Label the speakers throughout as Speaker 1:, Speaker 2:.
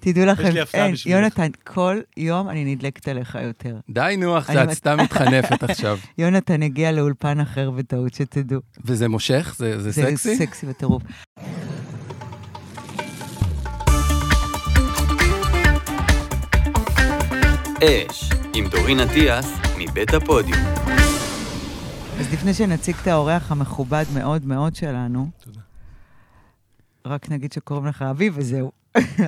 Speaker 1: תדעו לכם,
Speaker 2: לי הפתעה
Speaker 1: אין,
Speaker 2: בשבילך.
Speaker 1: יונתן, כל יום אני נדלקת עליך יותר.
Speaker 3: די, נו, אח,
Speaker 1: אני
Speaker 3: את
Speaker 1: מת-
Speaker 3: סתם מתחנפת עכשיו.
Speaker 1: יונתן הגיע לאולפן אחר בטעות, שתדעו.
Speaker 3: וזה מושך? זה, זה סקסי?
Speaker 1: זה סקסי בטירוף.
Speaker 4: אש, עם דורין אטיאס, מבית הפודיום.
Speaker 1: אז לפני שנציג את האורח המכובד מאוד מאוד שלנו,
Speaker 2: תודה.
Speaker 1: רק נגיד שקוראים לך אביב וזהו.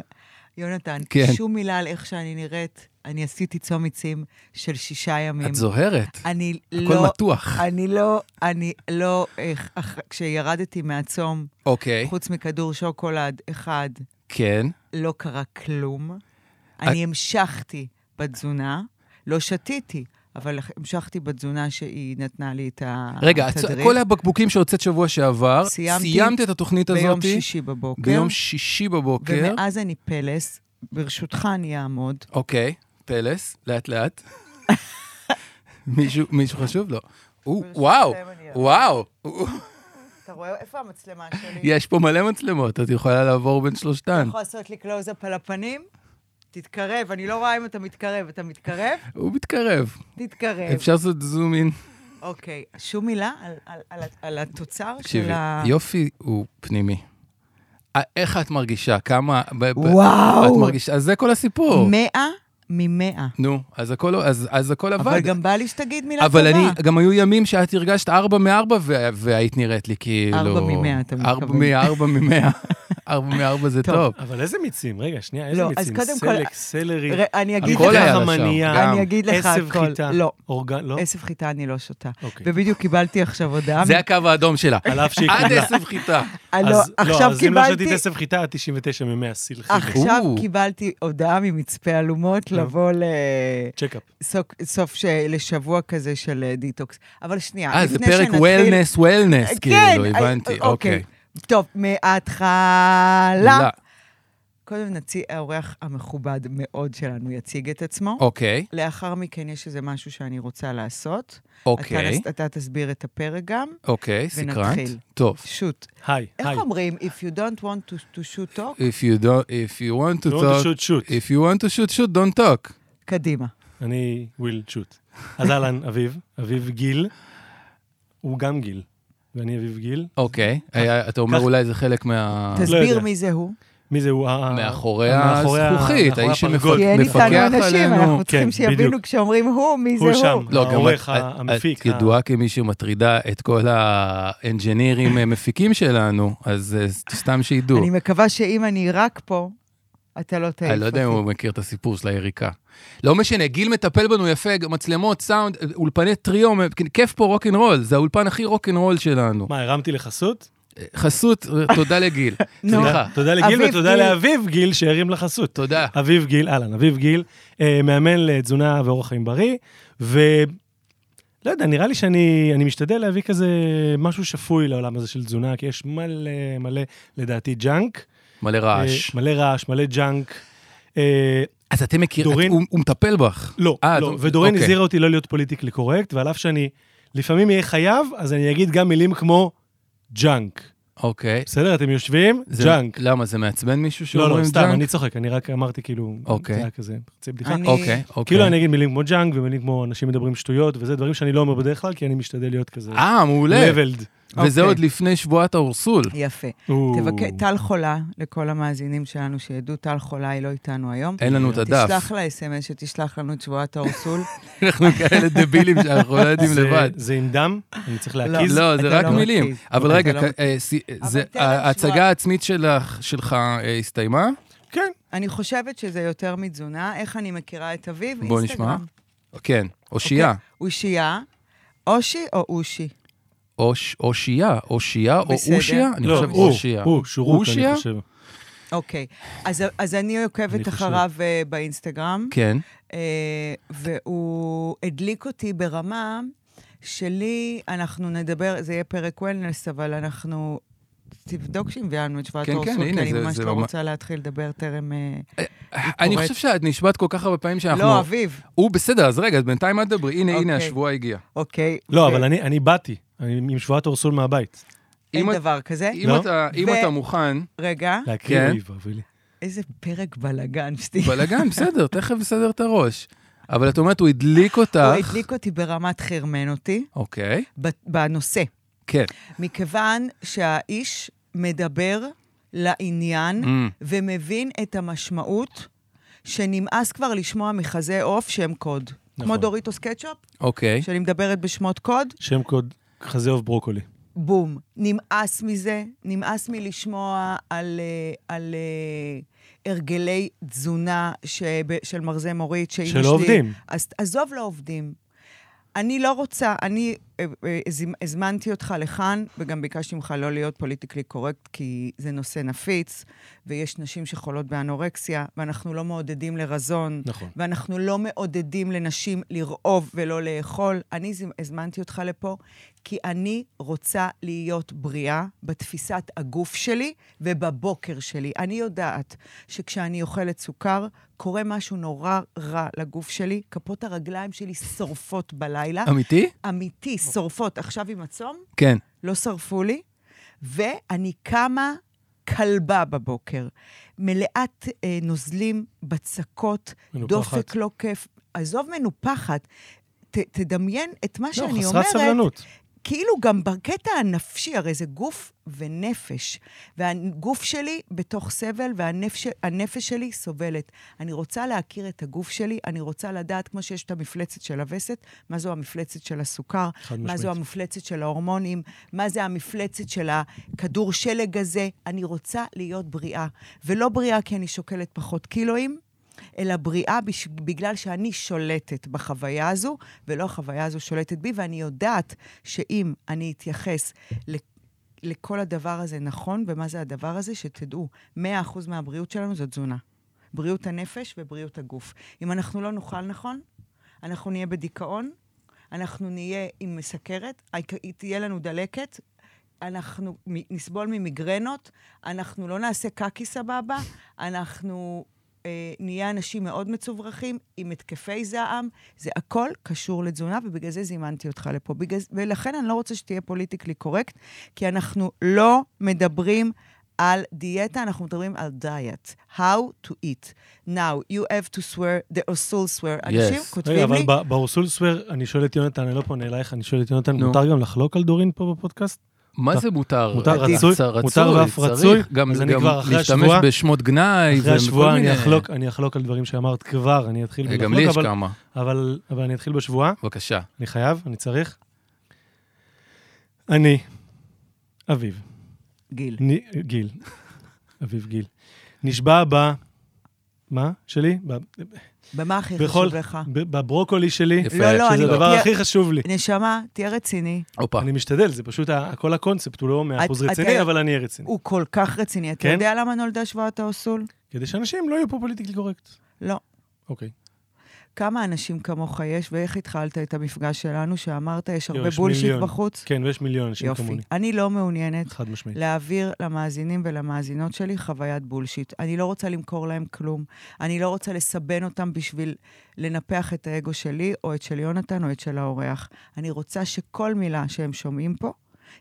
Speaker 1: יונתן,
Speaker 3: כן.
Speaker 1: שום מילה על איך שאני נראית. אני עשיתי צום עצים של שישה ימים.
Speaker 3: את זוהרת.
Speaker 1: אני
Speaker 3: הכל
Speaker 1: לא...
Speaker 3: מתוח.
Speaker 1: אני לא, אני לא, איך- אח- כשירדתי מהצום,
Speaker 3: אוקיי,
Speaker 1: חוץ מכדור שוקולד אחד,
Speaker 3: כן.
Speaker 1: לא קרה כלום. אני המשכתי בתזונה, לא שתיתי, אבל המשכתי בתזונה שהיא נתנה לי את ה-
Speaker 3: רגע, את-
Speaker 1: התדריך.
Speaker 3: כל הבקבוקים שהוצאת שבוע שעבר,
Speaker 1: סיימתי
Speaker 3: סיימת את התוכנית הזאת
Speaker 1: ביום שישי בבוקר.
Speaker 3: ביום שישי בבוקר.
Speaker 1: ומאז אני פלס. ברשותך אני אעמוד.
Speaker 3: אוקיי, פלס, לאט-לאט. מישהו מישהו חשוב? לא. או, וואו,
Speaker 1: ברשותכם, אני אעבור.
Speaker 3: וואו, או,
Speaker 1: אתה רואה איפה המצלמה שלי?
Speaker 3: יש פה מלא מצלמות, את יכולה לעבור בין שלושתן.
Speaker 1: אתה יכול לעשות לי קלוזאפ על הפנים? תתקרב, אני לא רואה אם אתה מתקרב. אתה מתקרב?
Speaker 3: הוא מתקרב.
Speaker 1: תתקרב.
Speaker 3: אפשר לעשות זום אין.
Speaker 1: אוקיי. שום מילה על- על- על- על התוצר
Speaker 3: תקשיבי,
Speaker 1: של ה...
Speaker 3: יופי הוא פנימי. אה, איך את מרגישה? כמה... ב- ב-
Speaker 1: וואו.
Speaker 3: את מרגישה? אז זה כל הסיפור.
Speaker 1: מאה ממאה.
Speaker 3: נו, אז הכל, אז, אז הכל עבד.
Speaker 1: אבל גם בא לי שתגיד מילה טובה.
Speaker 3: אבל אני, גם היו ימים שאת הרגשת ארבע מארבע, וה- והיית נראית לי כאילו...
Speaker 1: ארבע ממאה, אתה
Speaker 3: ארבע
Speaker 1: מתכוון.
Speaker 3: מארבע ממאה. ארבע מארבע זה
Speaker 1: טוב.
Speaker 3: טוב.
Speaker 2: אבל איזה מיצים? רגע, שנייה, איזה
Speaker 1: לא,
Speaker 2: מיצים?
Speaker 1: אז קודם כל-
Speaker 2: סלק, סלרי,
Speaker 1: ר- אני אגיד
Speaker 3: הכל היה
Speaker 1: לך,
Speaker 2: חמנייה,
Speaker 3: גם.
Speaker 1: אני אגיד לך
Speaker 2: עשב
Speaker 1: הכל.
Speaker 2: חיטה.
Speaker 1: לא,
Speaker 2: אורגן, לא?
Speaker 1: עשב חיטה אני לא שותה.
Speaker 2: אוקיי.
Speaker 1: ובדיוק קיבלתי עכשיו הודעה.
Speaker 3: זה הקו האדום שלה.
Speaker 2: על אף שהיא
Speaker 3: עד
Speaker 2: קיבלה.
Speaker 3: עשב חיטה.
Speaker 1: אה, לא,
Speaker 2: אז-
Speaker 1: עכשיו
Speaker 2: אז אם לא
Speaker 1: קיבלתי...
Speaker 2: שתית עשב חיטה, את 99 מ-100 סלחי.
Speaker 1: עכשיו
Speaker 3: או.
Speaker 1: קיבלתי הודעה ממצפה אלומות
Speaker 2: נו.
Speaker 1: לבוא
Speaker 2: צ'קאפ.
Speaker 1: לסוף לשבוע כזה של אה, דיטוקס. אבל שנייה,
Speaker 3: אה, זה
Speaker 1: לפני
Speaker 3: פרק
Speaker 1: שנתחיל-
Speaker 3: וולנס, וולנס,
Speaker 1: כן,
Speaker 3: כאילו,
Speaker 1: אה,
Speaker 3: הבנתי, אוקיי.
Speaker 1: טוב, מההתחלה.
Speaker 3: לא,
Speaker 1: קודם נציג, האורח המכובד מאוד שלנו יציג את עצמו.
Speaker 3: אוקיי,
Speaker 1: לאחר מכן יש איזה משהו שאני רוצה לעשות.
Speaker 3: אוקיי,
Speaker 1: אתה, אתה תסביר את הפרק גם.
Speaker 3: אוקיי, סקרנט.
Speaker 1: ונתחיל.
Speaker 3: טוב.
Speaker 1: שוט.
Speaker 2: היי,
Speaker 1: איך
Speaker 2: היי.
Speaker 1: אומרים? If you don't want to, to shoot talk,
Speaker 3: If you don't, if you want to
Speaker 2: You want to
Speaker 3: talk,
Speaker 2: shoot, shoot.
Speaker 3: if you want to shoot, shoot, don't talk.
Speaker 1: קדימה.
Speaker 2: אה. אני וויל שוט. אז אהלן, אביב. אביב גיל. הוא גם גיל. ואני אביב גיל.
Speaker 3: אוקיי, היה- אתה אומר
Speaker 2: כך-
Speaker 3: אולי זה חלק מה...
Speaker 1: תסביר
Speaker 2: לא יודע.
Speaker 1: מי זה הוא.
Speaker 2: מי זה הוא? ה- אה,
Speaker 3: מאחורי
Speaker 2: מאחורי ה-
Speaker 3: הזכוכית,
Speaker 2: מאחורי
Speaker 3: האיש
Speaker 2: הפרגוד.
Speaker 1: כי אין
Speaker 3: מפקח
Speaker 1: איתנו אנשים,
Speaker 3: עלינו.
Speaker 1: אנחנו צריכים
Speaker 2: כן,
Speaker 1: שיבינו
Speaker 2: בדיוק.
Speaker 1: כשאומרים הוא, מי זה
Speaker 2: הוא
Speaker 1: הוא.
Speaker 2: שם.
Speaker 3: לא, גם
Speaker 2: העורך,
Speaker 3: את-
Speaker 2: המפיק,
Speaker 3: את
Speaker 2: ה-
Speaker 3: ידועה כמי שמטרידה את כל האנג'ינירים אה, מפיקים שלנו, אז אה, סתם שידעו.
Speaker 1: אני מקווה שאם אני רק פה, אתה לא תעיף אותי.
Speaker 3: אני לא יודע אם הוא מכיר את הסיפור של היריקה. לא משנה, גיל מטפל בנו יפה, מצלמות, סאונד, אה, אולפני טריו, אה, כיף פה רוקנרול, זה האולפן הכי רוקנרול שלנו.
Speaker 2: מה, הרמתי לחסות?
Speaker 3: חסות, אה, תודה לגיל.
Speaker 1: נו.
Speaker 3: סליחה,
Speaker 2: תודה לגיל
Speaker 1: אביב
Speaker 2: ותודה
Speaker 1: גיל.
Speaker 2: לאביב גיל שהרים לחסות.
Speaker 3: תודה.
Speaker 2: אביב גיל, אהלן, אביב גיל, אה, מאמן לתזונה ואורח חיים בריא, ולא יודע, נראה לי שאני אני משתדל להביא כזה משהו שפוי לעולם הזה של תזונה, כי יש מלא מלא, לדעתי, ג'אנק.
Speaker 3: מלא רעש.
Speaker 2: אה, מלא רעש, מלא ג'אנק. אה,
Speaker 3: אז אתם מכירים,
Speaker 2: דורין-
Speaker 3: הוא הוא מטפל בך.
Speaker 2: לא,
Speaker 3: אה,
Speaker 2: לא,
Speaker 3: את-
Speaker 2: ודורין
Speaker 3: אוקיי.
Speaker 2: הזהירה אותי לא להיות פוליטיקלי קורקט, ועל אף שאני לפעמים אהיה חייב, אז אני אגיד גם מילים כמו ג'אנק.
Speaker 3: אוקיי.
Speaker 2: בסדר? אתם יושבים?
Speaker 3: זה-
Speaker 2: ג'אנק.
Speaker 3: למה, זה מעצבן מישהו
Speaker 2: לא,
Speaker 3: שאומרים
Speaker 2: לא,
Speaker 3: ג'אנק?
Speaker 2: סתם, אני צוחק, אני רק אמרתי כאילו,
Speaker 3: אוקיי.
Speaker 2: זה היה כזה, חצי בדיחה.
Speaker 1: אני-
Speaker 3: אוקיי, אוקיי.
Speaker 2: כאילו אני אגיד מילים כמו ג'אנק ומילים כמו אנשים מדברים שטויות, וזה דברים שאני לא אומר בדרך כלל, כי אני משתדל להיות כזה.
Speaker 3: אה, מעולה.
Speaker 2: leveled.
Speaker 3: וזה
Speaker 1: אוקיי.
Speaker 3: עוד לפני שבועת האורסול.
Speaker 1: יפה.
Speaker 2: או.
Speaker 1: תבקש, טל חולה, לכל המאזינים שלנו שידעו, טל חולה היא לא איתנו היום.
Speaker 3: אין לנו את הדף.
Speaker 1: תשלח לה אס.אם.אס שתשלח לנו את שבועת האורסול.
Speaker 3: אנחנו כאלה דבילים שאנחנו לא יודעים
Speaker 2: זה-
Speaker 3: לבד.
Speaker 2: זה עם דם? אני צריך
Speaker 1: לא.
Speaker 2: להקיז?
Speaker 3: לא,
Speaker 1: אתה
Speaker 3: זה רק
Speaker 1: לא
Speaker 3: מילים.
Speaker 1: מתקיז.
Speaker 3: אבל
Speaker 2: אוקיי,
Speaker 1: אתה
Speaker 3: רגע,
Speaker 1: לא
Speaker 3: כ-
Speaker 1: מתקיז.
Speaker 3: אה, סי- אה,
Speaker 1: אבל
Speaker 3: זה-
Speaker 1: תן להם
Speaker 3: ההצגה
Speaker 1: שבועה.
Speaker 3: העצמית שלך- שלך אה, הסתיימה?
Speaker 2: כן.
Speaker 1: אני חושבת שזה יותר מתזונה. איך אני מכירה את אביו?
Speaker 3: בוא נשמע.
Speaker 1: אינסטגרם.
Speaker 3: כן, אושייה.
Speaker 1: אושייה, אוקיי, אושי או אושי?
Speaker 3: אוש- אושייה, אושייה או
Speaker 1: בסדר.
Speaker 3: אושיה? אני
Speaker 2: לא,
Speaker 3: חושב
Speaker 2: הוא,
Speaker 3: אושייה.
Speaker 2: הוא, שורות,
Speaker 3: אושיה?
Speaker 2: אני חושב.
Speaker 1: אוקיי. אז, אז אני
Speaker 2: אני
Speaker 1: עוקבת
Speaker 2: חושב.
Speaker 1: אחריו אה, באינסטגרם,
Speaker 3: כן.
Speaker 1: אה, והוא הדליק אותי ברמה שלי, אנחנו נדבר, זה יהיה פרק וולנס, אבל אנחנו... תבדוק שהביאה לנו את שבועת
Speaker 3: כן, כן,
Speaker 1: האורסול, כי
Speaker 3: הנה,
Speaker 1: אני
Speaker 3: זה-
Speaker 1: ממש
Speaker 3: זה
Speaker 1: לא
Speaker 3: ממש-
Speaker 1: רוצה להתחיל לדבר טרם... אה,
Speaker 3: אני
Speaker 1: קוראת.
Speaker 3: חושב שאת נשבעת כל כך הרבה פעמים שאנחנו...
Speaker 1: לא, אביב.
Speaker 3: הוא בסדר, אז רגע, אז בינתיים אל תדברי. הנה, הנה,
Speaker 1: אוקיי.
Speaker 3: השבוע הגיע.
Speaker 1: אוקיי.
Speaker 2: לא,
Speaker 1: ו-
Speaker 3: כן.
Speaker 2: אבל אני- אני באתי, אני עם שבועת אורסול מהבית.
Speaker 1: אין
Speaker 3: אם את-
Speaker 1: דבר כזה.
Speaker 3: אם
Speaker 2: לא?
Speaker 3: אתה- אם
Speaker 1: אה? ו-
Speaker 3: אתה מוכן...
Speaker 1: רגע,
Speaker 2: להקריא
Speaker 3: כן.
Speaker 2: אויב, אבילי.
Speaker 1: איזה פרק בלאגן, שתי.
Speaker 3: בלאגן, בסדר, תכף נסדר את הראש. אבל את אומרת, הוא הדליק אותך.
Speaker 1: הוא הדליק אותי ברמת חרמן אותי,
Speaker 3: אוקיי,
Speaker 1: ב- בנושא.
Speaker 3: כן.
Speaker 1: מכיוון שהאיש מדבר לעניין
Speaker 3: Mm.
Speaker 1: ומבין את המשמעות שנמאס כבר לשמוע מחזה עוף שם קוד. כמו
Speaker 2: נכון.
Speaker 1: דוריטוס קטשופ,
Speaker 3: אוקיי.
Speaker 1: שאני מדברת בשמות קוד,
Speaker 2: שם קוד חזה עוף ברוקולי.
Speaker 1: בום. נמאס מזה, נמאס מלשמוע על, אה, על אה, הרגלי תזונה שב, של מרזה מורית, שאימא שלי...
Speaker 2: שלא עובדים.
Speaker 1: אז עזוב, לא עובדים. אני לא רוצה, אני אה, אה, הז- הזמנתי אותך לכאן, וגם ביקשתי ממך לא להיות פוליטיקלי קורקט, כי זה נושא נפיץ, ויש נשים שחולות באנורקסיה, ואנחנו לא מעודדים לרזון.
Speaker 2: נכון.
Speaker 1: ואנחנו לא מעודדים לנשים לרעוב ולא לאכול. אני ז- הזמנתי אותך לפה, כי אני רוצה להיות בריאה בתפיסת הגוף שלי ובבוקר שלי. אני יודעת שכשאני אוכלת סוכר, קורה משהו נורא רע לגוף שלי, כפות הרגליים שלי שורפות בלילה.
Speaker 3: אמיתי?
Speaker 1: אמיתי, שורפות. עכשיו עם הצום,
Speaker 3: כן.
Speaker 1: לא שרפו לי, ואני קמה כלבה בבוקר, מלאת אה, נוזלים, בצקות,
Speaker 2: מנופחת.
Speaker 1: דופק לא כיף. עזוב מנופחת, ת, תדמיין את מה
Speaker 2: לא,
Speaker 1: שאני
Speaker 2: חסרת
Speaker 1: אומרת.
Speaker 2: סבלנות.
Speaker 1: כאילו גם בקטע הנפשי, הרי זה גוף ונפש. והגוף שלי בתוך סבל והנפש הנפש שלי סובלת. אני רוצה להכיר את הגוף שלי, אני רוצה לדעת, כמו שיש את המפלצת של הווסת, מה זו המפלצת של הסוכר,
Speaker 2: חד
Speaker 1: מה זו
Speaker 2: משמעית.
Speaker 1: המפלצת של ההורמונים, מה זה המפלצת של הכדור שלג הזה. אני רוצה להיות בריאה. ולא בריאה כי אני שוקלת פחות קילואים, אלא בריאה בש... בגלל שאני שולטת בחוויה הזו, ולא החוויה הזו שולטת בי, ואני יודעת שאם אני אתייחס ל... לכל הדבר הזה נכון, ומה זה הדבר הזה, שתדעו, 100% מהבריאות שלנו זו תזונה. בריאות הנפש ובריאות הגוף. אם אנחנו לא נאכל נכון, אנחנו נהיה בדיכאון, אנחנו נהיה עם סכרת, העיק- תהיה לנו דלקת, אנחנו מ- נסבול ממיגרנות, אנחנו לא נעשה קקי סבבה, אנחנו אה, נהיה אנשים מאוד מצוברחים, עם התקפי זעם, זה הכל קשור לתזונה, ובגלל זה זימנתי אותך לפה. בגלל, זה- ולכן אני לא רוצה שתהיה פוליטיקלי קורקט, כי אנחנו לא מדברים על דיאטה, אנחנו מדברים על דיאט. How to eat. Now, you have to swear, the Osul swear. אנשים כותבים
Speaker 2: רגע, אבל
Speaker 1: לי...
Speaker 2: ב- באורסול סוואר, אני שואל את יונתן, אני לא פונה אלייך, אני שואל את יונתן,
Speaker 3: נו.
Speaker 2: מותר גם לחלוק על דורין פה בפודקאסט?
Speaker 3: מה זה מותר?
Speaker 2: מותר,
Speaker 3: עדיף.
Speaker 2: רצוי,
Speaker 3: צ-
Speaker 2: מותר
Speaker 3: רצוי,
Speaker 2: ואף
Speaker 3: צריך.
Speaker 2: רצוי.
Speaker 3: גם
Speaker 2: אז אני
Speaker 3: גם
Speaker 2: כבר אחרי
Speaker 3: להשתמש
Speaker 2: השבוע-
Speaker 3: בשמות גנאי.
Speaker 2: אחרי
Speaker 3: וכל
Speaker 2: השבועה אני
Speaker 3: מיני-
Speaker 2: אחלוק- אני אחלוק על דברים שאמרת כבר, אני אתחיל
Speaker 3: אה,
Speaker 2: בלחלוק,
Speaker 3: גם לי יש
Speaker 2: אבל-
Speaker 3: כמה.
Speaker 2: אבל אבל אני אתחיל בשבועה,
Speaker 3: בבקשה.
Speaker 2: אני חייב, אני צריך. אני, אביב,
Speaker 1: גיל.
Speaker 2: נ- גיל, אביב גיל, נשבע ב... מה? שלי? ב-
Speaker 1: במה הכי
Speaker 2: בכל...
Speaker 1: חשוב לך?
Speaker 2: ב- בברוקולי שלי,
Speaker 3: יפה.
Speaker 1: אה.
Speaker 3: אה.
Speaker 1: לא, לא,
Speaker 2: שזה
Speaker 1: אני-
Speaker 2: הדבר
Speaker 1: תהיה-
Speaker 2: הכי חשוב לי.
Speaker 1: נשמה, תהיה רציני.
Speaker 3: הופה.
Speaker 2: אני משתדל, זה פשוט ה- כל הקונספט, הוא לא
Speaker 1: את-
Speaker 2: מאה אחוז
Speaker 1: את-
Speaker 2: רציני, אבל אני אהיה רציני.
Speaker 1: הוא כל כך רציני. אתה
Speaker 2: כן?
Speaker 1: יודע למה נולדה שבועת האוסול?
Speaker 2: כדי שאנשים לא יהיו פה פוליטיקלי קורקט.
Speaker 1: לא.
Speaker 2: אוקיי.
Speaker 1: כמה אנשים כמוך יש, ואיך התחלת את המפגש שלנו, שאמרת, יש הרבה
Speaker 2: יש
Speaker 1: בולשיט
Speaker 2: מיליון.
Speaker 1: בחוץ?
Speaker 2: כן, ויש מיליון אנשים
Speaker 1: יופי.
Speaker 2: כמוני.
Speaker 1: אני לא מעוניינת
Speaker 2: חד משמעית.
Speaker 1: להעביר למאזינים ולמאזינות שלי חוויית בולשיט. אני לא רוצה למכור להם כלום. אני לא רוצה לסבן אותם בשביל לנפח את האגו שלי, או את של יונתן, או את של האורח. אני רוצה שכל מילה שהם שומעים פה,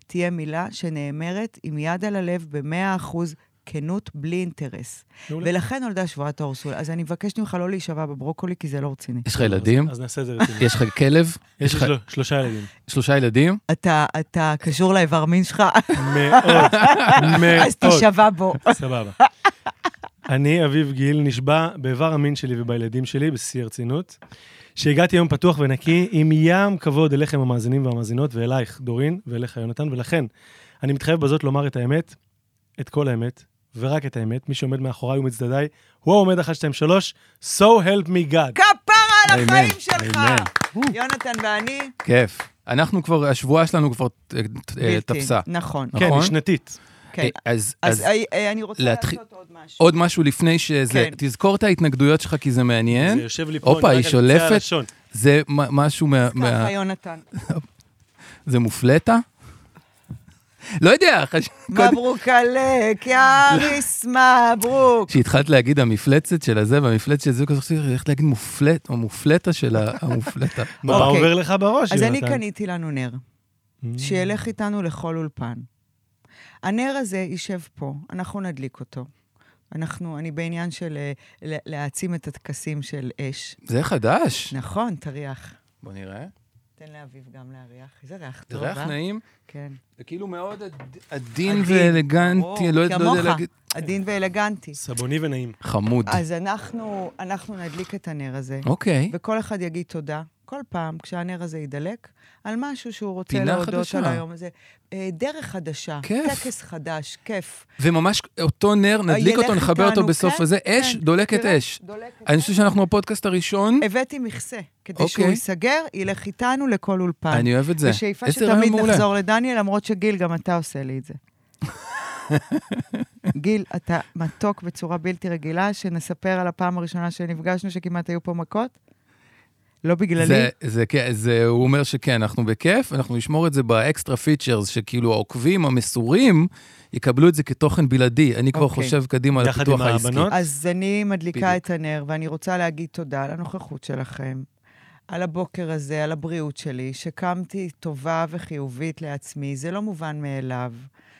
Speaker 1: תהיה מילה שנאמרת עם יד על הלב ב-100% כנות, בלי אינטרס.
Speaker 2: מעולה.
Speaker 1: ולכן נולדה שבועת האורסול. אז אני מבקשת ממך לא להישבע בברוקולי, כי זה לא רציני.
Speaker 3: יש לך ילדים?
Speaker 2: אז- אז נעשה את זה רציני.
Speaker 3: יש לך כלב?
Speaker 2: יש
Speaker 3: יש
Speaker 2: לי
Speaker 3: לך
Speaker 2: של- שלושה ילדים.
Speaker 3: שלושה ילדים?
Speaker 1: אתה, אתה קשור לאיבר מין שלך,
Speaker 2: מאוד, מאוד.
Speaker 1: אז תישבע בו.
Speaker 2: סבבה. אני, אביב גיל, נשבע באיבר המין שלי ובילדים שלי, בשיא הרצינות, שהגעתי יום פתוח ונקי עם ים כבוד אליכם המאזינים והמאזינות, ואלייך, דורין, ואליך, יונתן, ולכן, אני מתחייב בזאת לומר את האמת, את כל האמת, ורק את האמת, מי שעומד מאחוריי ומצדדיי, הוא העומד 1, 2, 3, so help me God.
Speaker 1: כפרה על
Speaker 3: אמן,
Speaker 1: החיים שלך!
Speaker 3: אמן.
Speaker 1: יונתן ואני,
Speaker 3: כיף. אנחנו כבר, השבועה שלנו כבר אה, אה,
Speaker 1: בלתי.
Speaker 3: תפסה.
Speaker 1: נכון.
Speaker 2: כן,
Speaker 3: נכון?
Speaker 2: היא שנתית.
Speaker 1: כן.
Speaker 3: אה, אז,
Speaker 1: אז
Speaker 3: אז
Speaker 1: אה, אה, אני רוצה
Speaker 3: להתחיל-
Speaker 1: לעשות עוד משהו.
Speaker 3: עוד משהו לפני שזה,
Speaker 1: כן.
Speaker 3: תזכור את ההתנגדויות שלך כי זה מעניין.
Speaker 2: זה יושב לי פה,
Speaker 3: כן? הופה,
Speaker 2: אני
Speaker 3: היא
Speaker 2: רק על קצה
Speaker 3: שולפת,
Speaker 2: הלשון.
Speaker 3: זה מ- משהו מה... מה-
Speaker 1: ככה, יונתן.
Speaker 3: זה מופלטה? לא יודע, חש- קודם-
Speaker 1: מברוק עלק, יא אריס, מברוק.
Speaker 3: כשהתחלת להגיד המפלצת של הזה והמפלצת של זה, כזה חשבתי, איך להגיד מופלט, או מופלטה של ה- המופלטה.
Speaker 2: מה
Speaker 1: אוקיי.
Speaker 2: עובר לך בראש,
Speaker 1: אז
Speaker 2: יונתן? Mm.
Speaker 1: אני קניתי לנו נר, שילך איתנו לכל אולפן. הנר הזה יישב פה, אנחנו נדליק אותו. אנחנו, אני בעניין של אה, לה- להעצים את הטקסים של אש.
Speaker 3: זה חדש.
Speaker 1: נכון, תריח.
Speaker 3: בוא נראה.
Speaker 1: תן לאביב גם להריח. איזה ריח
Speaker 3: זה
Speaker 1: טוב,
Speaker 3: ריח
Speaker 1: אה?
Speaker 3: נעים.
Speaker 1: כן.
Speaker 3: זה כאילו מאוד עד- עדין
Speaker 1: עדין.
Speaker 3: ואלגנטי,
Speaker 1: ברור,
Speaker 3: לא יודע- לא יודע
Speaker 1: כמוך,
Speaker 3: להגיד.
Speaker 1: עדין ואלגנטי.
Speaker 2: סבוני ונעים.
Speaker 3: חמוד.
Speaker 1: אז אנחנו, אנחנו נדליק את הנר הזה,
Speaker 3: אוקיי.
Speaker 1: וכל אחד יגיד תודה, כל פעם כשהנר הזה יידלק, על משהו שהוא רוצה
Speaker 3: פינה
Speaker 1: להודות
Speaker 3: חדשה.
Speaker 1: על היום הזה. אה, דרך חדשה,
Speaker 3: כיף.
Speaker 1: טקס חדש, כיף.
Speaker 3: וממש אותו נר, נדליק
Speaker 1: אה, ילך
Speaker 3: אותו, נחבר אותו
Speaker 1: איתנו,
Speaker 3: בסוף
Speaker 1: כן,
Speaker 3: הזה. אש,
Speaker 1: כן.
Speaker 3: דולקת
Speaker 1: תראה,
Speaker 3: אש.
Speaker 1: דולקת
Speaker 3: אני
Speaker 1: אש.
Speaker 3: חושב שאנחנו הפודקאסט הראשון.
Speaker 1: הבאתי מכסה, כדי
Speaker 3: אוקיי.
Speaker 1: שהוא ייסגר, ילך איתנו לכל אולפן.
Speaker 3: אני אוהב את זה.
Speaker 1: בשאיפה
Speaker 3: איזה רעיון
Speaker 1: שתמיד
Speaker 3: מעולה.
Speaker 1: נחזור לדניאל, למרות שגיל, גם אתה עושה לי את זה. גיל, אתה מתוק בצורה בלתי רגילה, שנספר על הפעם הראשונה שנפגשנו, שכמעט היו פה מכות? לא בגללי?
Speaker 3: זה, זה, כן, זה, הוא אומר שכן, אנחנו בכיף, אנחנו נשמור את זה באקסטרה פיצ'רס, שכאילו העוקבים המסורים יקבלו את זה כתוכן בלעדי. אני כבר
Speaker 1: אוקיי.
Speaker 3: חושב קדימה על
Speaker 2: יחד
Speaker 3: הפיתוח
Speaker 2: עם
Speaker 3: העסקי.
Speaker 2: הבנות?
Speaker 1: אז אני מדליקה
Speaker 3: בדיוק.
Speaker 1: את הנר, ואני רוצה להגיד תודה על הנוכחות שלכם, על הבוקר הזה, על הבריאות שלי, שקמתי טובה וחיובית לעצמי, זה לא מובן מאליו.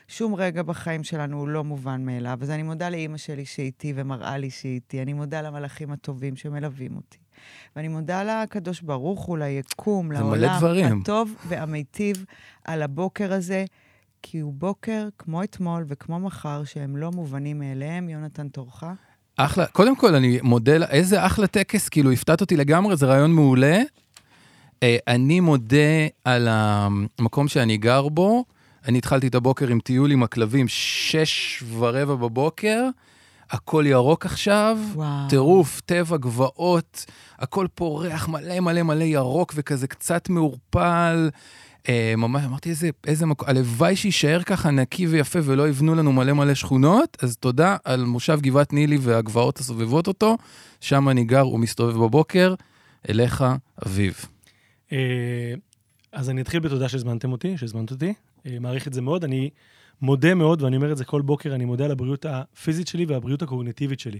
Speaker 1: שום רגע בחיים שלנו הוא לא מובן מאליו. אז אני מודה לאימא שלי שאיתי ומראה לי שהיא איתי. אני מודה למלאכים הטובים שמלווים אותי. ואני מודה לקדוש ברוך הוא, ליקום,
Speaker 3: זה מלא
Speaker 1: לעולם
Speaker 3: דברים.
Speaker 1: הטוב והמיטיב על הבוקר הזה, כי הוא בוקר כמו אתמול וכמו מחר, שהם לא מובנים מאליהם. יונתן, תורך.
Speaker 3: אחלה, קודם כל, אני מודה, לה- איזה אחלה טקס, כאילו, הפתעת אותי לגמרי, זה רעיון מעולה. אה, אני מודה על המקום שאני גר בו. אני התחלתי את הבוקר עם טיול עם הכלבים, שש ורבע בבוקר, הכל ירוק עכשיו,
Speaker 1: וואו.
Speaker 3: טירוף, טבע, גבעות, הכל פורח מלא מלא מלא ירוק וכזה קצת מעורפל. אה, ממש אמרתי, איזה, איזה מקום, הלוואי שיישאר ככה נקי ויפה ולא יבנו לנו מלא מלא שכונות, אז תודה על מושב גבעת נילי והגבעות הסובבות אותו, שם אני גר ומסתובב בבוקר, אליך, אביב.
Speaker 2: אה, אז אני אתחיל בתודה שהזמנתם אותי, שהזמנת אותי. אה, מעריך את זה מאוד. אני מודה מאוד, ואני אומר את זה כל בוקר, אני מודה על הבריאות הפיזית שלי והבריאות הקוגניטיבית שלי.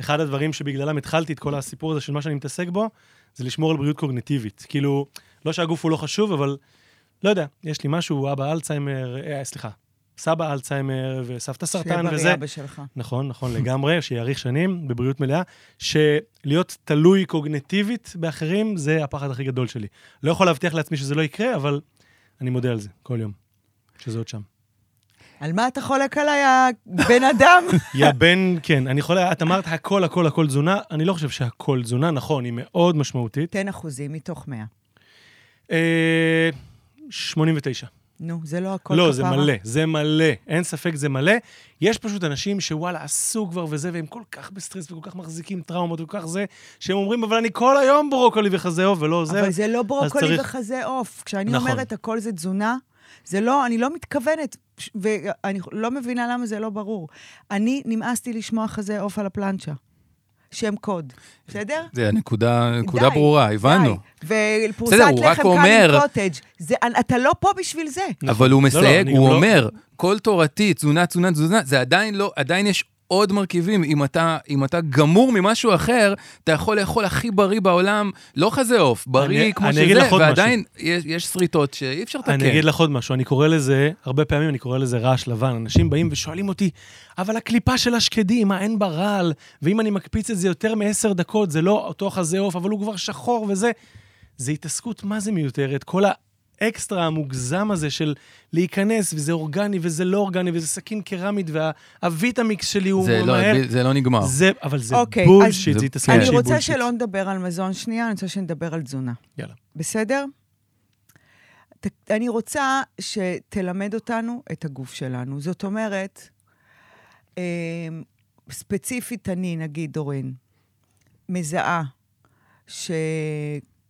Speaker 2: אחד הדברים שבגללם התחלתי את כל הסיפור הזה של מה שאני מתעסק בו, זה לשמור על בריאות קוגניטיבית. כאילו, לא שהגוף הוא לא חשוב, אבל לא יודע, יש לי משהו, אבא אלצהיימר, אה, סליחה, סבא אלצהיימר וסבתא סרטן
Speaker 1: שיהיה
Speaker 2: וזה.
Speaker 1: בריא אבא שלך.
Speaker 2: נכון, נכון לגמרי, שיאריך שנים בבריאות מלאה, שלהיות תלוי קוגנטיבית באחרים זה הפחד הכי גדול שלי. לא יכול להבטיח לעצמי שזה לא יקרה, אבל אני מודה על זה כל יום, שזה עוד שם.
Speaker 1: על מה אתה חולק עליי, הבן אדם?
Speaker 2: יא בן, כן, אני יכול, את אמרת הכל, הכל, הכל תזונה, אני לא חושב שהכל תזונה, נכון, היא מאוד משמעותית.
Speaker 1: תן אחוזים מתוך 100.
Speaker 2: אה, 89.
Speaker 1: נו, זה לא הכל
Speaker 2: לא, זה
Speaker 1: כפרה.
Speaker 2: מלא, זה מלא, אין ספק זה מלא. יש פשוט אנשים שוואלה, עשו כבר וזה, והם כל כך בסטרס וכל כך מחזיקים טראומות וכל כך זה, שהם אומרים, אבל אני כל היום ברוקולי וחזה עוף ולא עוזר.
Speaker 1: אבל זה לא ברוקולי
Speaker 2: צריך-
Speaker 1: וחזה עוף. כשאני
Speaker 2: נכון.
Speaker 1: אומרת הכל זה תזונה, זה לא, אני לא מתכוונת, ש- ואני לא מבינה למה זה לא ברור. אני נמאסתי לשמוע חזה עוף על הפלנצ'ה. שם קוד, בסדר?
Speaker 3: זה הנקודה, נקודה
Speaker 1: די,
Speaker 3: ברורה, הבנו.
Speaker 1: די. ופרוסת
Speaker 3: בסדר, הוא רק
Speaker 1: לחם קל
Speaker 3: אומר-
Speaker 1: עם קוטג'. זה- אתה לא פה בשביל זה.
Speaker 3: אבל הוא
Speaker 2: לא,
Speaker 3: מסייג,
Speaker 2: אני
Speaker 3: הוא
Speaker 2: גם לא-
Speaker 3: אומר, כל תורתי, תזונה, תזונה, תזונה, זה עדיין לא, עדיין יש עוד מרכיבים. אם אתה, אם אתה גמור ממשהו אחר, אתה יכול לאכול הכי בריא בעולם, לא חזה עוף, בריא
Speaker 2: אני-
Speaker 3: כמו
Speaker 2: אני אגיד לך
Speaker 3: שזה,
Speaker 2: עוד
Speaker 3: ועדיין יש, יש שריטות שאי אפשר לתקן.
Speaker 2: אני אגיד לך עוד משהו, אני קורא לזה, הרבה פעמים אני קורא לזה רעש לבן. אנשים באים ושואלים אותי, אבל הקליפה של השקדים, מה אין בה רעל? ואם אני מקפיץ את זה יותר מעשר דקות, זה לא אותו חזה עוף, אבל הוא כבר שחור וזה. זה התעסקות מה זה מיותרת, כל האקסטרה המוגזם הזה של להיכנס, וזה אורגני וזה לא אורגני, וזה סכין קרמית, והוויטמיקס שלי הוא
Speaker 3: זה, לא,
Speaker 2: מהר.
Speaker 3: זה לא נגמר.
Speaker 2: זה, אבל זה
Speaker 1: אוקיי,
Speaker 2: בולשיט,
Speaker 3: אז-
Speaker 2: זה התעסקות
Speaker 1: אני
Speaker 2: שהיא
Speaker 1: רוצה
Speaker 2: כן. בולשיט.
Speaker 1: שלא נדבר על מזון שנייה, אני רוצה שנדבר על תזונה.
Speaker 2: יאללה.
Speaker 1: בסדר? ת- אני רוצה שתלמד אותנו את הגוף שלנו. זאת אומרת, אמ, ספציפית אני, נגיד, דורין, מזהה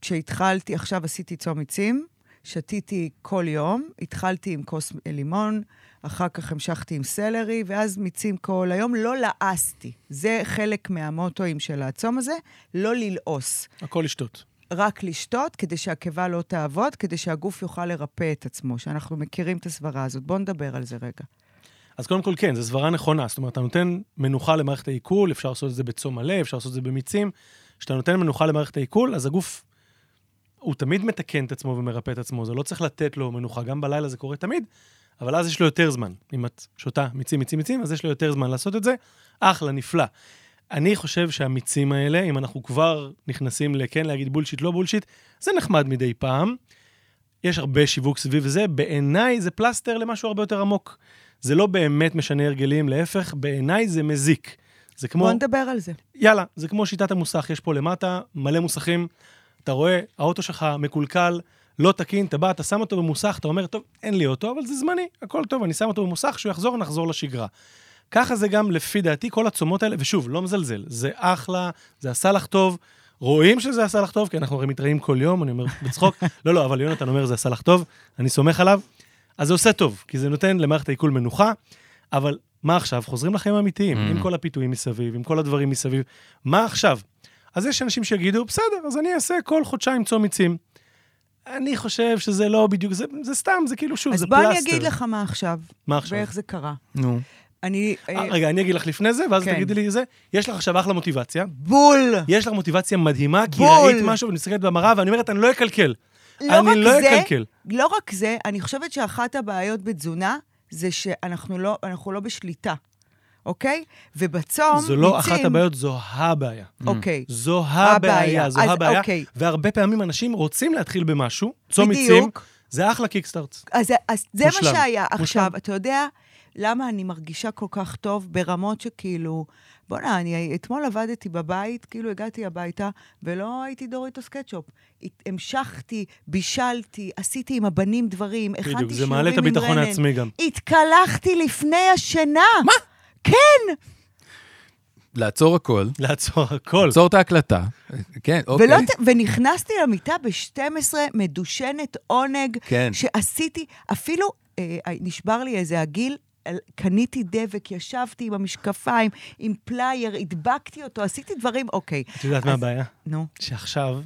Speaker 1: שכשהתחלתי, עכשיו עשיתי צום עצים, שתיתי כל יום, התחלתי עם כוס לימון, אחר כך המשכתי עם סלרי, ואז מיצים כל היום. לא לעסתי. זה חלק מהמוטואים של הצום הזה, לא ללעוס.
Speaker 2: הכל לשתות.
Speaker 1: רק לשתות, כדי שהקיבה לא תעבוד, כדי שהגוף יוכל לרפא את עצמו, שאנחנו מכירים את הסברה הזאת. בואו נדבר על זה רגע.
Speaker 2: אז קודם כל, כן, זו סברה נכונה. זאת אומרת, אתה נותן מנוחה למערכת העיכול, אפשר לעשות את זה בצום מלא, אפשר לעשות את זה במיצים. כשאתה נותן מנוחה למערכת העיכול, אז הגוף, הוא תמיד מתקן את עצמו ומרפא את עצמו, זה לא צריך לתת לו מנוחה. גם בלילה זה קורה תמיד, אבל אז יש לו יותר זמן. אם את שותה מיצים, מיצים, מיצים, אז יש לו יותר זמן לעשות את זה. אחלה, נפלא. אני חושב שהמיצים האלה, אם אנחנו כבר נכנסים לכן להגיד בולשיט, לא בולשיט, זה נחמד מדי פעם. יש הרבה שיווק סביב זה, בעיניי זה פלסטר למשהו הרבה יותר עמוק. זה לא באמת משנה הרגלים, להפך, בעיניי זה מזיק. זה כמו...
Speaker 1: בוא נדבר על זה.
Speaker 2: יאללה, זה כמו שיטת המוסך, יש פה למטה מלא מוסכים, אתה רואה, האוטו שלך מקולקל, לא תקין, אתה בא, אתה שם אותו במוסך, אתה אומר, טוב, אין לי אוטו, אבל זה זמני, הכל טוב, אני שם אותו במוסך, כשהוא יחזור, נחזור לשגרה. ככה זה גם, לפי דעתי, כל הצומות האלה, ושוב, לא מזלזל, זה אחלה, זה עשה לך טוב, רואים שזה עשה לך טוב, כי אנחנו הרי מתראים כל יום, אני אומר בצחוק, לא, לא, אבל יונתן אומר, זה עשה לך טוב, אני סומך עליו, אז זה עושה טוב, כי זה נותן למערכת העיכול מנוחה, אבל מה עכשיו? חוזרים לחיים האמיתיים,
Speaker 3: Mm.
Speaker 2: עם כל הפיתויים מסביב, עם כל הדברים מסביב, מה עכשיו? אז יש אנשים שיגידו, בסדר, אז אני אעשה כל חודשיים צום מיצים. אני חושב שזה לא בדיוק, זה, זה סתם, זה כאילו, שוב,
Speaker 1: אז
Speaker 2: זה
Speaker 1: בוא
Speaker 2: פלסטר.
Speaker 1: אני אגיד לך מה עכשיו,
Speaker 2: מה עכשיו?
Speaker 1: ואיך זה קרה.
Speaker 3: נו.
Speaker 1: אני...
Speaker 2: אה,
Speaker 1: אה,
Speaker 2: רגע, אני אגיד לך לפני זה, ואז
Speaker 1: כן.
Speaker 2: תגידי לי זה. יש לך עכשיו אחלה מוטיבציה.
Speaker 1: בול!
Speaker 2: יש לך מוטיבציה מדהימה, כי
Speaker 1: בול.
Speaker 2: ראית משהו ואני מסתכלת במראה, ואני אומרת, אני לא אקלקל.
Speaker 1: לא
Speaker 2: אני
Speaker 1: רק
Speaker 2: לא
Speaker 1: זה,
Speaker 2: אקלקל.
Speaker 1: לא רק זה, אני חושבת שאחת הבעיות בתזונה זה שאנחנו לא, אנחנו לא בשליטה, אוקיי? ובצום,
Speaker 2: זו לא
Speaker 1: מיצים-
Speaker 2: אחת הבעיות, זו הבעיה.
Speaker 1: אוקיי.
Speaker 2: זו
Speaker 1: הבעיה.
Speaker 2: הבעיה, זו
Speaker 1: אז
Speaker 2: הבעיה.
Speaker 1: אוקיי.
Speaker 2: והרבה פעמים אנשים רוצים להתחיל במשהו, צום
Speaker 1: בדיוק.
Speaker 2: עצים, זה אחלה קיקסטארט.
Speaker 1: אז, אז זה
Speaker 2: מושלם,
Speaker 1: מה שהיה.
Speaker 2: מושלם.
Speaker 1: עכשיו, אתה יודע למה אני מרגישה כל כך טוב ברמות שכאילו... בוא'נה, אני אתמול עבדתי בבית, כאילו הגעתי הביתה, ולא הייתי דוריטוס קטשופ. הת- המשכתי, בישלתי, עשיתי עם הבנים דברים, הכנתי שיעורים עם רנן.
Speaker 2: בדיוק, זה מעלה את הביטחון העצמי גם.
Speaker 1: התקלחתי לפני השינה. כן! מה?
Speaker 3: לעצור הכל,
Speaker 2: לעצור הכל.
Speaker 3: לעצור את ההקלטה. כן, אוקיי.
Speaker 1: ולא, ת- ונכנסתי למיטה ב-12 מדושנת עונג,
Speaker 3: כן.
Speaker 1: שעשיתי, אפילו אה, נשבר לי איזה הגיל. על- קניתי דבק, ישבתי עם המשקפיים, עם פלייר, הדבקתי אותו, עשיתי דברים, אוקיי.
Speaker 2: את יודעת מה
Speaker 1: אז-
Speaker 2: הבעיה?
Speaker 1: נו.
Speaker 2: שעכשיו,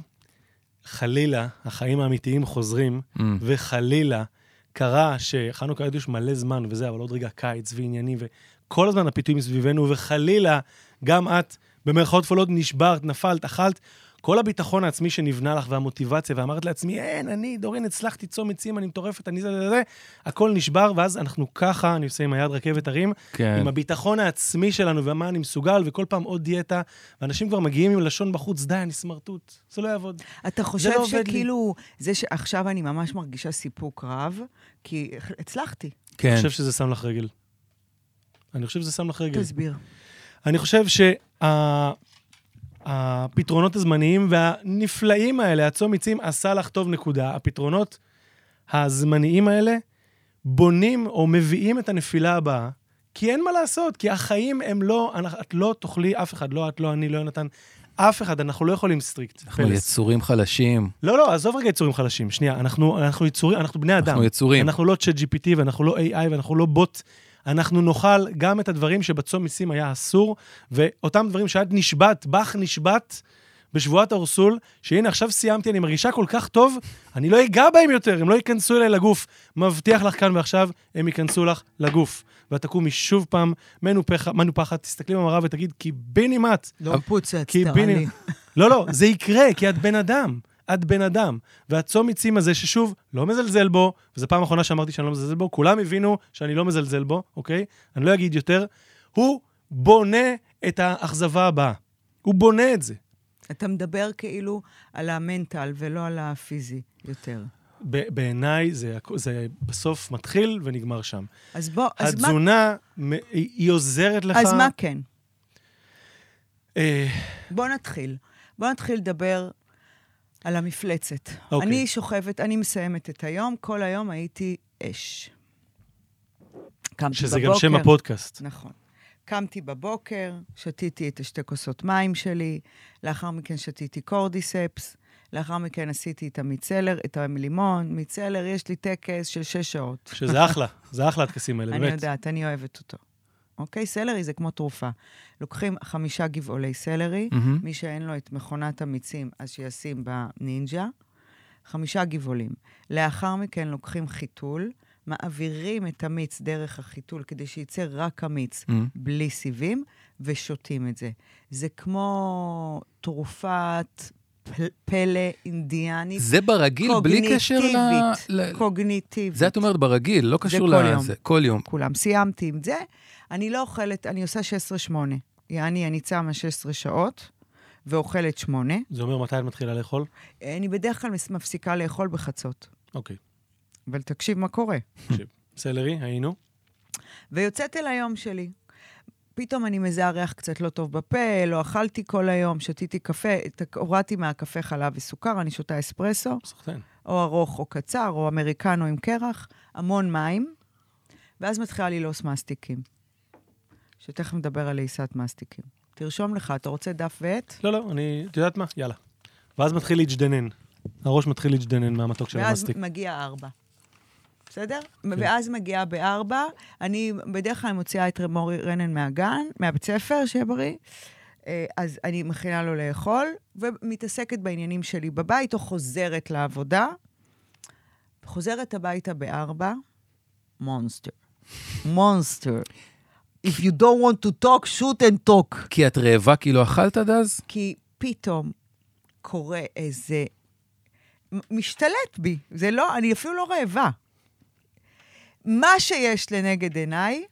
Speaker 2: חלילה, החיים האמיתיים חוזרים,
Speaker 3: Mm.
Speaker 2: וחלילה, קרה שחנוכה ידוש מלא זמן וזה, אבל עוד רגע קיץ ועניינים, וכל הזמן הפיתויים סביבנו, וחלילה, גם את, במרכאות כפולות, נשברת, נפלת, אכלת. כל הביטחון העצמי שנבנה לך והמוטיבציה, ואמרת לעצמי, אין, אני, דורין, הצלחתי צום עצים, אני מטורפת, אני זה, זה, זה, הכל נשבר, ואז אנחנו ככה, אני עושה עם היד רכבת הרים,
Speaker 3: כן.
Speaker 2: עם הביטחון העצמי שלנו ומה אני מסוגל, וכל פעם עוד דיאטה, ואנשים כבר מגיעים עם לשון בחוץ, די, אני סמרטוט, זה לא יעבוד.
Speaker 1: אתה חושב
Speaker 2: לא עובד לי.
Speaker 1: שכאילו, זה שעכשיו אני ממש מרגישה סיפוק רב, כי הצלחתי,
Speaker 3: כן.
Speaker 2: אני חושב שזה שם לך רגל. אני חושב שזה שם לך רגל.
Speaker 1: תסביר.
Speaker 2: אני חושב שהפתרונות הזמניים והנפלאים האלה, הצום מיצים, עשה לך טוב נקודה. הפתרונות הזמניים האלה בונים או מביאים את הנפילה הבאה, כי אין מה לעשות, כי החיים הם לא, אנחנו- את לא תאכלי, אף אחד, לא את, לא אני, לא יונתן, אף אחד, אנחנו לא יכולים סטריקט.
Speaker 3: אנחנו
Speaker 2: פלס.
Speaker 3: יצורים חלשים.
Speaker 2: לא, לא, עזוב רגע יצורים חלשים. שנייה, אנחנו, אנחנו יצורים, אנחנו בני אדם.
Speaker 3: אנחנו יצורים.
Speaker 2: אנחנו לא צ'אט GPT ואנחנו לא AI ואנחנו לא בוט. אנחנו נאכל גם את הדברים שבצום מיסים היה אסור, ואותם דברים שאת נשבעת, בך נשבעת בשבועת האורסול, שהנה עכשיו סיימתי, אני מרגישה כל כך טוב, אני לא אגע בהם יותר, הם לא ייכנסו אליי לגוף. מבטיח לך כאן ועכשיו, הם ייכנסו לך לגוף. ואת תקומי שוב פעם מנופח- מנופחת, תסתכלי במראה ותגיד, קיבינימט.
Speaker 1: לא פוצץ,
Speaker 2: כי
Speaker 1: תראה
Speaker 2: ביני...
Speaker 1: לי.
Speaker 2: לא, לא, זה יקרה, כי את בן אדם. את בן אדם. והצום עצים הזה, ששוב, לא מזלזל בו, וזו פעם אחרונה שאמרתי שאני לא מזלזל בו, כולם הבינו שאני לא מזלזל בו, אוקיי? אני לא אגיד יותר. הוא בונה את האכזבה הבאה. הוא בונה את זה.
Speaker 1: אתה מדבר כאילו על המנטל ולא על הפיזי יותר.
Speaker 2: ב- בעיניי זה, הכ- זה בסוף מתחיל ונגמר שם.
Speaker 1: אז בוא, אז מה,
Speaker 2: התזונה, מ- היא היא עוזרת לך...
Speaker 1: אז מה כן?
Speaker 2: אה,
Speaker 1: בוא נתחיל. בוא נתחיל לדבר על המפלצת.
Speaker 2: אוקיי.
Speaker 1: אני שוכבת, אני מסיימת את היום, כל היום הייתי אש. קמתי
Speaker 2: שזה
Speaker 1: בבוקר,
Speaker 2: גם שם הפודקאסט.
Speaker 1: נכון. קמתי בבוקר, שתיתי את השתי כוסות מים שלי, לאחר מכן שתיתי קורדיספס, לאחר מכן עשיתי את המיצלר, את הלימון, מיצלר, יש לי טקס של שש שעות.
Speaker 2: שזה אחלה, זה אחלה הטקסים האלה, באמת.
Speaker 1: אני יודעת, אני אוהבת אותו. אוקיי? סלרי זה כמו תרופה. לוקחים חמישה גבעולי סלרי,
Speaker 3: מהמם.
Speaker 1: מי שאין לו את מכונת המיצים, אז שישים בנינג'ה, חמישה גבעולים. לאחר מכן לוקחים חיתול, מעבירים את המיץ דרך החיתול כדי שייצא רק המיץ,
Speaker 3: Mm.
Speaker 1: בלי סיבים, ושותים את זה. זה כמו תרופת... פ- פל- פלא אינדיאנית.
Speaker 3: זה ברגיל, בלי קשר ל... ל...
Speaker 1: קוגניטיבית, קוגניטיבית.
Speaker 3: זה את אומרת ברגיל, לא קשור
Speaker 1: כל
Speaker 3: לזה.
Speaker 1: יום.
Speaker 3: כל יום.
Speaker 1: כולם. סיימתי עם זה. אני לא אוכלת, אני עושה 16-8. יעני, אני צמה 16 שעות ואוכלת 8.
Speaker 2: זה אומר מתי את מתחילה לאכול?
Speaker 1: אני בדרך כלל מס- מפסיקה לאכול בחצות.
Speaker 2: אוקיי.
Speaker 1: אבל תקשיב מה קורה.
Speaker 2: סלרי, היינו.
Speaker 1: ויוצאת אל היום שלי. פתאום אני מזהה ריח קצת לא טוב בפה, לא אכלתי כל היום, שתיתי קפה, ת- הורדתי מהקפה חלב וסוכר, אני שותה אספרסו,
Speaker 2: סחטיין.
Speaker 1: או ארוך או קצר, או אמריקנו עם קרח, המון מים, ואז מתחילה ללעוס מסטיקים. שתכף נדבר על לעיסת מסטיקים. תרשום לך, אתה רוצה דף ועט?
Speaker 2: לא, לא, אני... את יודעת מה? יאללה. ואז מתחיל להג'דנן. הראש מתחיל להג'דנן מהמתוק של
Speaker 1: ואז
Speaker 2: המסטיק.
Speaker 1: מגיע ארבע. בסדר? ואז מגיעה בארבע, אני בדרך כלל מוציאה את מורי רנן מהגן, מהבית ספר, שיהיה בריא, אה, אז אני מכינה לו לאכול, ומתעסקת בעניינים שלי בבית, או חוזרת לעבודה. חוזרת הביתה בארבע, מונסטר. מונסטר. If you don't want to talk, shoot and talk.
Speaker 3: כי את רעבה כי לא אכלת עד אז?
Speaker 1: כי פתאום קורה איזה... מ- משתלט בי. זה לא, אני אפילו לא רעבה. מה שיש לנגד עיניי,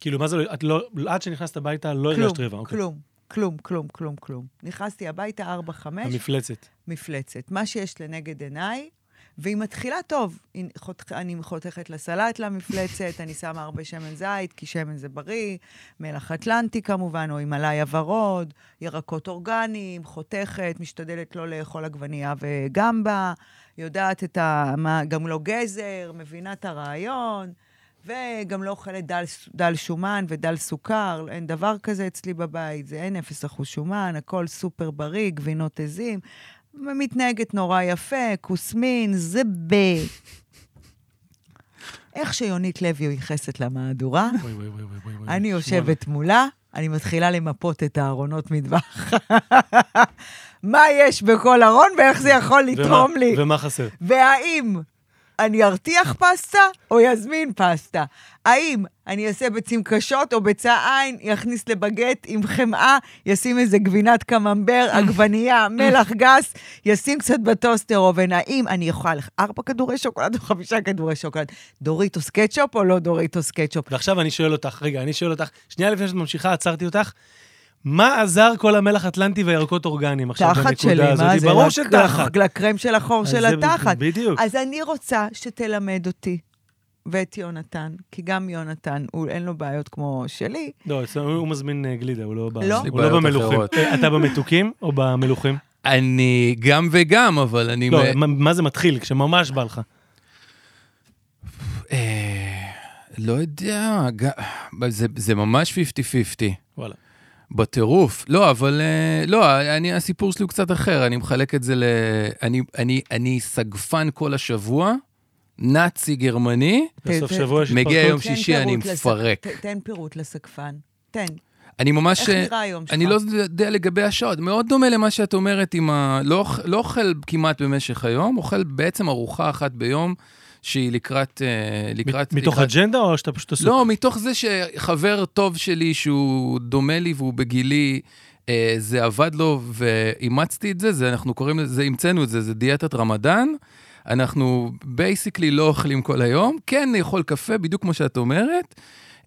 Speaker 2: כאילו, מה זה, לא- את לא... עד שנכנסת הביתה לא
Speaker 1: כלום,
Speaker 2: הרגשת רבע.
Speaker 1: כלום, כלום, כלום, כלום, כלום. נכנסתי הביתה 4-5,
Speaker 2: המפלצת.
Speaker 1: מפלצת. מה שיש לנגד עיניי, והיא מתחילה טוב. היא חותכ- אני חותכת לסלט למפלצת, אני שמה הרבה שמן זית, כי שמן זה בריא, מלח אטלנטי כמובן, או הימלאיה ורוד, ירקות אורגניים, חותכת, משתדלת לא לאכול עגבנייה וגמבה, יודעת את ה... מה, גם לא גזר, מבינה את הרעיון. וגם לא אוכלת דל, דל שומן ודל סוכר, אין דבר כזה אצלי בבית, זה אין אפס אחוז שומן, הכל סופר בריא, גבינות עזים, מתנהגת נורא יפה, כוסמין, זה ב... איך שיונית לוי ייחסת למהדורה,
Speaker 2: אוי, אוי, אוי, אוי, אוי, אוי.
Speaker 1: אני יושבת מולה, אני מתחילה למפות את הארונות מטבח. מה יש בכל ארון ואיך זה יכול
Speaker 2: ומה-
Speaker 1: לתרום לי?
Speaker 2: ומה חסר?
Speaker 1: והאם אני ארתיח פסטה או יזמין פסטה? האם אני אעשה ביצים קשות או ביצה עין, יכניס לבגט עם חמאה, ישים איזה גבינת קממבר, עגבנייה, מלח גס, ישים קצת בטוסטר אובן. האם אני אוכל ארבע כדורי שוקולד או חמישה כדורי שוקולד? דוריטוס קטשופ או לא דוריטוס קטשופ?
Speaker 2: ועכשיו אני שואל אותך, רגע, אני שואל אותך, שנייה לפני שאת ממשיכה, עצרתי אותך, מה עזר כל המלח האטלנטי והירקות אורגניים עכשיו
Speaker 1: תחת
Speaker 2: בנקודה
Speaker 1: שלי,
Speaker 2: הזאת?
Speaker 1: מה זה?
Speaker 2: ברור
Speaker 1: לק-
Speaker 2: שתחת.
Speaker 1: לקרם של החור
Speaker 2: אז
Speaker 1: של
Speaker 2: זה
Speaker 1: התחת.
Speaker 2: בדיוק.
Speaker 1: אז אני רוצה שתלמד אותי ואת יונתן, כי גם יונתן, הוא אין לו בעיות כמו שלי.
Speaker 2: לא, אצלנו הוא מזמין אה, גלידה, הוא לא ב-
Speaker 1: לא.
Speaker 2: הוא
Speaker 3: בעיות
Speaker 2: לא במלוכים.
Speaker 3: אחרות.
Speaker 2: אה, אתה במתוקים או במלוכים?
Speaker 3: אני גם וגם, אבל אני...
Speaker 2: לא,
Speaker 3: מ-
Speaker 2: מה- מה זה מתחיל? כשממש בא לך.
Speaker 3: אה, לא יודע, ג- אבל זה- זה ממש 50-50.
Speaker 2: וואלה.
Speaker 3: בטירוף. לא, אבל... אה, לא, אני, הסיפור שלי הוא קצת אחר, אני מחלק את זה ל... אני, אני, אני סגפן כל השבוע, נאצי גרמני,
Speaker 2: בסוף
Speaker 1: ת-
Speaker 2: שבוע יש
Speaker 3: מגיע
Speaker 2: התפרקות.
Speaker 3: יום
Speaker 1: תן
Speaker 3: שישי, אני
Speaker 1: פירוט לס-
Speaker 3: מפרק.
Speaker 1: ת- תן פירוט לסקפן. תן.
Speaker 3: אני ממש...
Speaker 1: איך נראה היום שלך?
Speaker 3: אני לא יודע לגבי השעות, מאוד דומה למה שאת אומרת עם ה... לא, אוכ- לא אוכל כמעט במשך היום, אוכל בעצם ארוחה אחת ביום, שהיא לקראת... אה, לקראת
Speaker 2: מ- מתוך
Speaker 3: לקראת...
Speaker 2: אג'נדה או שאתה פשוט עסוק?
Speaker 3: לא, מתוך זה שחבר טוב שלי, שהוא דומה לי והוא בגילי, אה, זה עבד לו ואימצתי את זה, זה אנחנו קוראים לזה, המצאנו את זה, זה דיאטת רמדאן. אנחנו בייסיקלי לא אוכלים כל היום, כן לאכול קפה, בדיוק כמו שאת אומרת.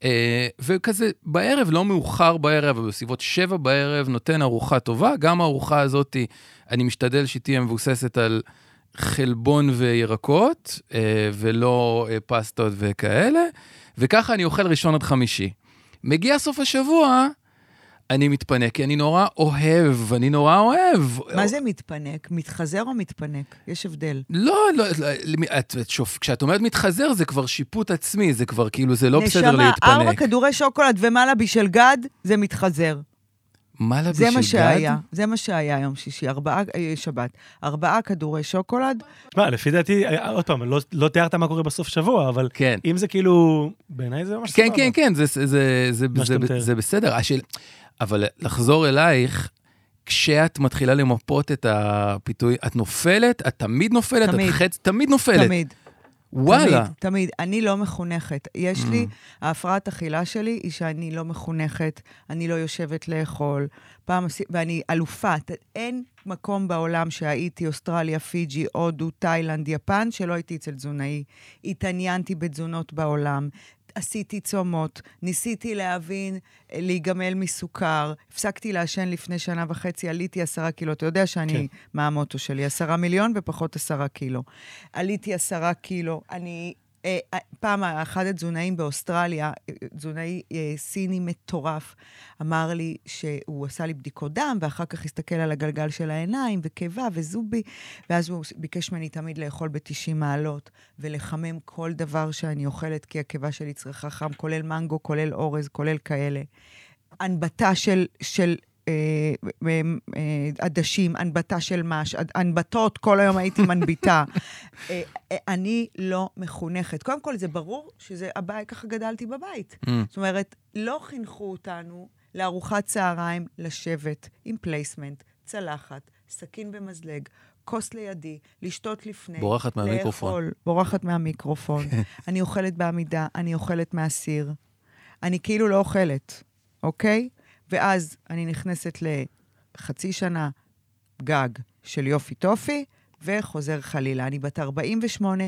Speaker 3: אה, וכזה בערב, לא מאוחר בערב, אבל בסביבות שבע בערב נותן ארוחה טובה. גם הארוחה הזאת, אני משתדל שהיא תהיה מבוססת על חלבון וירקות, אה, ולא אה, פסטות וכאלה, וככה אני אוכל ראשון עד חמישי. מגיע סוף השבוע, אני מתפנק, כי אני נורא אוהב, אני נורא אוהב.
Speaker 1: מה זה מתפנק? מתחזר או מתפנק? יש הבדל.
Speaker 3: לא, לא, לא למי- את, את שופ, כשאת אומרת מתחזר, זה כבר שיפוט עצמי, זה כבר כאילו, זה לא בסדר להתפנק.
Speaker 1: נשמה, ארבע כדורי שוקולד ומעלה בשל גד, זה מתחזר.
Speaker 3: מה לה
Speaker 1: זה
Speaker 3: בשביל
Speaker 1: מה
Speaker 3: גד?
Speaker 1: שהיה. זה מה שהיה יום שישי, ארבעה, אה, שבת. ארבעה כדורי שוקולד,
Speaker 2: תשמע, לפי דעתי, אה, עוד פעם, לא- לא תיארת מה קורה בסוף שבוע, אבל
Speaker 3: כן.
Speaker 2: אם זה כאילו, בעיניי זה ממש
Speaker 3: כן,
Speaker 2: סבבה.
Speaker 3: כן, כן, זה, זה, זה, זה,
Speaker 2: מה
Speaker 3: זה,
Speaker 2: שאתה מתאר.
Speaker 3: זה בסדר. השאל... אבל לחזור אלייך, כשאת מתחילה למפות את הפיתוי, את נופלת, את תמיד נופלת,
Speaker 1: תמיד.
Speaker 3: את חצי, תמיד נופלת.
Speaker 1: תמיד.
Speaker 3: וואלה.
Speaker 1: תמיד, תמיד. אני לא מחונכת. יש לי, ההפרעת אכילה שלי היא שאני לא מחונכת, אני לא יושבת לאכול, פעם, עשי- ואני אלופה. ת- אין מקום בעולם שהייתי, אוסטרליה, פיג'י, הודו, תאילנד, יפן, שלא הייתי אצל תזונאי. התעניינתי בתזונות בעולם. עשיתי צומות, ניסיתי להבין, אה, להיגמל מסוכר, הפסקתי לעשן לפני שנה וחצי, עליתי עשרה קילו. אתה יודע שאני,
Speaker 2: כן.
Speaker 1: כן. מה המוטו שלי? עשרה מיליון ופחות עשרה קילו. עליתי עשרה קילו, אני... אה, אה, פעם אחד התזונאים באוסטרליה, אה, תזונאי אה, סיני מטורף, אמר לי שהוא עשה לי בדיקות דם, ואחר כך הסתכל על הגלגל של העיניים, וקיבה, וזובי, ואז הוא ביקש ממני תמיד לאכול ב-90 מעלות, ולחמם כל דבר שאני אוכלת, כי הקיבה שלי צריכה חם, כולל מנגו, כולל אורז, כולל כאלה. הנבטה של, של אה, אה, אה, עדשים, הנבטה של מש, עד- הנבטות, כל היום הייתי מנביטה. אה, אה, אני לא מחונכת. קודם כל, זה ברור שזה הבית, ככה גדלתי בבית.
Speaker 3: Mm.
Speaker 1: זאת אומרת, לא חינכו אותנו לארוחת צהריים לשבת עם פלייסמנט, צלחת, סכין במזלג. כוס לידי, לשתות לפני,
Speaker 3: בורחת מהמיקרופון.
Speaker 1: לאכול, בורחת מהמיקרופון. אני אוכלת בעמידה, אני אוכלת מהסיר. אני כאילו לא אוכלת, אוקיי? ואז אני נכנסת לחצי שנה גג של יופי טופי, וחוזר חלילה. אני בת 48,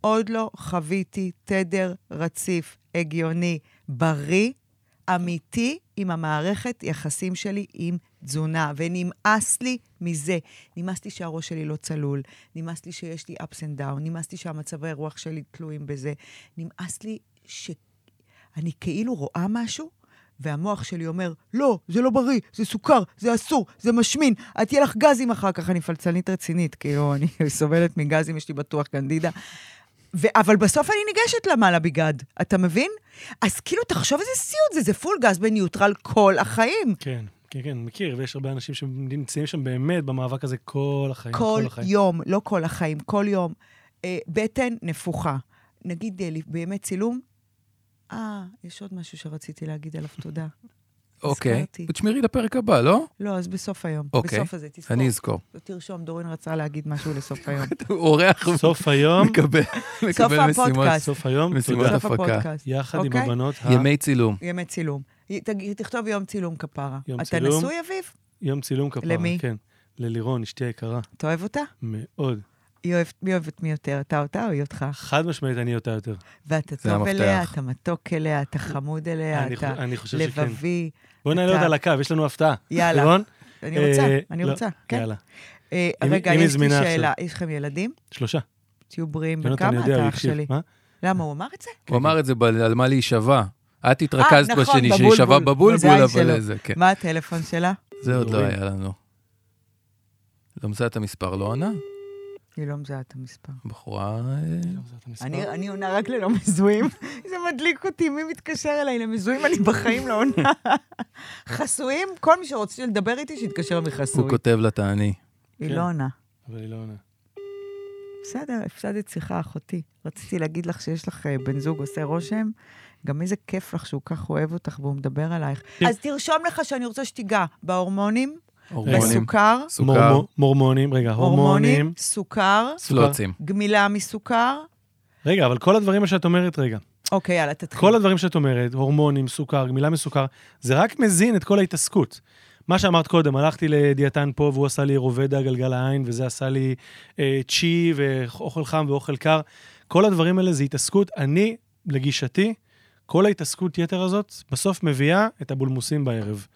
Speaker 1: עוד לא חוויתי תדר רציף, הגיוני, בריא, אמיתי, עם המערכת יחסים שלי עם תזונה, ונמאס לי מזה. נמאס לי שהראש שלי לא צלול, נמאס לי שיש לי ups and down, נמאס לי שהמצבי רוח שלי תלויים בזה, נמאס לי ש... אני כאילו רואה משהו, והמוח שלי אומר, לא, זה לא בריא, זה סוכר, זה אסור, זה משמין, את תהיה לך גזים אחר כך. אני פלצנית רצינית, כאילו, אני סובלת מגזים, יש לי בטוח קנדידה. ו- אבל בסוף אני ניגשת למעלה ביגד, אתה מבין? אז כאילו, תחשוב איזה סיוט זה, זה פול גז בניוטרל כל החיים.
Speaker 2: כן, כן, כן, מכיר, ויש הרבה אנשים שנמצאים שם באמת במאבק הזה כל החיים.
Speaker 1: כל
Speaker 2: החיים.
Speaker 1: יום, לא כל החיים, כל יום. אה, בטן נפוחה. נגיד אה, בימי צילום, אה, יש עוד משהו שרציתי להגיד עליו, תודה.
Speaker 3: אוקיי.
Speaker 1: הזכרתי.
Speaker 3: תשמרי לפרק הבא, לא?
Speaker 1: לא, אז בסוף היום.
Speaker 3: אוקיי.
Speaker 1: בסוף הזה, תזכור. לא
Speaker 3: אני אזכור.
Speaker 1: תרשום, דורין רצה להגיד משהו לסוף היום.
Speaker 3: הוא אורח
Speaker 2: סוף היום,
Speaker 3: מקבל מקבל משימות.
Speaker 1: הפודקאסט.
Speaker 2: סוף היום,
Speaker 3: משימת
Speaker 2: תודה.
Speaker 1: בסוף
Speaker 3: הפקה.
Speaker 1: הפודקאסט.
Speaker 2: יחד עם
Speaker 1: אוקיי?
Speaker 2: הבנות, ה-
Speaker 3: ימי צילום.
Speaker 1: ימי צילום. י- תג- תכתוב יום צילום כפרה.
Speaker 2: יום
Speaker 1: אתה
Speaker 2: צילום.
Speaker 1: נשוי, אביב?
Speaker 2: יום צילום כפרה.
Speaker 1: למי?
Speaker 2: כן. ללירון, אשתי היקרה,
Speaker 1: אתה אוהב אותה?
Speaker 2: מאוד.
Speaker 1: היא אוהבת- מי אוהב את מי יותר, אתה אותה או היא אותך?
Speaker 2: חד משמעית, אני אותה יותר.
Speaker 1: ואתה
Speaker 3: זה
Speaker 1: טוב
Speaker 3: המפתח.
Speaker 1: אליה, אתה מתוק אליה, אתה חמוד אליה,
Speaker 2: אני
Speaker 1: אתה
Speaker 2: חו- אני חושב שכן.
Speaker 1: לבבי.
Speaker 2: בואו נעלה
Speaker 1: אתה-
Speaker 2: אותה על הקו, יש לנו הפתעה.
Speaker 1: יאללה.
Speaker 2: לירון?
Speaker 1: אני רוצה,
Speaker 2: אה,
Speaker 1: אני
Speaker 2: לא,
Speaker 1: רוצה, כן.
Speaker 2: יאללה.
Speaker 1: אה,
Speaker 2: אם-
Speaker 1: רגע,
Speaker 2: אם היא
Speaker 1: יש לי
Speaker 2: זמינה עכשיו.
Speaker 1: שאלה. יש לכם ילדים?
Speaker 2: שלושה.
Speaker 1: תהיו בריאים. בן
Speaker 2: יונתן
Speaker 1: כמה
Speaker 2: יודע,
Speaker 1: אתה
Speaker 2: הוא
Speaker 1: אח
Speaker 2: הקשיב.
Speaker 1: שלי?
Speaker 2: מה?
Speaker 1: למה, הוא אמר את זה?
Speaker 3: הוא אמר את זה ב- על מה להישבע. את התרכזת
Speaker 1: נכון,
Speaker 3: בשני,
Speaker 1: בבולבול.
Speaker 3: שהישבע בבולבול,
Speaker 1: בזין
Speaker 3: אבל
Speaker 1: שלו.
Speaker 3: זה, כן.
Speaker 1: מה הטלפון שלה?
Speaker 3: זה עוד לא
Speaker 2: דורים.
Speaker 3: היה לנו. לא מזהה את המספר, לא עונה?
Speaker 1: היא לא מזהה את המספר.
Speaker 3: בחורה... אה,
Speaker 1: אני, אני עונה רק ללא מזוהים. זה מדליק אותי, מי מתקשר אליי למזוהים? אני בחיים לא עונה. חסויים? כל מי שרוצה לדבר איתי, שיתקשר
Speaker 3: הוא
Speaker 1: מחסוי.
Speaker 3: כותב לה תעני.
Speaker 1: היא
Speaker 2: כן.
Speaker 1: לא עונה.
Speaker 2: אבל היא לא עונה.
Speaker 1: בסדר, הפסדת שיחה, אחותי. רציתי להגיד לך שיש לך אה, בן זוג עושה רושם. גם איזה כיף לך שהוא כך אוהב אותך והוא מדבר עלייך. אז תרשום לך שאני רוצה שתיגע בהורמונים,
Speaker 3: הורמונים.
Speaker 1: בסוכר,
Speaker 3: סוכר.
Speaker 2: מורמו- מורמונים, רגע,
Speaker 1: הורמונים,
Speaker 2: הורמונים.
Speaker 1: סוכר,
Speaker 3: פלוצים.
Speaker 1: גמילה מסוכר.
Speaker 2: רגע, אבל כל הדברים שאת אומרת, רגע.
Speaker 1: אוקיי, יאללה, תתחיל.
Speaker 2: כל הדברים שאת אומרת, הורמונים, סוכר, גמילה מסוכר, זה רק מזין את כל ההתעסקות. מה שאמרת קודם, הלכתי לדיאטן פה והוא עשה לי רובד הגלגל העין, וזה עשה לי אה, צ'י ואוכל חם ואוכל קר. כל הדברים האלה זה התעסקות. אני, לגישתי, כל ההתעסקות יתר הזאת בסוף מביאה את הבולמוסים בערב.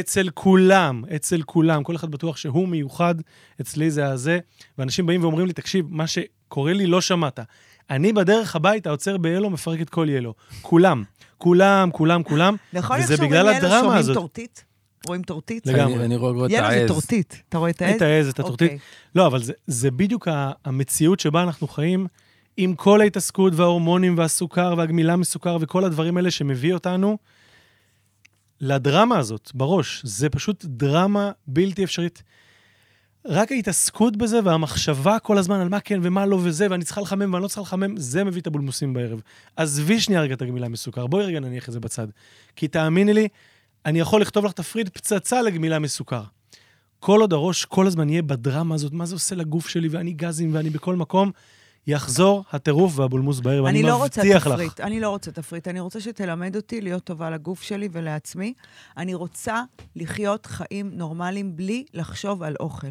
Speaker 2: אצל כולם, אצל כולם, כל אחד בטוח שהוא מיוחד, אצלי זה הזה, ואנשים באים ואומרים לי, תקשיב, מה שקורה לי לא שמעת. אני בדרך הביתה עוצר ביאלו, מפרק את כל יאלו. כולם, כולם, כולם, כולם,
Speaker 1: נכון, איך
Speaker 2: וזה
Speaker 1: שאומרים
Speaker 2: בגלל
Speaker 1: לאלה
Speaker 2: הדרמה
Speaker 1: שומעים
Speaker 2: הזאת.
Speaker 1: טורטית? רואים טורטית?
Speaker 2: לגמרי.
Speaker 3: אני- אני רואה את
Speaker 1: ילד זה
Speaker 3: העז.
Speaker 1: טורטית. אתה רואה את העז?
Speaker 2: את העז, את הטורטית.
Speaker 1: אוקיי.
Speaker 2: לא, אבל זה, זה בדיוק ה- המציאות שבה אנחנו חיים, עם כל ההתעסקות וההורמונים והסוכר והגמילה מסוכר וכל הדברים האלה שמביא אותנו לדרמה הזאת בראש. זה פשוט דרמה בלתי אפשרית. רק ההתעסקות בזה והמחשבה כל הזמן על מה כן ומה לא וזה, ואני צריכה לחמם ואני לא צריכה לחמם, זה מביא את הבולמוסים בערב. עזבי שנייה רגע את הגמילה מסוכר, בואי רגע נניח את זה בצד. כי תאמיני לי, אני יכול לכתוב לך תפריט פצצה לגמילה מסוכר. כל עוד הראש כל הזמן יהיה בדרמה הזאת, מה זה עושה לגוף שלי, ואני גזים ואני בכל מקום, יחזור הטירוף והבולמוס בעיר, ואני
Speaker 1: אני לא רוצה
Speaker 2: מבטיח לך.
Speaker 1: תפריט, אני לא רוצה תפריט. אני רוצה שתלמד אותי להיות טובה לגוף שלי ולעצמי. אני רוצה לחיות חיים נורמליים בלי לחשוב על אוכל.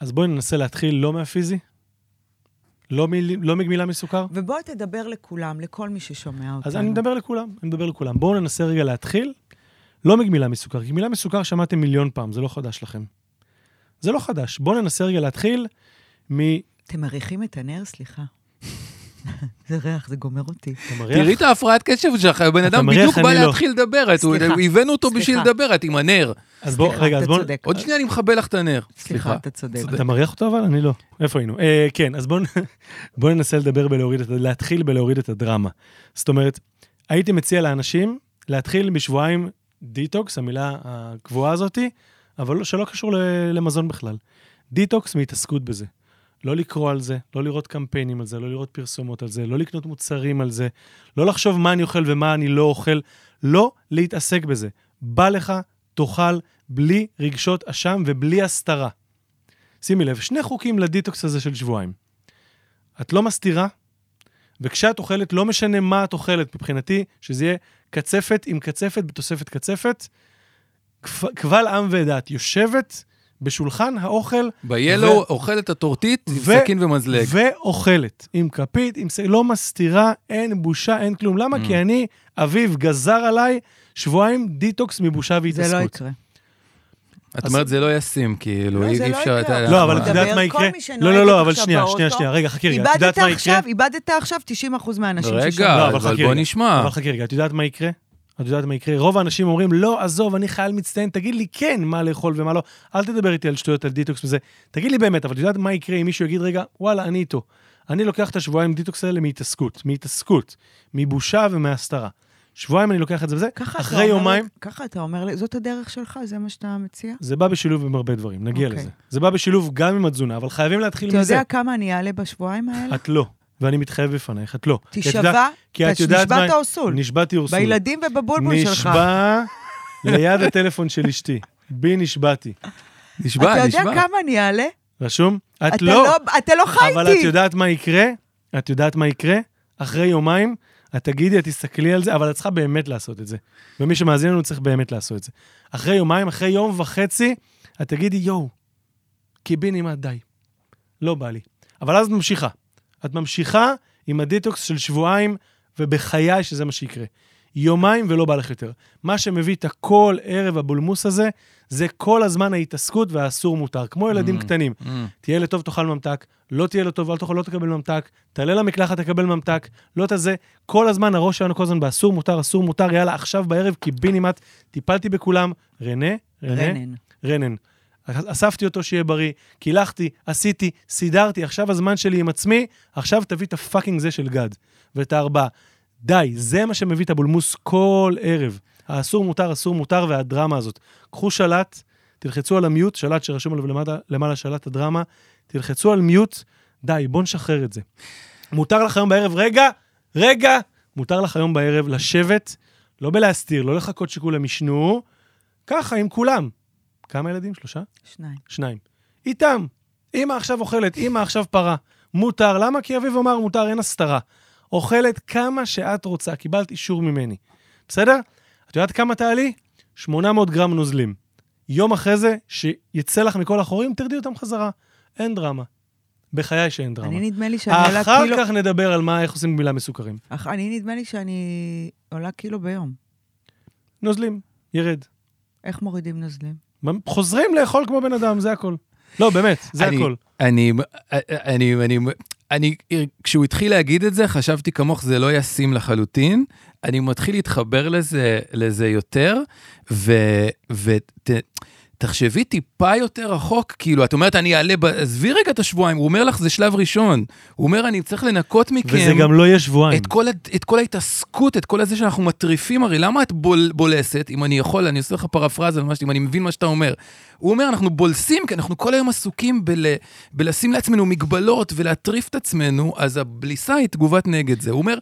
Speaker 2: אז בואי ננסה להתחיל לא מהפיזי, לא, מיל... לא מגמילה מסוכר.
Speaker 1: ובוא תדבר לכולם, לכל מי ששומע אותנו.
Speaker 2: אז אני מדבר לכולם, אני מדבר לכולם. בואו ננסה רגע להתחיל, לא מגמילה מסוכר, כי מילה מסוכר שמעתם מיליון פעם, זה לא חדש לכם. זה לא חדש. בואו ננסה רגע להתחיל מ...
Speaker 1: אתם מריחים את הנר? סליחה. זה ריח, זה גומר אותי.
Speaker 2: אתה מריח?
Speaker 3: תראי את ההפרעת קשב שלך, הבן
Speaker 2: אתה
Speaker 3: אדם
Speaker 2: מריח,
Speaker 3: בדיוק בא
Speaker 2: אני לא.
Speaker 3: להתחיל לדבר, את-
Speaker 1: סליחה.
Speaker 3: הבאנו אותו בשביל
Speaker 1: סליחה.
Speaker 3: לדבר, את עם הנר.
Speaker 2: אז בוא,
Speaker 1: סליחה,
Speaker 2: רגע, אז
Speaker 1: אתה
Speaker 2: בואו...
Speaker 1: צודק.
Speaker 3: עוד שנייה אני מכבה לך את הנר.
Speaker 1: סליחה, אתה צודק.
Speaker 2: אתה מריח אותו אבל? אני לא. איפה היינו? אה, כן, אז בואו בוא ננסה לדבר בלהוריד את, ה- להתחיל בלהוריד את הדרמה. זאת אומרת, הייתי מציע לאנשים להתחיל בשבועיים דיטוקס, המילה הקבועה הזאתי, אבל לא- שלא קשור ל- למזון בכלל. דיטוקס מהתעסקות בזה. לא לקרוא על זה, לא לראות קמפיינים על זה, לא לראות פרסומות על זה, לא לקנות מוצרים על זה, לא לחשוב מה אני אוכל ומה אני לא אוכל, לא להתעסק בזה. בא לך, תאכל, בלי רגשות אשם ובלי הסתרה. שימי לב, שני חוקים לדיטוקס הזה של שבועיים. את לא מסתירה, וכשאת אוכלת, לא משנה מה את אוכלת מבחינתי, שזה יהיה קצפת עם קצפת בתוספת קצפת, כפ- קבל עם ועדה. את יושבת בשולחן האוכל
Speaker 3: ביאלו
Speaker 2: ו-
Speaker 3: אוכל את הטורטית עם
Speaker 2: ו-
Speaker 3: סכין ומזלג.
Speaker 2: ואוכלת. עם כפית, עם... ס- לא מסתירה, אין בושה, אין כלום. למה? כי אני, אביב גזר עליי שבועיים דיטוקס מבושה
Speaker 1: זה
Speaker 2: והתעסקות.
Speaker 1: לא יקרה.
Speaker 3: את אומרת, זה לא ישים, כאילו,
Speaker 1: לא,
Speaker 3: אי
Speaker 1: זה
Speaker 3: אי
Speaker 1: לא
Speaker 3: אפשר...
Speaker 1: יקרה.
Speaker 3: אתה-
Speaker 2: לא, אבל את
Speaker 1: אנחנו
Speaker 2: יודעת
Speaker 1: נדבר,
Speaker 2: מה
Speaker 1: כל
Speaker 2: יקרה?
Speaker 1: מי
Speaker 2: לא, לא, לא,
Speaker 1: שנוהגת
Speaker 2: אבל
Speaker 1: עכשיו
Speaker 2: שנייה,
Speaker 1: באוטו,
Speaker 2: שנייה, שנייה, רגע, חכי רגע. את יודעת
Speaker 1: איבדת
Speaker 2: מה יקרה?
Speaker 1: עכשיו, איבדת עכשיו 90% מהאנשים ששמעו.
Speaker 3: רגע,
Speaker 2: לא, אבל
Speaker 3: אבל
Speaker 2: חכי
Speaker 3: בוא
Speaker 2: רגע.
Speaker 3: נשמע.
Speaker 1: אה.
Speaker 2: אבל חכי רגע, את יודעת מה יקרה? את יודעת מה יקרה? רוב האנשים אומרים, לא, עזוב, אני חייל מצטיין, תגיד לי כן מה לאכול ומה לא. אל תדבר איתי על שטויות, על דיטוקס וזה. תגיד לי באמת, אבל את יודעת מה יקרה אם מישהו יגיד, רגע, וואלה, אני איתו. אני לוקח את השבועיים דיטוקס האלה מהתעסקות, מהתעסקות, מבושה ומהסתרה. שבועיים אני לוקח את זה וזה,
Speaker 1: ככה אתה
Speaker 2: אחרי
Speaker 1: אומר-
Speaker 2: יומיים,
Speaker 1: ככה אתה אומר, לי, זאת הדרך שלך, זה מה שאתה מציע?
Speaker 2: זה בא בשילוב עם הרבה דברים, נגיע
Speaker 1: אוקיי.
Speaker 2: לזה. זה בא בשילוב גם עם התזונה, אבל חייבים להתחיל
Speaker 1: אתה
Speaker 2: מזה.
Speaker 1: יודע כמה אני אעלה בשבועיים האלה?
Speaker 2: את לא, ואני מתחייב בפנייך, את לא. כי את
Speaker 1: תישבע,
Speaker 2: יודעת- כי את
Speaker 1: אתה
Speaker 2: יודעת מה-
Speaker 1: נשבעת אורסול.
Speaker 2: נשבעתי אורסול.
Speaker 1: בילדים ובבולבול שלך.
Speaker 2: נשבע ליד הטלפון של אשתי. בי נשבעתי.
Speaker 3: נשבע,
Speaker 1: אתה יודע
Speaker 3: נשבע.
Speaker 1: כמה אני אעלה?
Speaker 2: רשום? את
Speaker 1: אתה
Speaker 2: לא,
Speaker 1: לא- אתה לא חי
Speaker 2: אבל את
Speaker 1: איתי.
Speaker 2: יודעת מה יקרה? את יודעת מה יקרה? אחרי יומיים, את תגידי, את תסתכלי על זה, אבל את צריכה באמת לעשות את זה. ומי שמאזין לנו צריך באמת לעשות את זה. אחרי יומיים, אחרי יום וחצי, את תגידי, יואו, קיבינימט, די. לא בא לי. אבל אז את ממשיכה. את ממשיכה עם הדיטוקס של שבועיים, ובחיי שזה מה שיקרה. יומיים ולא בא לך יותר. מה שמביא את הכל ערב הבולמוס הזה, זה כל הזמן ההתעסקות והאסור מותר, כמו ילדים
Speaker 3: Mm,
Speaker 2: קטנים.
Speaker 3: Mm.
Speaker 2: תהיה לטוב, תאכל ממתק, לא תהיה לטוב, אל תאכל, לא תקבל ממתק, תעלה למקלחת, תקבל ממתק, לא תזה. כל הזמן הראש שלנו כל הזמן באסור מותר, אסור מותר, יאללה, עכשיו בערב קיבינימט, טיפלתי בכולם. רנה, רנה,
Speaker 1: רנן.
Speaker 2: רנן. אספתי אותו שיהיה בריא, קילחתי, עשיתי, סידרתי, עכשיו הזמן שלי עם עצמי, עכשיו תביא את הפאקינג זה של גד ואת הארבעה. די, זה מה שמביא את הבולמוס כל ערב. האסור מותר, אסור מותר והדרמה הזאת. קחו שלט, תלחצו על המיוט, שלט שרשום עליו למטה, למעלה שלט הדרמה, תלחצו על מיוט, די, בואו נשחרר את זה. מותר לך היום בערב, רגע, רגע, מותר לך היום בערב לשבת, לא בלהסתיר, לא לחכות שכולם ישנו, ככה עם כולם. כמה ילדים? שלושה?
Speaker 1: שניים.
Speaker 2: שניים. איתם. אמא עכשיו אוכלת, אמא עכשיו פרה. מותר, למה? כי אביב אמר מותר, אין הסתרה. אוכלת כמה שאת רוצה, קיבלת אישור ממני. בסדר? את יודעת כמה תעלי? 800 גרם נוזלים. יום אחרי זה, שיצא לך מכל החורים, תרדי אותם חזרה. אין דרמה. בחיי שאין דרמה.
Speaker 1: אני נדמה לי שאני כאילו- עולה
Speaker 2: אחר
Speaker 1: קילו...
Speaker 2: כך נדבר על מה, איך עושים גמילה מסוכרים.
Speaker 1: אך- אני נדמה לי שאני עולה קילו ביום.
Speaker 2: נוזלים, ירד.
Speaker 1: איך מורידים נוזלים?
Speaker 2: חוזרים לאכול כמו בן אדם, זה הכל. לא, באמת, זה
Speaker 3: אני-
Speaker 2: הכל.
Speaker 3: אני, אה, אני, אני, אני, כשהוא התחיל להגיד את זה, חשבתי כמוך, זה לא ישים לחלוטין. אני מתחיל להתחבר לזה, לזה יותר, ו... ו ת, תחשבי טיפה יותר רחוק, כאילו, את אומרת, אני אעלה, ב- עזבי רגע את השבועיים, הוא אומר לך, זה שלב ראשון. הוא אומר, אני צריך לנקות מכם.
Speaker 2: וזה
Speaker 1: כן.
Speaker 2: גם לא יהיה שבועיים.
Speaker 3: את כל, הד- את כל ההתעסקות, את כל הזה שאנחנו מטריפים, הרי למה את בול, בולסת, אם אני יכול, אני עושה לך פרפרזה, על מה ש- אם אני מבין מה שאתה אומר. הוא אומר, אנחנו בולסים, כי אנחנו כל היום עסוקים בל, בלשים לעצמנו מגבלות ולהטריף את עצמנו, אז הבליסה היא תגובת נגד זה. הוא אומר,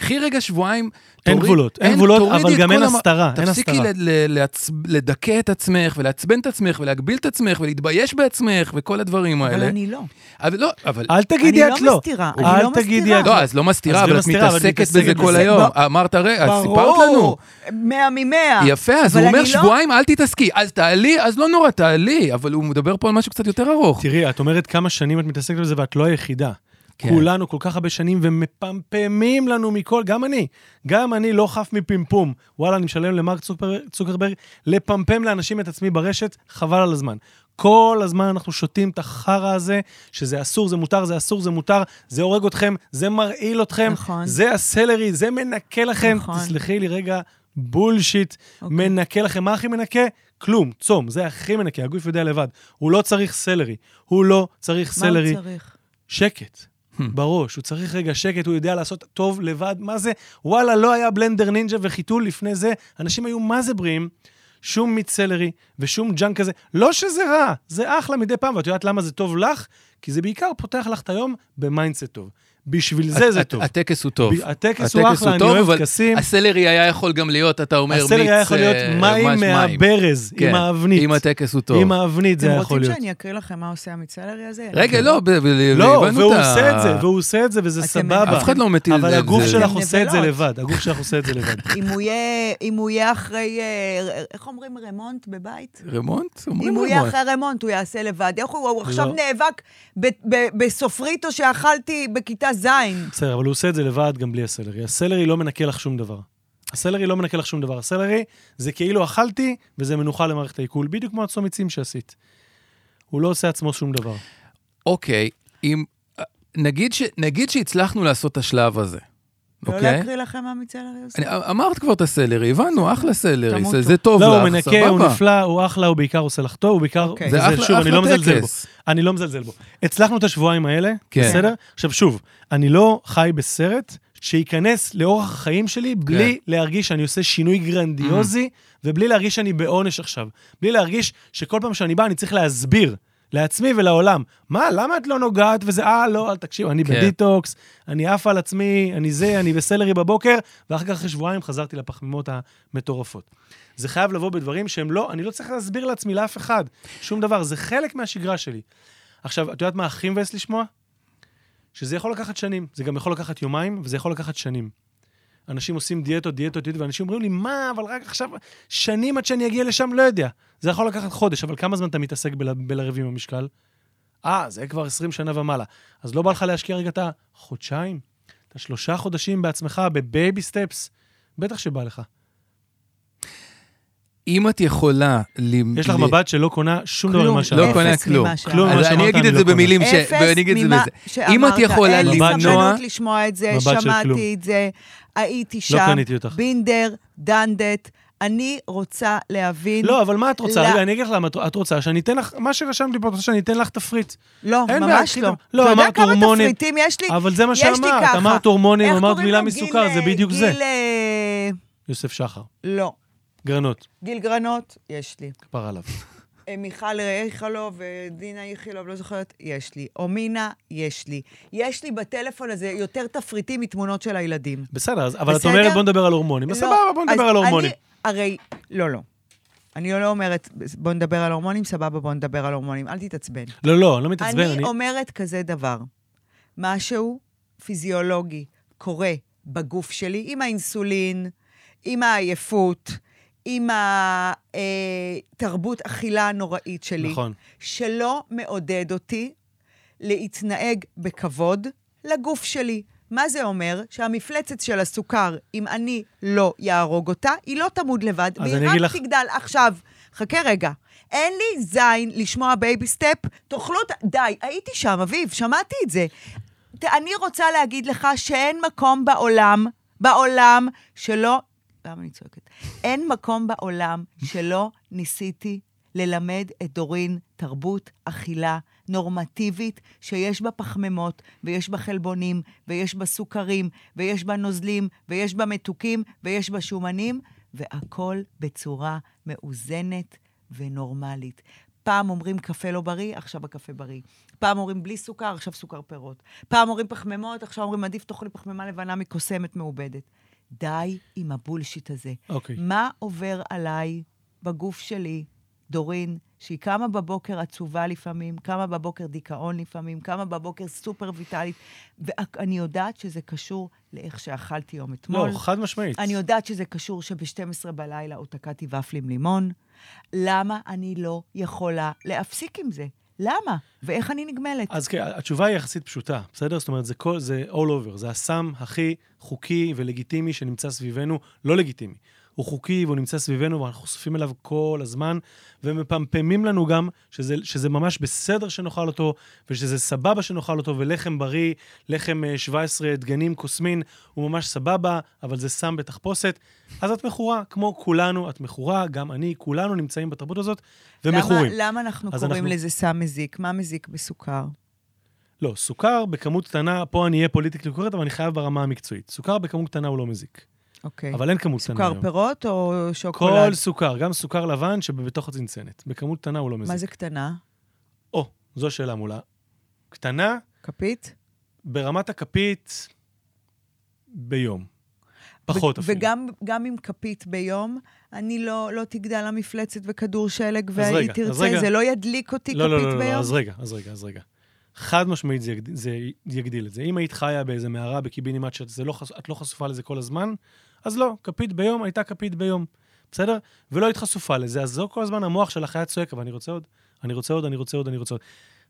Speaker 3: קחי רגע שבועיים,
Speaker 2: אין
Speaker 3: תוריד-
Speaker 2: גבולות, אין
Speaker 3: אין-
Speaker 2: גבולות,
Speaker 3: תורידי
Speaker 2: אבל
Speaker 3: את
Speaker 2: גם
Speaker 3: כל
Speaker 2: אין
Speaker 3: המ-
Speaker 2: הסתרה, אין
Speaker 3: תפסיקי
Speaker 2: הסתרה.
Speaker 3: ל- ל- לעצ- לדכא את עצמך, ולעצבן את עצמך, ולהגביל את עצמך, ולהתבייש בעצמך, וכל הדברים
Speaker 1: אבל
Speaker 3: האלה.
Speaker 1: אני לא.
Speaker 3: אבל לא, אבל...
Speaker 2: אל תגידי
Speaker 1: אני
Speaker 2: את
Speaker 1: לא
Speaker 2: לא.
Speaker 1: מסתירה, אני
Speaker 2: אל
Speaker 1: לא
Speaker 2: תגידי
Speaker 1: מסתירה.
Speaker 2: את
Speaker 3: לא, אז לא מסתירה,
Speaker 2: אז לא
Speaker 3: אבל את
Speaker 2: מסתירה, אבל את
Speaker 3: מתעסקת
Speaker 2: מתעסקת
Speaker 3: בזה כל
Speaker 2: בזה.
Speaker 3: היום.
Speaker 2: לא. אה,
Speaker 3: אמרת, רגע, אז סיפרת
Speaker 1: ברור,
Speaker 3: לנו.
Speaker 1: מאה ממאה.
Speaker 3: יפה, אז
Speaker 1: אבל
Speaker 3: הוא אומר
Speaker 1: אני לא-
Speaker 3: שבועיים, אל תתעסקי. אז תעלי, אז לא נורא, תעלי. אבל הוא מדבר פה על משהו קצת יותר ארוך.
Speaker 2: תראי, את אומרת כמה שנים את מתעסקת בזה ואת לא היחידה.
Speaker 3: כן.
Speaker 2: כולנו כל כך הרבה שנים ומפמפמים לנו מכל, גם אני, גם אני לא חף מפמפום. וואלה, אני משלם למרק צוקר- צוקרברג לפמפם לאנשים את עצמי ברשת, חבל על הזמן. כל הזמן אנחנו שותים את החרא הזה, שזה אסור, זה מותר, זה אסור, זה מותר, זה הורג אתכם, זה מרעיל אתכם,
Speaker 1: נכון.
Speaker 2: זה הסלרי, זה מנקה לכם.
Speaker 1: נכון.
Speaker 2: תסלחי לי רגע, בולשיט.
Speaker 1: אוקיי.
Speaker 2: מנקה לכם, מה הכי מנקה? כלום, צום, זה הכי מנקה, הגוף יודע לבד. הוא לא צריך סלרי, הוא לא צריך
Speaker 1: מה
Speaker 2: סלרי.
Speaker 1: הוא צריך?
Speaker 2: שקט. בראש, הוא צריך רגע שקט, הוא יודע לעשות טוב לבד, מה זה? וואלה, לא היה בלנדר נינג'ה וחיתול לפני זה, אנשים היו מה זה בריאים, שום מיץ סלרי ושום ג'אנק כזה, לא שזה רע, זה אחלה מדי פעם, ואת יודעת למה זה טוב לך? כי זה בעיקר פותח לך את היום במיינדסט טוב. בשביל זה זה
Speaker 3: הט-
Speaker 2: טוב.
Speaker 3: הטקס הוא טוב.
Speaker 2: ב- הטקס הוא אחלה, אני
Speaker 3: טוב,
Speaker 2: אוהב
Speaker 3: אבל
Speaker 2: טקסים.
Speaker 3: הסלרי היה יכול גם להיות, אתה אומר, מיץ...
Speaker 2: הסלרי היה יכול להיות
Speaker 3: אה,
Speaker 2: מים
Speaker 3: ממש
Speaker 2: מהברז, עם
Speaker 3: כן,
Speaker 2: האבנית.
Speaker 3: אם הטקס הוא טוב.
Speaker 2: עם האבנית זה
Speaker 1: אתם
Speaker 2: היה יכול
Speaker 1: רוצים
Speaker 2: להיות.
Speaker 1: שאני אקריא לכם מה עושה המצלרי הזה?
Speaker 3: רגע, לא, ב- ב-
Speaker 2: כן. לא,
Speaker 3: הבנו
Speaker 2: והוא
Speaker 3: את ה-
Speaker 2: עושה את זה, והוא עושה את זה, וזה
Speaker 1: אתם-
Speaker 2: סבבה.
Speaker 3: אף אחד לא מטיל
Speaker 2: אבל
Speaker 3: לב,
Speaker 2: הגוף
Speaker 3: זה-
Speaker 2: שלך עושה את זה
Speaker 1: נבלות.
Speaker 2: לבד, הגוף שלך עושה את זה לבד.
Speaker 1: אם הוא יהיה- אם הוא יהיה אחרי, אה, איך אומרים רמונט בבית?
Speaker 3: רמונט? אומרים
Speaker 1: אם הוא יהיה
Speaker 3: רמונט.
Speaker 1: אחרי רמונט, הוא יעשה לבד. איך הוא, הוא עכשיו
Speaker 2: לא.
Speaker 1: נאבק ב- ב- בסופריטו שאכלתי בכיתה ז'. לא
Speaker 2: בסדר, אבל הוא עושה את זה לבד גם בלי הסלרי. הסלרי לא מנקה לך שום דבר. הסלרי לא מנקה לך שום דבר. הסלרי זה כאילו אכלתי, וזה מנוחה למערכת העיכול, בדיוק כמו הצום עצים שעשית. הוא לא עושה עצמו שום דבר.
Speaker 3: אוקיי, אם... נגיד ש- נגיד שהצלחנו לעשות את השלב הזה,
Speaker 1: לא
Speaker 3: אוקיי?
Speaker 1: להקריא לכם מה המצלרי עושה?
Speaker 3: אני- אה, אמרת כבר את הסלרי, הבנו, אחלה סלרי,
Speaker 1: תמותו.
Speaker 3: זה- זה טוב לך,
Speaker 2: לא,
Speaker 3: סבבה.
Speaker 2: הוא מנקה, הוא נפלא, הוא אחלה, הוא בעיקר עושה לך טוב, הוא בעיקר...
Speaker 1: אוקיי.
Speaker 2: וזה,
Speaker 3: זה אחלה-
Speaker 2: שוב, אני לא
Speaker 3: אחלה
Speaker 2: מזלזל בו.
Speaker 3: טקס.
Speaker 2: אני לא מזלזל בו. הצלחנו את השבועיים האלה,
Speaker 3: כן.
Speaker 2: בסדר? עכשיו שוב, אני לא חי בסרט שייכנס לאורח החיים שלי בלי
Speaker 3: כן. Mm.
Speaker 2: להרגיש שאני עושה שינוי גרנדיוזי, ובלי להרגיש שאני בעונש עכשיו. בלי להרגיש שכל פעם שאני בא אני צריך להסביר. לעצמי ולעולם, מה, למה את לא נוגעת וזה, אה, לא, אל תקשיב, אני
Speaker 3: כן.
Speaker 2: בדיטוקס, אני עף על עצמי, אני זה, אני בסלרי בבוקר, ואחר כך אחרי שבועיים חזרתי לפחמימות המטורפות. זה חייב לבוא בדברים שהם לא, אני לא צריך להסביר לעצמי לאף אחד שום דבר, זה חלק מהשגרה שלי. עכשיו, את יודעת מה הכי מבאס לשמוע? שזה יכול לקחת שנים, זה גם יכול לקחת יומיים, וזה יכול לקחת שנים. אנשים עושים דיאטות, דיאטות, דיאטות, ואנשים אומרים לי, מה, אבל רק עכשיו, שנים עד שאני אגיע לשם, לא יודע. זה יכול לקחת חודש, אבל כמה זמן אתה מתעסק בל... בלריב עם המשקל? אה, זה כבר 20 שנה ומעלה. אז לא בא לך להשקיע רגע את החודשיים, את השלושה חודשים בעצמך, בבייבי סטפס? בטח שבא לך.
Speaker 3: אם את יכולה... ל-
Speaker 2: יש לך
Speaker 3: ל-
Speaker 2: מבט שלא קונה שום דבר
Speaker 1: כלום,
Speaker 2: ממה
Speaker 3: לא
Speaker 2: שאמרת.
Speaker 1: אפס
Speaker 3: קונה
Speaker 1: ממה
Speaker 3: כלום.
Speaker 1: שאמרת.
Speaker 2: כלום. מה
Speaker 3: אז אני
Speaker 2: שאמרת,
Speaker 3: אגיד
Speaker 2: אני
Speaker 3: את
Speaker 2: לא
Speaker 3: זה
Speaker 2: קונה.
Speaker 3: במילים ש...
Speaker 1: אפס
Speaker 3: ואני אגיד את זה
Speaker 1: ממה
Speaker 3: בזה.
Speaker 1: שאמרת.
Speaker 3: אם את יכולה
Speaker 1: אין לי
Speaker 2: מבט נוע.
Speaker 1: סבלנות לשמוע את זה,
Speaker 2: מבט של כלום. לא
Speaker 1: שמעתי את זה, הייתי שם.
Speaker 2: קניתי אותך.
Speaker 1: בינדר, דנדט, אני רוצה להבין.
Speaker 2: לא, אבל מה את רוצה?
Speaker 1: לא.
Speaker 2: רגע, אני אגיד לך למה את- את רוצה, שאני אתן לך, מה שרשמתי פה, את רוצה שאני אתן לך תפריט.
Speaker 1: לא,
Speaker 2: אין בעיה,
Speaker 1: ממש
Speaker 2: קחי
Speaker 1: לא.
Speaker 2: גם- לא,
Speaker 1: אתה יודע
Speaker 2: אמרת
Speaker 1: כמה
Speaker 2: הורמונים.
Speaker 1: תפריטים יש לי?
Speaker 2: אבל זה מה
Speaker 1: יש לי
Speaker 2: שאמרת,
Speaker 1: ככה.
Speaker 2: אמרת הורמונים,
Speaker 1: איך
Speaker 2: אמרת
Speaker 1: קוראים
Speaker 2: מילה
Speaker 1: לו?
Speaker 2: מסוכר,
Speaker 1: גיל,
Speaker 2: זה
Speaker 1: אה,
Speaker 2: בדיוק
Speaker 1: גיל,
Speaker 2: זה.
Speaker 1: אה,
Speaker 2: יוסף שחר,
Speaker 1: לא.
Speaker 2: גרנות,
Speaker 1: גיל גרנות, יש לי.
Speaker 2: כפר עליו.
Speaker 1: אה, מיכל איכלוב, אה, דינה איכילוב, לא זוכרת, יש לי. אומינה, יש לי. יש לי בטלפון הזה יותר תפריטים מתמונות של הילדים.
Speaker 2: בסדר, אז- אבל את
Speaker 1: בסדר?
Speaker 2: אומרת בוא נדבר על הורמונים. בסבבה,
Speaker 1: לא,
Speaker 2: בוא
Speaker 1: אז
Speaker 2: נדבר על הורמונים.
Speaker 1: אני, הרי, לא, לא. אני לא אומרת, בוא נדבר על הורמונים, סבבה, בוא נדבר על הורמונים. אל תתעצבן.
Speaker 2: לא, לא, אני לא מתעצבן,
Speaker 1: אני
Speaker 2: אני...
Speaker 1: אומרת כזה דבר, משהו פיזיולוגי קורה בגוף שלי, עם האינסולין, עם העייפות, עם התרבות אכילה הנוראית שלי,
Speaker 2: נכון.
Speaker 1: שלא מעודד אותי להתנהג בכבוד לגוף שלי. מה זה אומר? שהמפלצת של הסוכר, אם אני לא יהרוג אותה, היא לא תמוד לבד,
Speaker 2: אז
Speaker 1: והיא
Speaker 2: אני
Speaker 1: רק
Speaker 2: אגיד
Speaker 1: לך...
Speaker 2: לך-
Speaker 1: תגדל. עכשיו, חכה רגע. אין לי זין לשמוע בייבי סטפ, תאכלו את... די, הייתי שם, אביב, שמעתי את זה. ת- אני רוצה להגיד לך שאין מקום בעולם, בעולם, שלא... למה אני צועקת? אין מקום בעולם שלא ניסיתי ללמד את דורין תרבות אכילה נורמטיבית, שיש בה פחמימות, ויש בה חלבונים, ויש בה סוכרים, ויש בה נוזלים, ויש בה מתוקים, ויש בה שומנים, והכל בצורה מאוזנת ונורמלית. פעם אומרים קפה לא בריא, עכשיו הקפה בריא. פעם אומרים בלי סוכר, עכשיו סוכר פירות. פעם אומרים פחמימות, עכשיו אומרים עדיף תאכלי פחמימה לבנה מקוסמת מעובדת. די עם הבולשיט הזה.
Speaker 2: אוקיי.
Speaker 1: מה עובר עליי בגוף שלי, דורין, שהיא קמה בבוקר עצובה לפעמים, קמה בבוקר דיכאון לפעמים, קמה בבוקר סופר ויטאלית, ואני יודעת שזה קשור לאיך שאכלתי יום
Speaker 2: לא,
Speaker 1: אתמול.
Speaker 2: חד משמעית.
Speaker 1: אני יודעת שזה קשור שב-12 בלילה עוד תקעתי ופל עם לימון. למה אני לא יכולה להפסיק עם זה? למה? ואיך אני נגמלת?
Speaker 2: אז כן, התשובה היא יחסית פשוטה, בסדר? זאת אומרת, זה כל, זה all over, זה הסם הכי חוקי ולגיטימי שנמצא סביבנו, לא לגיטימי. הוא חוקי והוא נמצא סביבנו ואנחנו חושפים אליו כל הזמן, ומפמפמים לנו גם שזה, שזה ממש בסדר שנאכל אותו, ושזה סבבה שנאכל אותו, ולחם בריא, לחם אה, 17 דגנים קוסמין, הוא ממש סבבה, אבל זה סם בתחפושת. אז את מכורה, כמו כולנו, את מכורה, גם אני, כולנו נמצאים בתרבות הזאת, ומכורים.
Speaker 1: למה, למה אנחנו
Speaker 2: אז
Speaker 1: קוראים
Speaker 2: אנחנו-
Speaker 1: לזה סם מזיק? מה מזיק בסוכר?
Speaker 2: לא, סוכר בכמות קטנה, פה אני אהיה פוליטיקלי קורקט, אבל אני חייב ברמה המקצועית. סוכר בכמות קטנה הוא לא מזיק,
Speaker 1: אוקיי.
Speaker 2: אבל אין כמות קטנה
Speaker 1: סוכר
Speaker 2: היום.
Speaker 1: פירות או שוקולד?
Speaker 2: כל סוכר, גם סוכר לבן שבתוך הצנצנת. בכמות קטנה הוא לא מזיק.
Speaker 1: מה זה קטנה?
Speaker 2: או, זו השאלה מולה. קטנה
Speaker 1: כפית?
Speaker 2: ברמת הכפית ביום. פחות
Speaker 1: ו-
Speaker 2: אפילו.
Speaker 1: וגם גם עם כפית ביום, אני לא, לא תגדל המפלצת וכדור שלג,
Speaker 2: אז
Speaker 1: והיא
Speaker 2: רגע, אז
Speaker 1: תרצה,
Speaker 2: רגע.
Speaker 1: זה לא ידליק אותי
Speaker 2: לא, לא,
Speaker 1: כפית
Speaker 2: לא, לא,
Speaker 1: ביום?
Speaker 2: לא, אז רגע, אז רגע, אז רגע. חד משמעית זה, יגד... זה יגדיל את זה. אם היית חיה באיזה מערה בקיבינימט שאת זה לא חש... את לא חשופה לזה כל הזמן, אז לא, כפית ביום הייתה כפית ביום, בסדר? ולא היית חשופה לזה, אז זו כל הזמן המוח שלך היה צועק, אבל אני רוצה עוד, אני רוצה עוד, אני רוצה עוד, אני רוצה עוד.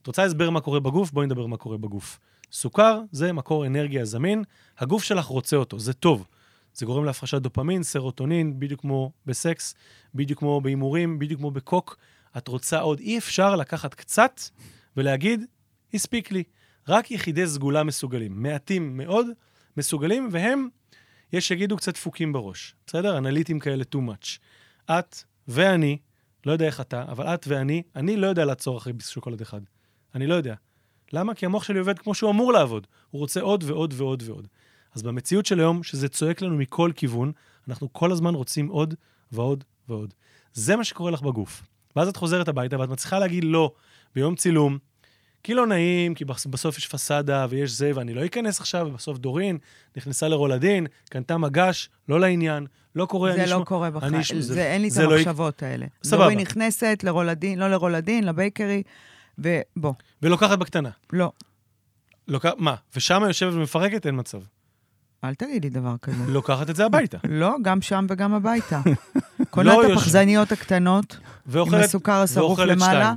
Speaker 2: את רוצה הסבר מה קורה בגוף? בואי נדבר מה קורה בגוף. סוכר זה מקור אנרגיה זמין, הגוף שלך רוצה אותו, זה טוב. זה גורם להפרשת דופמין, סרוטונין, בדיוק כמו בסקס, בדיוק כמו בהימורים, בדיוק כמו בקוק. את רוצה עוד, אי אפשר לקחת קצת ולהגיד, הספיק לי. רק יחידי סגולה מסוגלים, מעטים מאוד מסוגלים, והם, יש שיגידו קצת דפוקים בראש, בסדר? אנליטים כאלה too much. את ואני, לא יודע איך אתה, אבל את ואני, אני לא יודע לעצור אחרי ביס שוקולד אחד. אני לא יודע. למה? כי המוח שלי עובד כמו שהוא אמור לעבוד. הוא רוצה עוד ועוד ועוד ועוד. אז במציאות של היום, שזה צועק לנו מכל כיוון, אנחנו כל הזמן רוצים עוד ועוד ועוד. זה מה שקורה לך בגוף. ואז את חוזרת הביתה ואת מצליחה להגיד לא ביום צילום, כי לא נעים, כי בס- בסוף יש פסאדה ויש זה, ואני לא אכנס עכשיו, ובסוף דורין נכנסה לרולדין, קנתה מגש, לא לעניין, לא קורה,
Speaker 1: זה
Speaker 2: אני
Speaker 1: לא
Speaker 2: אשמע-
Speaker 1: קורה בחיים,
Speaker 2: אני אשמע-
Speaker 1: זה אין לי את
Speaker 2: זה לא יק-
Speaker 1: המחשבות האלה.
Speaker 2: סבבה.
Speaker 1: דורי נכנסת לרולדין, לא לרולדין, לבייקרי, ובוא,
Speaker 2: ולוקחת בקטנה.
Speaker 1: לא,
Speaker 2: לוקח, מה? ושם יושבת ומפרקת, אין מצב.
Speaker 1: אל תגיד לי דבר כזה.
Speaker 2: לוקחת את זה הביתה.
Speaker 1: לא, גם שם וגם הביתה. קונה
Speaker 2: לא
Speaker 1: את
Speaker 2: יושב-
Speaker 1: הפחזניות הקטנות, עם
Speaker 2: ואוכלת,
Speaker 1: הסוכר השרוף
Speaker 2: ואוכלת
Speaker 1: למעלה,
Speaker 2: שתיים.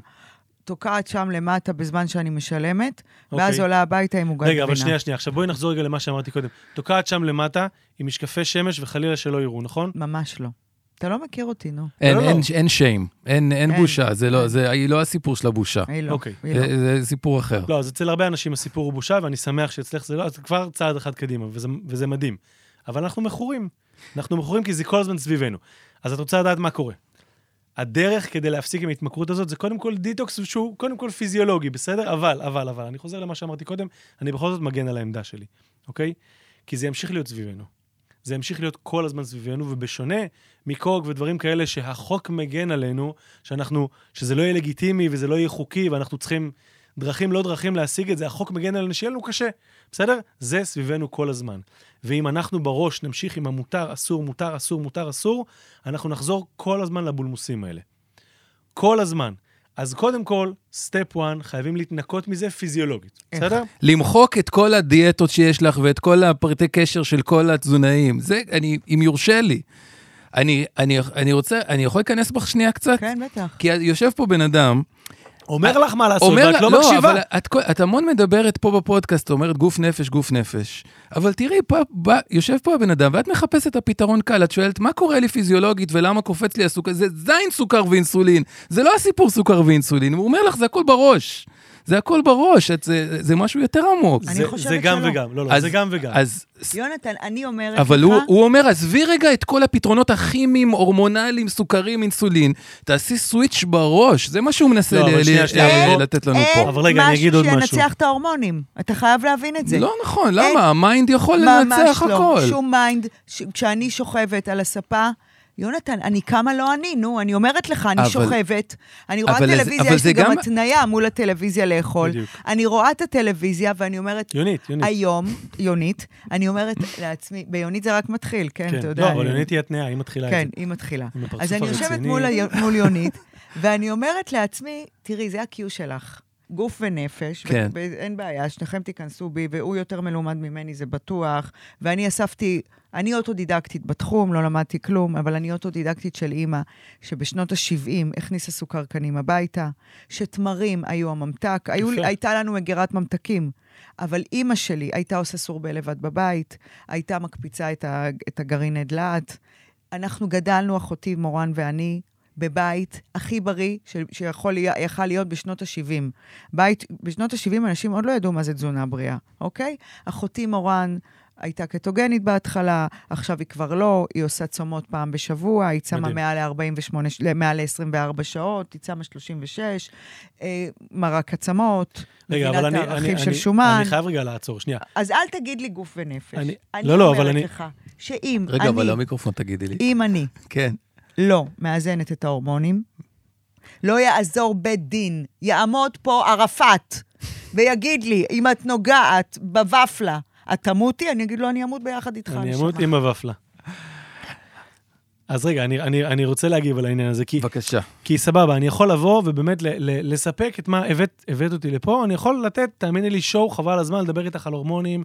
Speaker 1: תוקעת שם למטה בזמן שאני משלמת, ואז
Speaker 2: אוקיי.
Speaker 1: עולה הביתה עם עוגת גבינה.
Speaker 2: רגע, אבל שנייה, שנייה. עכשיו בואי נחזור רגע למה שאמרתי קודם. תוקעת שם למטה עם משקפי שמש וחלילה שלא יראו, נכון?
Speaker 1: ממש לא. אתה לא מכיר אותי, נו.
Speaker 3: אין,
Speaker 2: לא, לא.
Speaker 3: אין, אין שיים, אין, אין
Speaker 1: אין.
Speaker 3: בושה, זה לא, זה, היא לא הסיפור של הבושה.
Speaker 1: היא לא.
Speaker 2: אוקיי.
Speaker 1: היא לא.
Speaker 3: זה, זה סיפור אחר.
Speaker 2: לא, אז אצל הרבה אנשים הסיפור הוא בושה, ואני שמח שאצלך זה לא, אז כבר צעד אחד קדימה, וזה, וזה מדהים. אבל אנחנו מכורים. אנחנו מכורים כי זה כל הזמן סביבנו. אז את רוצה לדעת מה קורה. הדרך כדי להפסיק עם ההתמכרות הזאת זה קודם כל דיטוקס שהוא קודם כל פיזיולוגי, בסדר? אבל, אבל, אבל, אני חוזר למה שאמרתי קודם, אני בכל זאת מגן על העמדה שלי, אוקיי? כי זה ימשיך להיות סביבנו. זה ימשיך להיות כל הזמן סביבנו, ובשונה מקורג ודברים כאלה שהחוק מגן עלינו, שאנחנו, שזה לא יהיה לגיטימי וזה לא יהיה חוקי, ואנחנו צריכים דרכים לא דרכים להשיג את זה, החוק מגן עלינו שיהיה לנו קשה, בסדר? זה סביבנו כל הזמן. ואם אנחנו בראש נמשיך עם המותר, אסור, מותר, אסור, מותר, אסור, אנחנו נחזור כל הזמן לבולמוסים האלה. כל הזמן. אז קודם כל, סטפ 1, חייבים להתנקות מזה פיזיולוגית,
Speaker 3: אה.
Speaker 1: איך?
Speaker 2: בסדר?
Speaker 3: למחוק את כל הדיאטות שיש לך ואת כל הפרטי קשר של כל התזונאים, זה, אני, אם יורשה לי. אני, אני, אני רוצה, אני יכול להיכנס בך שנייה קצת?
Speaker 1: כן, בטח.
Speaker 3: כי יושב פה בן אדם,
Speaker 2: אומר לך מה לעשות,
Speaker 3: אומר,
Speaker 2: ואת
Speaker 3: לה-
Speaker 2: לא מקשיבה.
Speaker 3: אבל את, כל- את המון מדברת פה בפודקאסט, אומרת גוף נפש, גוף נפש. אבל תראי, פה, בא, יושב פה הבן אדם, ואת מחפשת את הפתרון קל, את שואלת, מה קורה לי פיזיולוגית ולמה קופץ לי הסוכר? זה זין סוכר ואינסולין, זה לא הסיפור סוכר ואינסולין, הוא אומר לך, זה הכל בראש. זה הכל בראש, את, זה, זה משהו יותר עמוק.
Speaker 1: אני
Speaker 2: זה-
Speaker 1: חושבת
Speaker 2: זה גם
Speaker 1: שלא.
Speaker 2: וגם, לא, לא,
Speaker 3: אז-
Speaker 2: זה גם וגם.
Speaker 3: אז,
Speaker 1: יונתן, אני אומרת לך...
Speaker 3: אבל הוא, הוא אומר, עזבי רגע את כל הפתרונות הכימיים, הורמונליים, סוכרים, אינסולין, תעשי סוויץ' בראש, זה מה שהוא מנסה
Speaker 2: לא,
Speaker 3: ל-
Speaker 2: אבל שנייה,
Speaker 3: ל-
Speaker 2: שנייה,
Speaker 3: ל-
Speaker 2: אבל- אה,
Speaker 3: לתת לנו פה.
Speaker 2: אבל רגע, אני אגיד עוד
Speaker 1: אין משהו
Speaker 2: משהו.
Speaker 1: שינצח את ההורמונים. אתה חייב להבין את זה.
Speaker 3: לא נכון,
Speaker 1: אין-
Speaker 3: למה? המיינד יכול לנצח
Speaker 1: ממש לא.
Speaker 3: הכל.
Speaker 1: שום מיינד, ש... כשאני שוכבת על הספה יונתן, אני קמה לא אני, נו, אני אומרת לך, אני
Speaker 3: אבל-
Speaker 1: שוכבת, אני רואה
Speaker 3: אבל זה- אבל
Speaker 1: טלוויזיה, יש
Speaker 3: זה
Speaker 1: לי גם
Speaker 3: גם-
Speaker 1: התניה מול הטלוויזיה לאכול.
Speaker 2: בדיוק.
Speaker 1: אני רואה את הטלוויזיה ואני אומרת,
Speaker 2: יונית, יונית.
Speaker 1: היום, יונית, אני אומרת לעצמי, ביונית זה רק מתחיל, כן, אתה יודע.
Speaker 2: לא, אבל
Speaker 3: אה,
Speaker 1: אני-
Speaker 2: יונית היא התנאה, היא מתחילה את זה.
Speaker 1: כן, היא מתחילה.
Speaker 2: עם הפרצוף
Speaker 1: אז אני יושבת
Speaker 2: הרציני.
Speaker 1: מול ה- מול יונית, ואני אומרת לעצמי, תראי, זה ה-Q שלך. גוף ונפש,
Speaker 3: כן.
Speaker 1: ו- ואין בעיה, שניכם תיכנסו בי, והוא יותר מלומד ממני, זה בטוח. ואני אספתי, אני אוטודידקטית בתחום, לא למדתי כלום, אבל אני אוטודידקטית של אימא, שבשנות ה-70 הכניסה סוכר קנים הביתה, שתמרים היו הממתק, היו,
Speaker 2: יפה.
Speaker 1: הייתה לנו מגירת ממתקים. אבל אימא שלי הייתה עושה סורבה לבד בבית, הייתה מקפיצה את, ה, את הגרעיני דלעת. אנחנו גדלנו, אחותי מורן ואני, בבית הכי בריא ש, שיכול היה- יכל להיות בשנות ה-70. בית, בשנות ה-70 אנשים עוד לא ידעו מה זה תזונה בריאה, אוקיי? אחותי מורן הייתה קטוגנית בהתחלה, עכשיו היא כבר לא, היא עושה צומות פעם בשבוע, היא צמה
Speaker 2: מדהים.
Speaker 1: מעל ל-48, מעל ל-24 שעות, היא צמה 36, אה, מרק עצמות,
Speaker 2: רגע,
Speaker 1: מבינה
Speaker 2: אבל
Speaker 1: את
Speaker 2: אני-
Speaker 1: הערכים
Speaker 2: אני-
Speaker 1: של
Speaker 2: אני-
Speaker 1: שומן. אה,
Speaker 2: אני חייב רגע לעצור, שנייה.
Speaker 1: אז אל תגיד לי גוף ונפש.
Speaker 2: אני-
Speaker 1: אני,
Speaker 2: לא, לא, אבל
Speaker 1: אומרת
Speaker 2: אני-
Speaker 1: לך, שאם
Speaker 3: רגע,
Speaker 1: אני,
Speaker 3: אבל לא מיקרופון, תגידי לי.
Speaker 1: אם אני
Speaker 3: כן.
Speaker 1: לא מאזנת את ההורמונים, לא יעזור בית דין, יעמוד פה ערפאת ויגיד לי, אם את נוגעת בוואפלה, את תמותי? אני אגיד לו, אני אמות ביחד איתך.
Speaker 2: אני
Speaker 1: נשמה."
Speaker 2: אמות עם הוואפלה. אז רגע, אני- אני אני רוצה להגיב על העניין הזה, כי
Speaker 3: בבקשה.
Speaker 2: כי סבבה, אני יכול לבוא ובאמת ל- ל- לספק את מה הבאת, הבאת אותי לפה, אני יכול לתת, תאמיני לי, שואו, חבל על הזמן, לדבר איתך על הורמונים,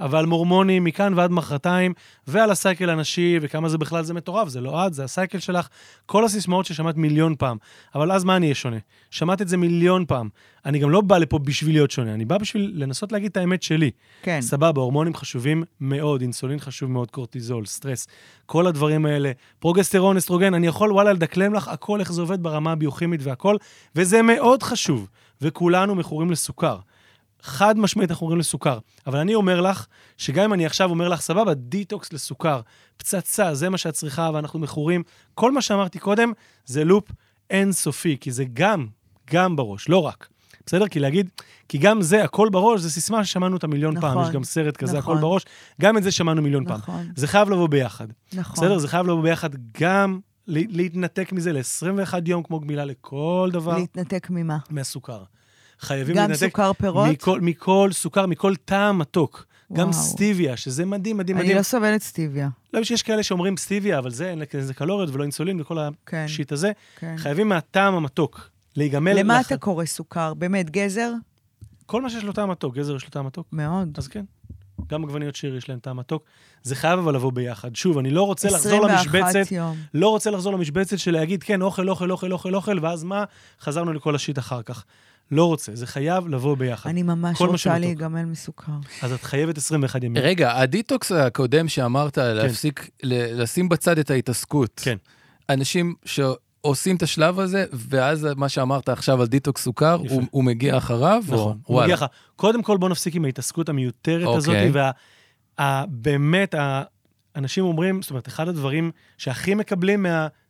Speaker 2: אבל מורמונים מכאן ועד מחרתיים, ועל הסייקל הנשי, וכמה זה בכלל, זה מטורף, זה לא את, זה הסייקל שלך, כל הסיסמאות ששמעת מיליון פעם. אבל אז מה אני אהיה שונה? שמעת את זה מיליון פעם. אני גם לא בא לפה בשביל להיות שונה, אני בא בשביל לנסות להגיד את האמת שלי.
Speaker 1: כן.
Speaker 2: סבבה, הורמונים חשובים מאוד, אינסולין חשוב מאוד, קורטיזול, סטרס, כל הדברים האלה. פרוגסטרון, אסטרוגן, אני יכול וואלה לדקלם לך הכל, איך זה עובד ברמה הביוכימית והכל, וזה מאוד חשוב, וכולנו מכורים לסוכר. חד משמעית אנחנו אומרים לסוכר. אבל אני אומר לך, שגם אם אני עכשיו אומר לך, סבבה, דיטוקס לסוכר, פצצה, זה מה שאת צריכה, ואנחנו מכורים, כל מה שאמרתי קודם, זה לופ אינסופי, כי זה גם, גם בראש, לא רק. בסדר? כי להגיד, כי גם זה, הכל בראש, זו סיסמה ששמענו אותה מיליון פעם,
Speaker 1: נכון,
Speaker 2: יש גם סרט כזה,
Speaker 1: נכון.
Speaker 2: הכל בראש, גם את זה שמענו מיליון פעם.
Speaker 1: נכון,
Speaker 2: זה חייב לבוא ביחד.
Speaker 1: נכון.
Speaker 2: בסדר? זה חייב לבוא ביחד גם ל- להתנתק מזה ל-21 יום, כמו גמילה לכל דבר,
Speaker 1: להתנתק ממה?
Speaker 2: מהסוכר. חייבים
Speaker 1: גם
Speaker 2: להתנתק
Speaker 1: סוכר פירות?
Speaker 2: מכל, מכל סוכר, מכל טעם מתוק. גם
Speaker 1: וואו.
Speaker 2: סטיביה, שזה מדהים, מדהים,
Speaker 1: אני
Speaker 2: מדהים.
Speaker 1: לא סובלת סטיביה.
Speaker 2: לא, יש כאלה שאומרים סטיביה, אבל זה, אין לזה קלוריות ולא אינסולין וכל
Speaker 1: כן,
Speaker 2: השיט הזה.
Speaker 1: כן.
Speaker 2: חייבים מהטעם המתוק להיגמל.
Speaker 1: למה
Speaker 2: לח-
Speaker 1: אתה קורא סוכר? באמת, גזר?
Speaker 2: כל מה שיש לו טעם מתוק, גזר יש לו טעם מתוק.
Speaker 1: מאוד.
Speaker 2: אז כן, גם עגבניות שיר יש להן טעם מתוק. זה חייב אבל לבוא ביחד. שוב, אני לא רוצה לחזור
Speaker 1: 21
Speaker 2: למשבצת,
Speaker 1: יום.
Speaker 2: לא רוצה לחזור למשבצת של להגיד, כן, אוכל, אוכל, אוכל, אוכל, אוכל, ואז מה? חזרנו לכל השיט אחר כך. לא רוצה, זה חייב לבוא ביחד.
Speaker 1: אני ממש
Speaker 2: כל מה
Speaker 1: רוצה
Speaker 2: שמתוק.
Speaker 1: להיגמל מסוכר.
Speaker 2: אז את חייבת 21 ימים.
Speaker 3: רגע, הדיטוקס הקודם שאמרת, להפסיק, ל- לשים בצד את ההתעסקות.
Speaker 2: כן.
Speaker 3: אנשים שעושים את השלב הזה, ואז מה שאמרת עכשיו על דיטוקס סוכר,
Speaker 2: יפה.
Speaker 3: הוא, הוא מגיע אחריו,
Speaker 2: נכון,
Speaker 3: או,
Speaker 2: הוא מגיע
Speaker 3: וואלה.
Speaker 2: לך. קודם כל, בוא נפסיק עם ההתעסקות המיותרת
Speaker 3: אוקיי.
Speaker 2: הזאת, ובאמת, אנשים אומרים, זאת אומרת, אחד הדברים שהכי מקבלים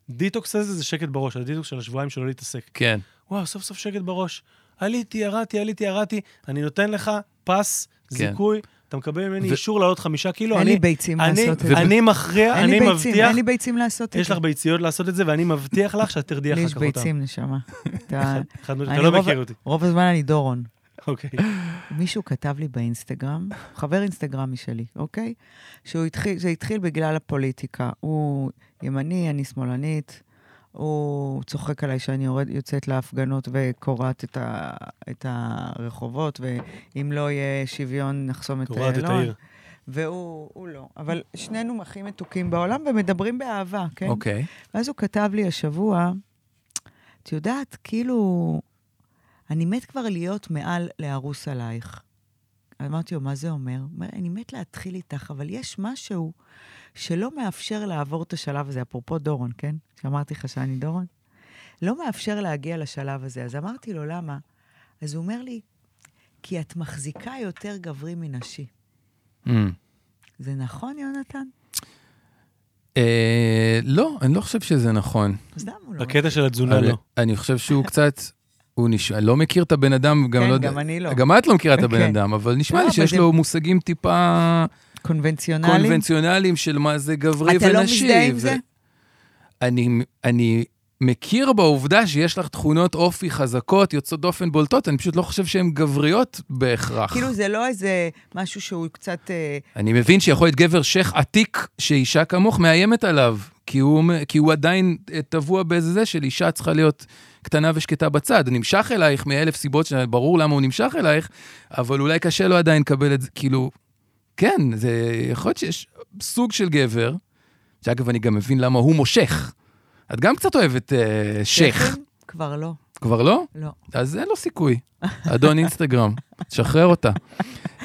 Speaker 2: מהדיטוקס הזה זה שקט בראש, הדיטוקס של השבועיים שלא להתעסק.
Speaker 3: כן.
Speaker 2: וואו, סוף סוף שקט בראש. עליתי, ירדתי, עליתי, ירדתי, אני נותן לך פס,
Speaker 3: כן.
Speaker 2: זיכוי, אתה מקבל ממני
Speaker 3: ו-
Speaker 2: אישור לעלות חמישה קילו,
Speaker 1: אין
Speaker 2: לא, אני-
Speaker 1: לי ביצים
Speaker 2: אני-
Speaker 1: לעשות את זה.
Speaker 2: אני מכריע,
Speaker 1: אין
Speaker 2: אני
Speaker 1: לי ביצים,
Speaker 2: מבטיח,
Speaker 1: אין לי ביצים לעשות את זה.
Speaker 2: יש לך ביציות לעשות את זה, ואני מבטיח לך שאת תרדי
Speaker 1: לי
Speaker 2: אחר
Speaker 1: יש
Speaker 2: כך אותם.
Speaker 1: ביצים, נשמה. אתה
Speaker 2: חד משמעית,
Speaker 1: אני
Speaker 2: אתה לא
Speaker 1: רוב-
Speaker 2: מכיר אותי.
Speaker 1: רוב הזמן אני דורון.
Speaker 2: אוקיי.
Speaker 1: מישהו כתב לי באינסטגרם, חבר אינסטגרמי שלי, אוקיי? שהוא התחיל, זה התחיל בגלל הפוליטיקה. הוא ימני, אני שמאלנית, הוא צוחק עליי שאני יורד, יוצאת להפגנות וקורעת את, ה, את הרחובות, ואם לא יהיה שוויון, נחסום את
Speaker 2: קורעת את
Speaker 1: איילון.
Speaker 2: העיר.
Speaker 1: והוא הוא לא. אבל שנינו הכי מתוקים בעולם ומדברים באהבה, כן?
Speaker 3: אוקיי.
Speaker 1: ואז הוא כתב לי השבוע, את יודעת, כאילו, אני מת כבר להיות מעל להרוס עלייך. אמרתי לו, מה זה אומר? הוא אומר, אני מת להתחיל איתך, אבל יש משהו שלא מאפשר לעבור את השלב הזה, אפרופו דורון, כן? שאמרתי לך שאני דורון? לא מאפשר להגיע לשלב הזה. אז אמרתי לו, למה? אז הוא אומר לי, כי את מחזיקה יותר גברי מנשי.
Speaker 3: Mm.
Speaker 1: זה נכון, יונתן?
Speaker 3: אה, לא, אני לא חושב שזה נכון.
Speaker 1: אז למה הוא לא...
Speaker 2: בקטע של התזונה
Speaker 3: אבל
Speaker 2: לא.
Speaker 3: אני חושב שהוא קצת, הוא נשמע, אני לא מכיר את הבן אדם, גם
Speaker 1: כן,
Speaker 3: לא
Speaker 1: גם אני לא.
Speaker 3: גם את לא מכירה את הבן
Speaker 1: כן.
Speaker 3: אדם, אבל נשמע
Speaker 1: לא,
Speaker 3: לי
Speaker 1: אבל
Speaker 3: שיש
Speaker 1: זה-
Speaker 3: לו מושגים טיפה
Speaker 1: קונבנציונלי?
Speaker 3: קונבנציונליים של מה זה גברי ונשי.
Speaker 1: אתה לא מזדהה עם
Speaker 3: ו-
Speaker 1: זה?
Speaker 3: אני, אני מכיר בעובדה שיש לך תכונות אופי חזקות, יוצאות דופן בולטות, אני פשוט לא חושב שהן גבריות בהכרח.
Speaker 1: כאילו זה לא איזה משהו שהוא קצת... אה,
Speaker 3: אני מבין שיכול להיות גבר שייח עתיק שאישה כמוך מאיימת עליו, כי הוא, כי הוא עדיין אה, טבוע באיזה זה של אישה צריכה להיות קטנה ושקטה בצד. הוא נמשך אלייך מאלף סיבות שברור למה הוא נמשך אלייך, אבל אולי קשה לו עדיין לקבל את זה, כאילו, כן, זה יכול להיות שיש סוג של גבר, שאגב, אני גם מבין למה הוא מושך. את גם קצת אוהבת אה, שייח,
Speaker 1: שייחים? כבר לא,
Speaker 3: כבר לא?
Speaker 1: לא.
Speaker 3: אז אין לו סיכוי. אדון אינסטגרם, תשחרר אותה.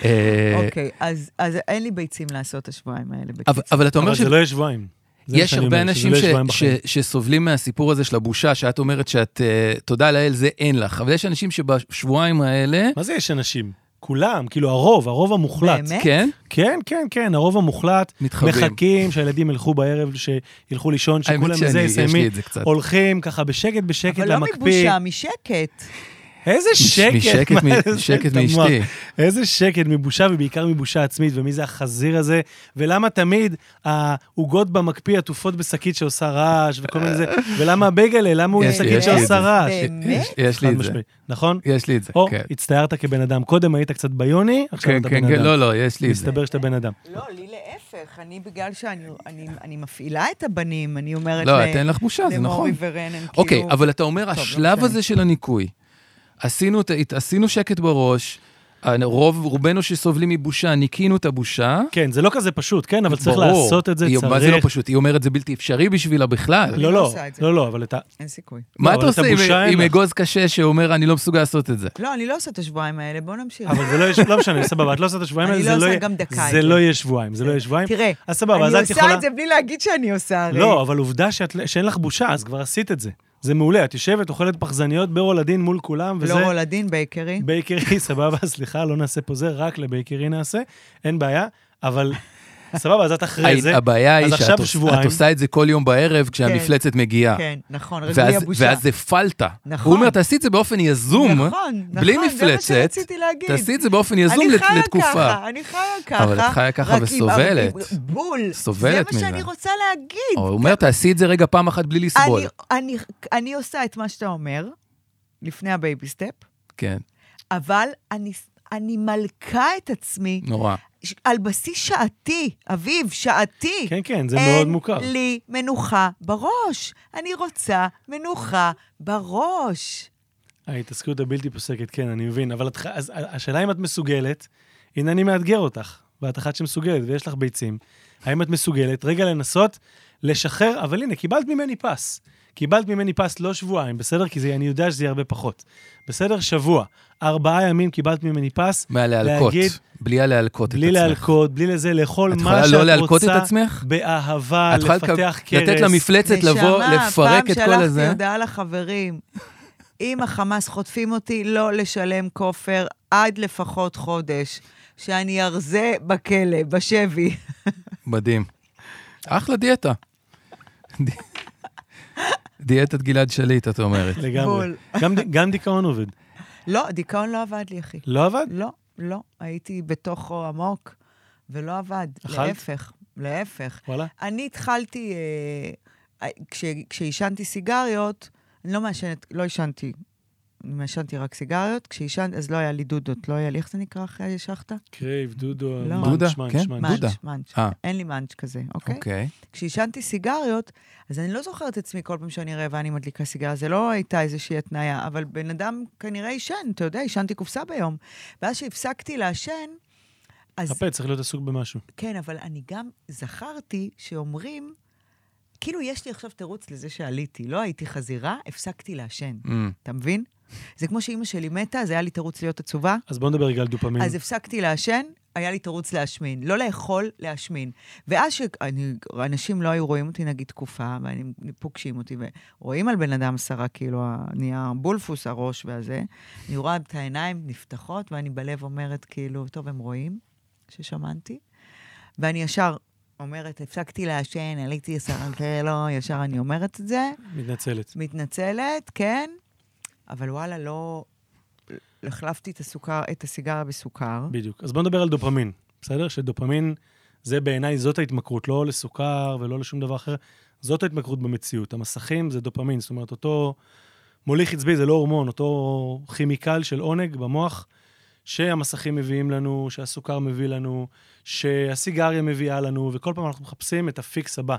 Speaker 3: אה,
Speaker 1: אוקיי, אז אז אין לי ביצים לעשות השבועיים האלה.
Speaker 3: אבל,
Speaker 1: בקיצור.
Speaker 3: אבל אתה אומר
Speaker 2: אבל
Speaker 3: ש...
Speaker 2: זה לא יהיה שבועיים. זה מה
Speaker 3: יש
Speaker 2: שאני
Speaker 3: הרבה
Speaker 2: אומר, שזה
Speaker 3: אנשים
Speaker 2: לא
Speaker 3: ש...
Speaker 2: יהיה שבועיים
Speaker 3: ש...
Speaker 2: בחיים.
Speaker 3: שסובלים מהסיפור הזה של הבושה, שאת אומרת שאת, אה, תודה לאל, זה אין לך. אבל יש אנשים שבשבועיים האלה,
Speaker 2: מה זה יש אנשים? כולם, כאילו הרוב, הרוב המוחלט.
Speaker 1: באמת?
Speaker 3: כן,
Speaker 2: כן, כן, כן, הרוב המוחלט.
Speaker 3: מתחבאים.
Speaker 2: מחכים שהילדים ילכו בערב, שילכו לישון,
Speaker 3: האמת
Speaker 2: שכולם
Speaker 3: שאני,
Speaker 2: זה
Speaker 3: יש לי
Speaker 2: יסיימים.
Speaker 3: את זה קצת.
Speaker 2: הולכים ככה בשקט, בשקט
Speaker 1: אבל לא
Speaker 2: למקפיא.
Speaker 1: מבושה, משקט.
Speaker 2: איזה
Speaker 3: מש-
Speaker 2: שקט.
Speaker 3: משקט
Speaker 2: מה
Speaker 3: מ-
Speaker 2: זה?
Speaker 3: שקט
Speaker 2: תמוה.
Speaker 3: מאשתי.
Speaker 2: איזה שקט מבושה, ובעיקר מבושה עצמית, ומי זה החזיר הזה, ולמה תמיד העוגות במקפיא עטופות בשקית שעושה רעש, וכל מיני זה, ולמה הבייגלה, למה הוא עם
Speaker 3: יש לי,
Speaker 2: שקית
Speaker 3: יש לי את
Speaker 2: שעושה
Speaker 3: זה.
Speaker 2: רעש.
Speaker 1: באמת?
Speaker 3: יש- יש לי
Speaker 2: חד
Speaker 3: את זה.
Speaker 2: משמעי, נכון?
Speaker 3: יש לי את זה,
Speaker 2: או,
Speaker 3: כן.
Speaker 2: הצטיירת כבן אדם. קודם היית קצת ביוני, עכשיו
Speaker 3: כן,
Speaker 2: אתה בן
Speaker 3: כן, כן,
Speaker 2: אדם.
Speaker 3: לא, לא, יש לי את זה.
Speaker 2: מסתבר שאתה בן אדם.
Speaker 1: לא, לי להפך. אני, בגלל שאני אני- אני מפעילה את הבנים, אני אומרת
Speaker 3: לא,
Speaker 1: ל-
Speaker 3: את אין לך בושה, זה נכון.
Speaker 1: למורי ורנן,
Speaker 3: אוקיי,
Speaker 1: כאילו...
Speaker 3: אבל אתה אומר,
Speaker 1: לא
Speaker 3: השלב
Speaker 1: משנה.
Speaker 3: הזה של הניקוי, עשינו את ה- הת- עשינו שקט בראש, אה, רוב, רובנו שסובלים מבושה, ניקינו את הבושה.
Speaker 2: כן, זה לא כזה פשוט, כן, אבל צריך
Speaker 3: ברור.
Speaker 2: לעשות את זה,
Speaker 3: היא-
Speaker 2: צריך...
Speaker 3: מה זה לא פשוט? היא אומרת, זה בלתי אפשרי בשבילה בכלל.
Speaker 2: לא,
Speaker 1: אני לא
Speaker 2: לא,
Speaker 1: עושה את זה.
Speaker 2: לא, לא, אבל את ה...
Speaker 1: אין סיכוי.
Speaker 3: מה
Speaker 2: לא,
Speaker 3: אתה
Speaker 2: אבל את
Speaker 3: עושה עם-
Speaker 2: הבושה אין
Speaker 3: עם
Speaker 2: לך.
Speaker 3: אגוז קשה שאומר, אני לא מסוגל לעשות את זה?
Speaker 1: לא, אני לא עושה את השבועיים האלה, בואו נמשיך.
Speaker 2: אבל זה לא יהיה, לא משנה, סבבה, את לא עושה את השבועיים
Speaker 1: אני
Speaker 2: האלה,
Speaker 1: לא
Speaker 2: זה לא
Speaker 1: עושה
Speaker 2: יהיה...
Speaker 1: גם דקה
Speaker 2: זה
Speaker 1: את זה. כן.
Speaker 2: לא יהיה שבועיים, זה לא יהיה שבועיים.
Speaker 1: תראה,
Speaker 2: אז סבבה, אז
Speaker 1: אני
Speaker 2: את
Speaker 1: עושה
Speaker 2: יכולה...
Speaker 1: את זה בלי להגיד שאני עושה הרי.
Speaker 2: לא, אבל עובדה שאת- שאין לך בושה, אז כבר עשית את זה. זה מעולה, את יושבת, אוכלת פחזניות ברולדין מול כולם, וזה...
Speaker 1: לא רולדין בייקרי.
Speaker 2: בייקרי, סבבה, סליחה, לא נעשה פה זה, רק לבייקרי נעשה, אין בעיה, אבל... סבבה, אז את אחרי זה.
Speaker 3: הבעיה היא
Speaker 2: אז
Speaker 3: שאת
Speaker 2: עכשיו
Speaker 3: עוש-
Speaker 2: שבועיים.
Speaker 3: את עושה את זה כל יום בערב כשהמפלצת מגיעה.
Speaker 1: כן, נכון, רגעי
Speaker 3: ואז-
Speaker 1: הבושה.
Speaker 3: ואז זה פלטה.
Speaker 1: נכון.
Speaker 3: הוא אומר, תעשי את זה באופן יזום,
Speaker 1: נכון,
Speaker 3: בלי
Speaker 1: נכון, זה מה
Speaker 3: מפלצת.
Speaker 1: שרציתי להגיד.
Speaker 3: תעשי את זה באופן יזום
Speaker 1: אני
Speaker 3: לת-
Speaker 1: חיה
Speaker 3: לתקופה.
Speaker 1: ככה, אני חיה ככה.
Speaker 3: אבל את חיה ככה
Speaker 1: רק עם-
Speaker 3: וסובלת.
Speaker 1: עם- בול.
Speaker 3: סובלת
Speaker 1: זה מה שאני
Speaker 3: מזה.
Speaker 1: רוצה להגיד.
Speaker 3: הוא אומר, תעשי את זה רגע פעם אחת בלי לסבול.
Speaker 1: אני- אני- אני עושה את מה שאתה אומר, לפני הבייבי סטפ,
Speaker 3: כן,
Speaker 1: אבל אני- אני מלכה את עצמי
Speaker 3: נורא.
Speaker 1: ש- על בסיס שעתי, אביב, שעתי.
Speaker 2: כן, כן, זה מאוד מוכר.
Speaker 1: אין לי מנוחה בראש. אני רוצה מנוחה בראש.
Speaker 2: ההתעסקות הבלתי פוסקת, כן, אני מבין. אבל את, ח- אז, השאלה אם את מסוגלת, הנה אני מאתגר אותך, ואת אחת שמסוגלת ויש לך ביצים, האם את מסוגלת רגע לנסות לשחרר, אבל הנה, קיבלת ממני פס. קיבלת ממני פס לא שבועיים, בסדר? כי זה, אני יודע שזה יהיה הרבה פחות. בסדר? שבוע. ארבעה ימים קיבלת ממני פס.
Speaker 3: מהלהלקות.
Speaker 2: להגיד-
Speaker 3: בלי הלהלקות את עצמך.
Speaker 2: בלי להלקות, בלי לזה, לאכול
Speaker 3: את
Speaker 2: מה שאת
Speaker 3: יכולה
Speaker 2: רוצה.
Speaker 3: לא להלקות את עצמך?
Speaker 2: באהבה,
Speaker 3: את יכולה
Speaker 2: לפתח
Speaker 3: לקב-
Speaker 2: קרס.
Speaker 3: לתת למפלצת לבוא, לפרק את כל
Speaker 1: פעם שלחתי
Speaker 3: הזה.
Speaker 1: הודעה לחברים, אם החמאס חוטפים אותי, לא לשלם כופר עד לפחות חודש, שאני ארזה בכלא, בשבי.
Speaker 3: מדהים. אחלה דיאטה. ד- דיאטת גלעד שליט, את אומרת.
Speaker 2: לגמרי.
Speaker 1: בול.
Speaker 2: גם, ד- גם דיכאון עובד.
Speaker 1: לא, דיכאון לא עבד לי, אחי.
Speaker 2: לא עבד?
Speaker 1: לא, לא. הייתי בתוכו עמוק, ולא עבד.
Speaker 2: אכלת?
Speaker 1: להפך, להפך.
Speaker 2: וואלה.
Speaker 1: אני התחלתי, אה, כש, כשעישנתי סיגריות, אני לא מעשנת, לא עישנתי, אני עישנתי רק סיגריות, כשעישנתי, אז לא היה לי דודות, לא היה לי, איך זה נקרא אחרי שחטה?
Speaker 2: קרייב, דודו,
Speaker 1: לא.
Speaker 2: מאנץ',
Speaker 3: דודה,
Speaker 2: מאנץ',
Speaker 3: כן?
Speaker 2: מאנץ'.
Speaker 1: מאנץ',
Speaker 3: דודה.
Speaker 1: מאנץ'.
Speaker 3: אה.
Speaker 1: אין לי מאנץ' כזה, אוקיי?
Speaker 3: אוקיי.
Speaker 1: כשעישנתי סיגריות, אז אני לא זוכרת את עצמי כל פעם שאני רעבה אני מדליקה סיגריה, זה לא הייתה איזושהי התניה, אבל בן אדם כנראה עישן, אתה יודע, עישנתי קופסה ביום. ואז שהפסקתי לעשן, אז
Speaker 3: אוקיי.
Speaker 2: חפה, צריך להיות עסוק במשהו.
Speaker 1: כן, אבל אני גם זכרתי שאומרים, כאילו יש לי עכשיו תירוץ לזה שעליתי, לא הייתי חזירה, הפסקתי לעשן,
Speaker 3: אמ,
Speaker 1: אתה מבין? זה כמו שאימא שלי מתה, אז היה לי תירוץ להיות עצובה,
Speaker 2: אז בואו נדבר רגע על דופמין.
Speaker 1: אז הפסקתי לעשן, היה לי תירוץ להשמין. לא לאכול, להשמין. ואז שאנשים לא היו רואים אותי, נגיד, תקופה, ואני פוגשים אותי, ורואים על בן אדם עשרה קילו, ה- נהיה בולפוס הראש והזה, אני רואה את העיניים נפתחות, ואני בלב אומרת, כאילו, טוב, הם רואים ששמנתי? ואני ישר אומרת, הפסקתי לעשן, עליתי עשרה קילו, ישר אני אומרת את זה.
Speaker 2: מתנצלת.
Speaker 1: מתנצלת, כן, אבל וואלה, לא... החלפתי את הסוכר, את הסיגריה בסוכר.
Speaker 2: בדיוק. אז בואו נדבר על דופמין, בסדר? שדופמין זה בעיניי, זאת ההתמכרות, לא לסוכר ולא לשום דבר אחר. זאת ההתמכרות במציאות. המסכים זה דופמין, זאת אומרת, אותו מוליך עצבי, זה לא הורמון, אותו כימיקל של עונג במוח, שהמסכים מביאים לנו, שהסוכר מביא לנו, שהסיגריה מביאה לנו, וכל פעם אנחנו מחפשים את הפיקס הבא.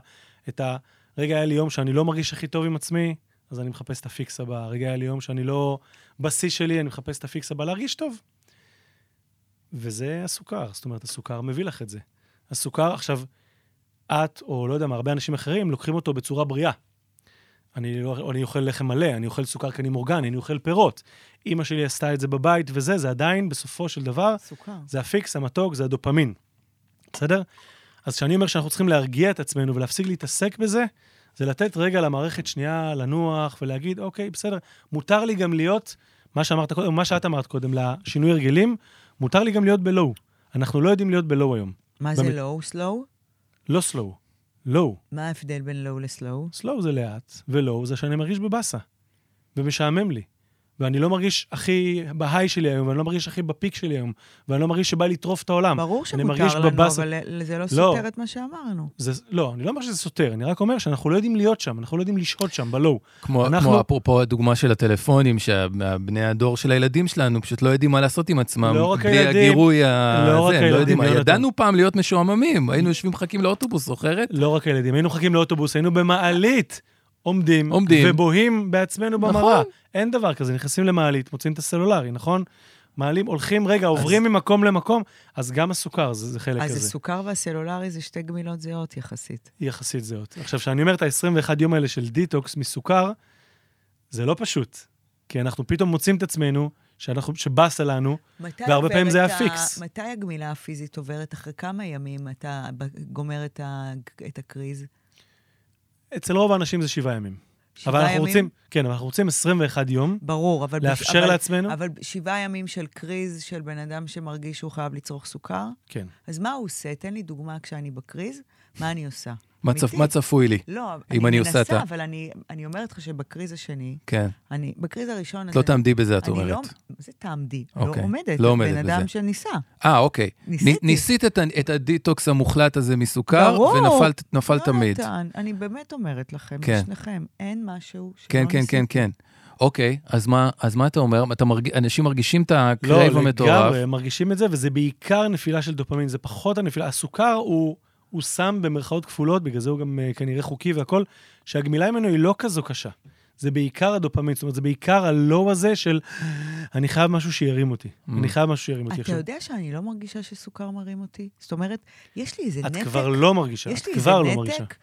Speaker 2: את ה... רגע, היה לי יום שאני לא מרגיש הכי טוב עם עצמי, אז אני מחפש את הפיקס הבא. רגע, היה לי יום שאני לא בשיא שלי, אני מחפש את הפיקס הבא להרגיש טוב. וזה הסוכר, זאת אומרת, הסוכר מביא לך את זה. הסוכר, עכשיו, את, או לא יודע מה, הרבה אנשים אחרים, לוקחים אותו בצורה בריאה. אני, לא, אני אוכל לחם מלא, אני אוכל סוכר קנים אורגני, אני אוכל פירות. אימא שלי עשתה את זה בבית וזה, זה עדיין, בסופו של דבר,
Speaker 1: סוכר.
Speaker 2: זה הפיקס, המתוק, זה הדופמין. בסדר? אז כשאני אומר שאנחנו צריכים להרגיע את עצמנו ולהפסיק להתעסק בזה, זה לתת רגע למערכת שנייה לנוח ולהגיד, אוקיי, בסדר, מותר לי גם להיות, מה שאמרת קודם, מה שאת אמרת קודם, לשינוי הרגלים, מותר לי גם להיות בלואו. אנחנו לא יודעים להיות בלואו היום.
Speaker 1: מה זה
Speaker 2: באמת.
Speaker 1: לואו? סלואו?
Speaker 2: לא סלואו, לואו.
Speaker 1: מה ההבדל בין לואו לסלואו?
Speaker 2: סלואו זה לאט, ולואו זה שאני מרגיש בבאסה, ומשעמם לי. ואני לא מרגיש הכי בהיי שלי היום, ואני לא מרגיש הכי בפיק שלי היום, ואני לא מרגיש שבא לטרוף את העולם.
Speaker 1: ברור
Speaker 2: אני
Speaker 1: שמותר
Speaker 2: מרגיש
Speaker 1: לנו,
Speaker 2: בבאסה.
Speaker 1: אבל ל- זה לא סותר את מה שאמרנו.
Speaker 2: זה, לא, אני לא אומר שזה סותר, אני רק אומר שאנחנו לא יודעים להיות שם, אנחנו לא יודעים לשהות שם, בלואו.
Speaker 3: כמו,
Speaker 2: אנחנו-
Speaker 3: אנחנו... כמו אפרופו הדוגמה של הטלפונים, שבני הדור של הילדים שלנו פשוט לא יודעים מה לעשות עם עצמם.
Speaker 2: לא רק
Speaker 3: בלי
Speaker 2: הילדים,
Speaker 3: הגירוי
Speaker 2: לא רק
Speaker 3: הזה, הם לא
Speaker 2: הילדים,
Speaker 3: יודעים מה.
Speaker 2: יונתן.
Speaker 3: ידענו פעם להיות משועממים, היינו יושבים מחכים לאוטובוס, זוכרת?
Speaker 2: לא רק הילדים, היינו מחכים לאוטובוס, היינו במעלית, עומדים,
Speaker 3: עומדים.
Speaker 2: ובוהים בעצמנו במראה.
Speaker 3: נכון.
Speaker 2: אין דבר כזה, נכנסים למעלית, מוצאים את הסלולרי, נכון? מעלים, הולכים, רגע, עוברים ממקום למקום, אז גם הסוכר זה, זה חלק
Speaker 1: אז
Speaker 2: כזה,
Speaker 1: הסוכר והסלולרי זה שתי גמילות זהות יחסית.
Speaker 2: יחסית זהות. עכשיו, כשאני אומר את ה-21 יום האלה של דיטוקס מסוכר, זה לא פשוט, כי אנחנו פתאום מוצאים את עצמנו, שאנחנו, שבאסה לנו,
Speaker 1: מתי
Speaker 2: והרבה
Speaker 1: עוברת
Speaker 2: פעמים זה
Speaker 1: ה-
Speaker 2: הפיקס.
Speaker 1: מתי הגמילה הפיזית עוברת? אחרי כמה ימים אתה ב- גומר את ה- את הקריז?
Speaker 2: אצל רוב האנשים זה שבעה ימים.
Speaker 1: שבעה
Speaker 2: אבל אנחנו
Speaker 1: ימים?
Speaker 2: רוצים, כן, אבל אנחנו רוצים 21 יום,
Speaker 1: ברור, אבל... בש-
Speaker 2: לאפשר
Speaker 1: אבל-
Speaker 2: לעצמנו?
Speaker 1: אבל שבעה ימים של קריז של בן אדם שמרגיש שהוא חייב לצרוך סוכר,
Speaker 2: כן.
Speaker 1: אז מה הוא עושה? תן לי דוגמה כשאני בקריז, מה אני עושה?
Speaker 3: מה צפ-
Speaker 1: אמיתי.
Speaker 3: מה צפוי לי?
Speaker 1: לא, אני
Speaker 3: אם אני עושה את
Speaker 1: מנסה,
Speaker 3: ה-
Speaker 1: אבל אני, אני אומרת לך שבקריז השני,
Speaker 3: כן.
Speaker 1: אני, בקריז הראשון
Speaker 3: את
Speaker 1: הזה...
Speaker 3: לא תעמדי בזה, את
Speaker 1: אני
Speaker 3: אומרת.
Speaker 1: לא, זה תעמדי,
Speaker 3: אוקיי,
Speaker 1: לא עומדת.
Speaker 3: לא עומדת
Speaker 1: בן אדם
Speaker 3: בזה.
Speaker 1: שניסה.
Speaker 3: אה, אוקיי.
Speaker 1: ניסיתי.
Speaker 3: נ- ניסית את, ה- את הדיטוקס המוחלט הזה מסוכר,
Speaker 1: ברור.
Speaker 3: ונפלת נפל תמיד.
Speaker 1: יונתן, לא אני באמת אומרת לכם,
Speaker 3: כן.
Speaker 1: לשניכם, אין משהו שלא
Speaker 3: כן, כן, כן,
Speaker 1: לא ניסיתי.
Speaker 3: כן. אוקיי, אז מה, אז מה אתה אומר? אתה מרג... אנשים מרגישים את הקרייב
Speaker 2: לא,
Speaker 3: המטורף.
Speaker 2: לגמרי, הם מרגישים את זה, וזה בעיקר נפילה של דופמין, זה פחות הנפילה. הסוכר הוא, הוא סם במרכאות כפולות, בגלל זה הוא גם אה, כנראה חוקי והכול, שהגמילה ממנו היא לא כזו קשה. זה בעיקר הדופמין, זאת אומרת, זה בעיקר הלואו הזה של אני חייב משהו שירים אותי. אני חייב משהו שירים אותי
Speaker 1: אתה
Speaker 2: עכשיו.
Speaker 1: יודע שאני לא מרגישה שסוכר מרים אותי? זאת אומרת, יש לי איזה
Speaker 2: את
Speaker 1: נתק.
Speaker 2: כבר לא מרגישה, את
Speaker 1: יש לי איזה
Speaker 2: כבר לא מרגישה.
Speaker 1: נתק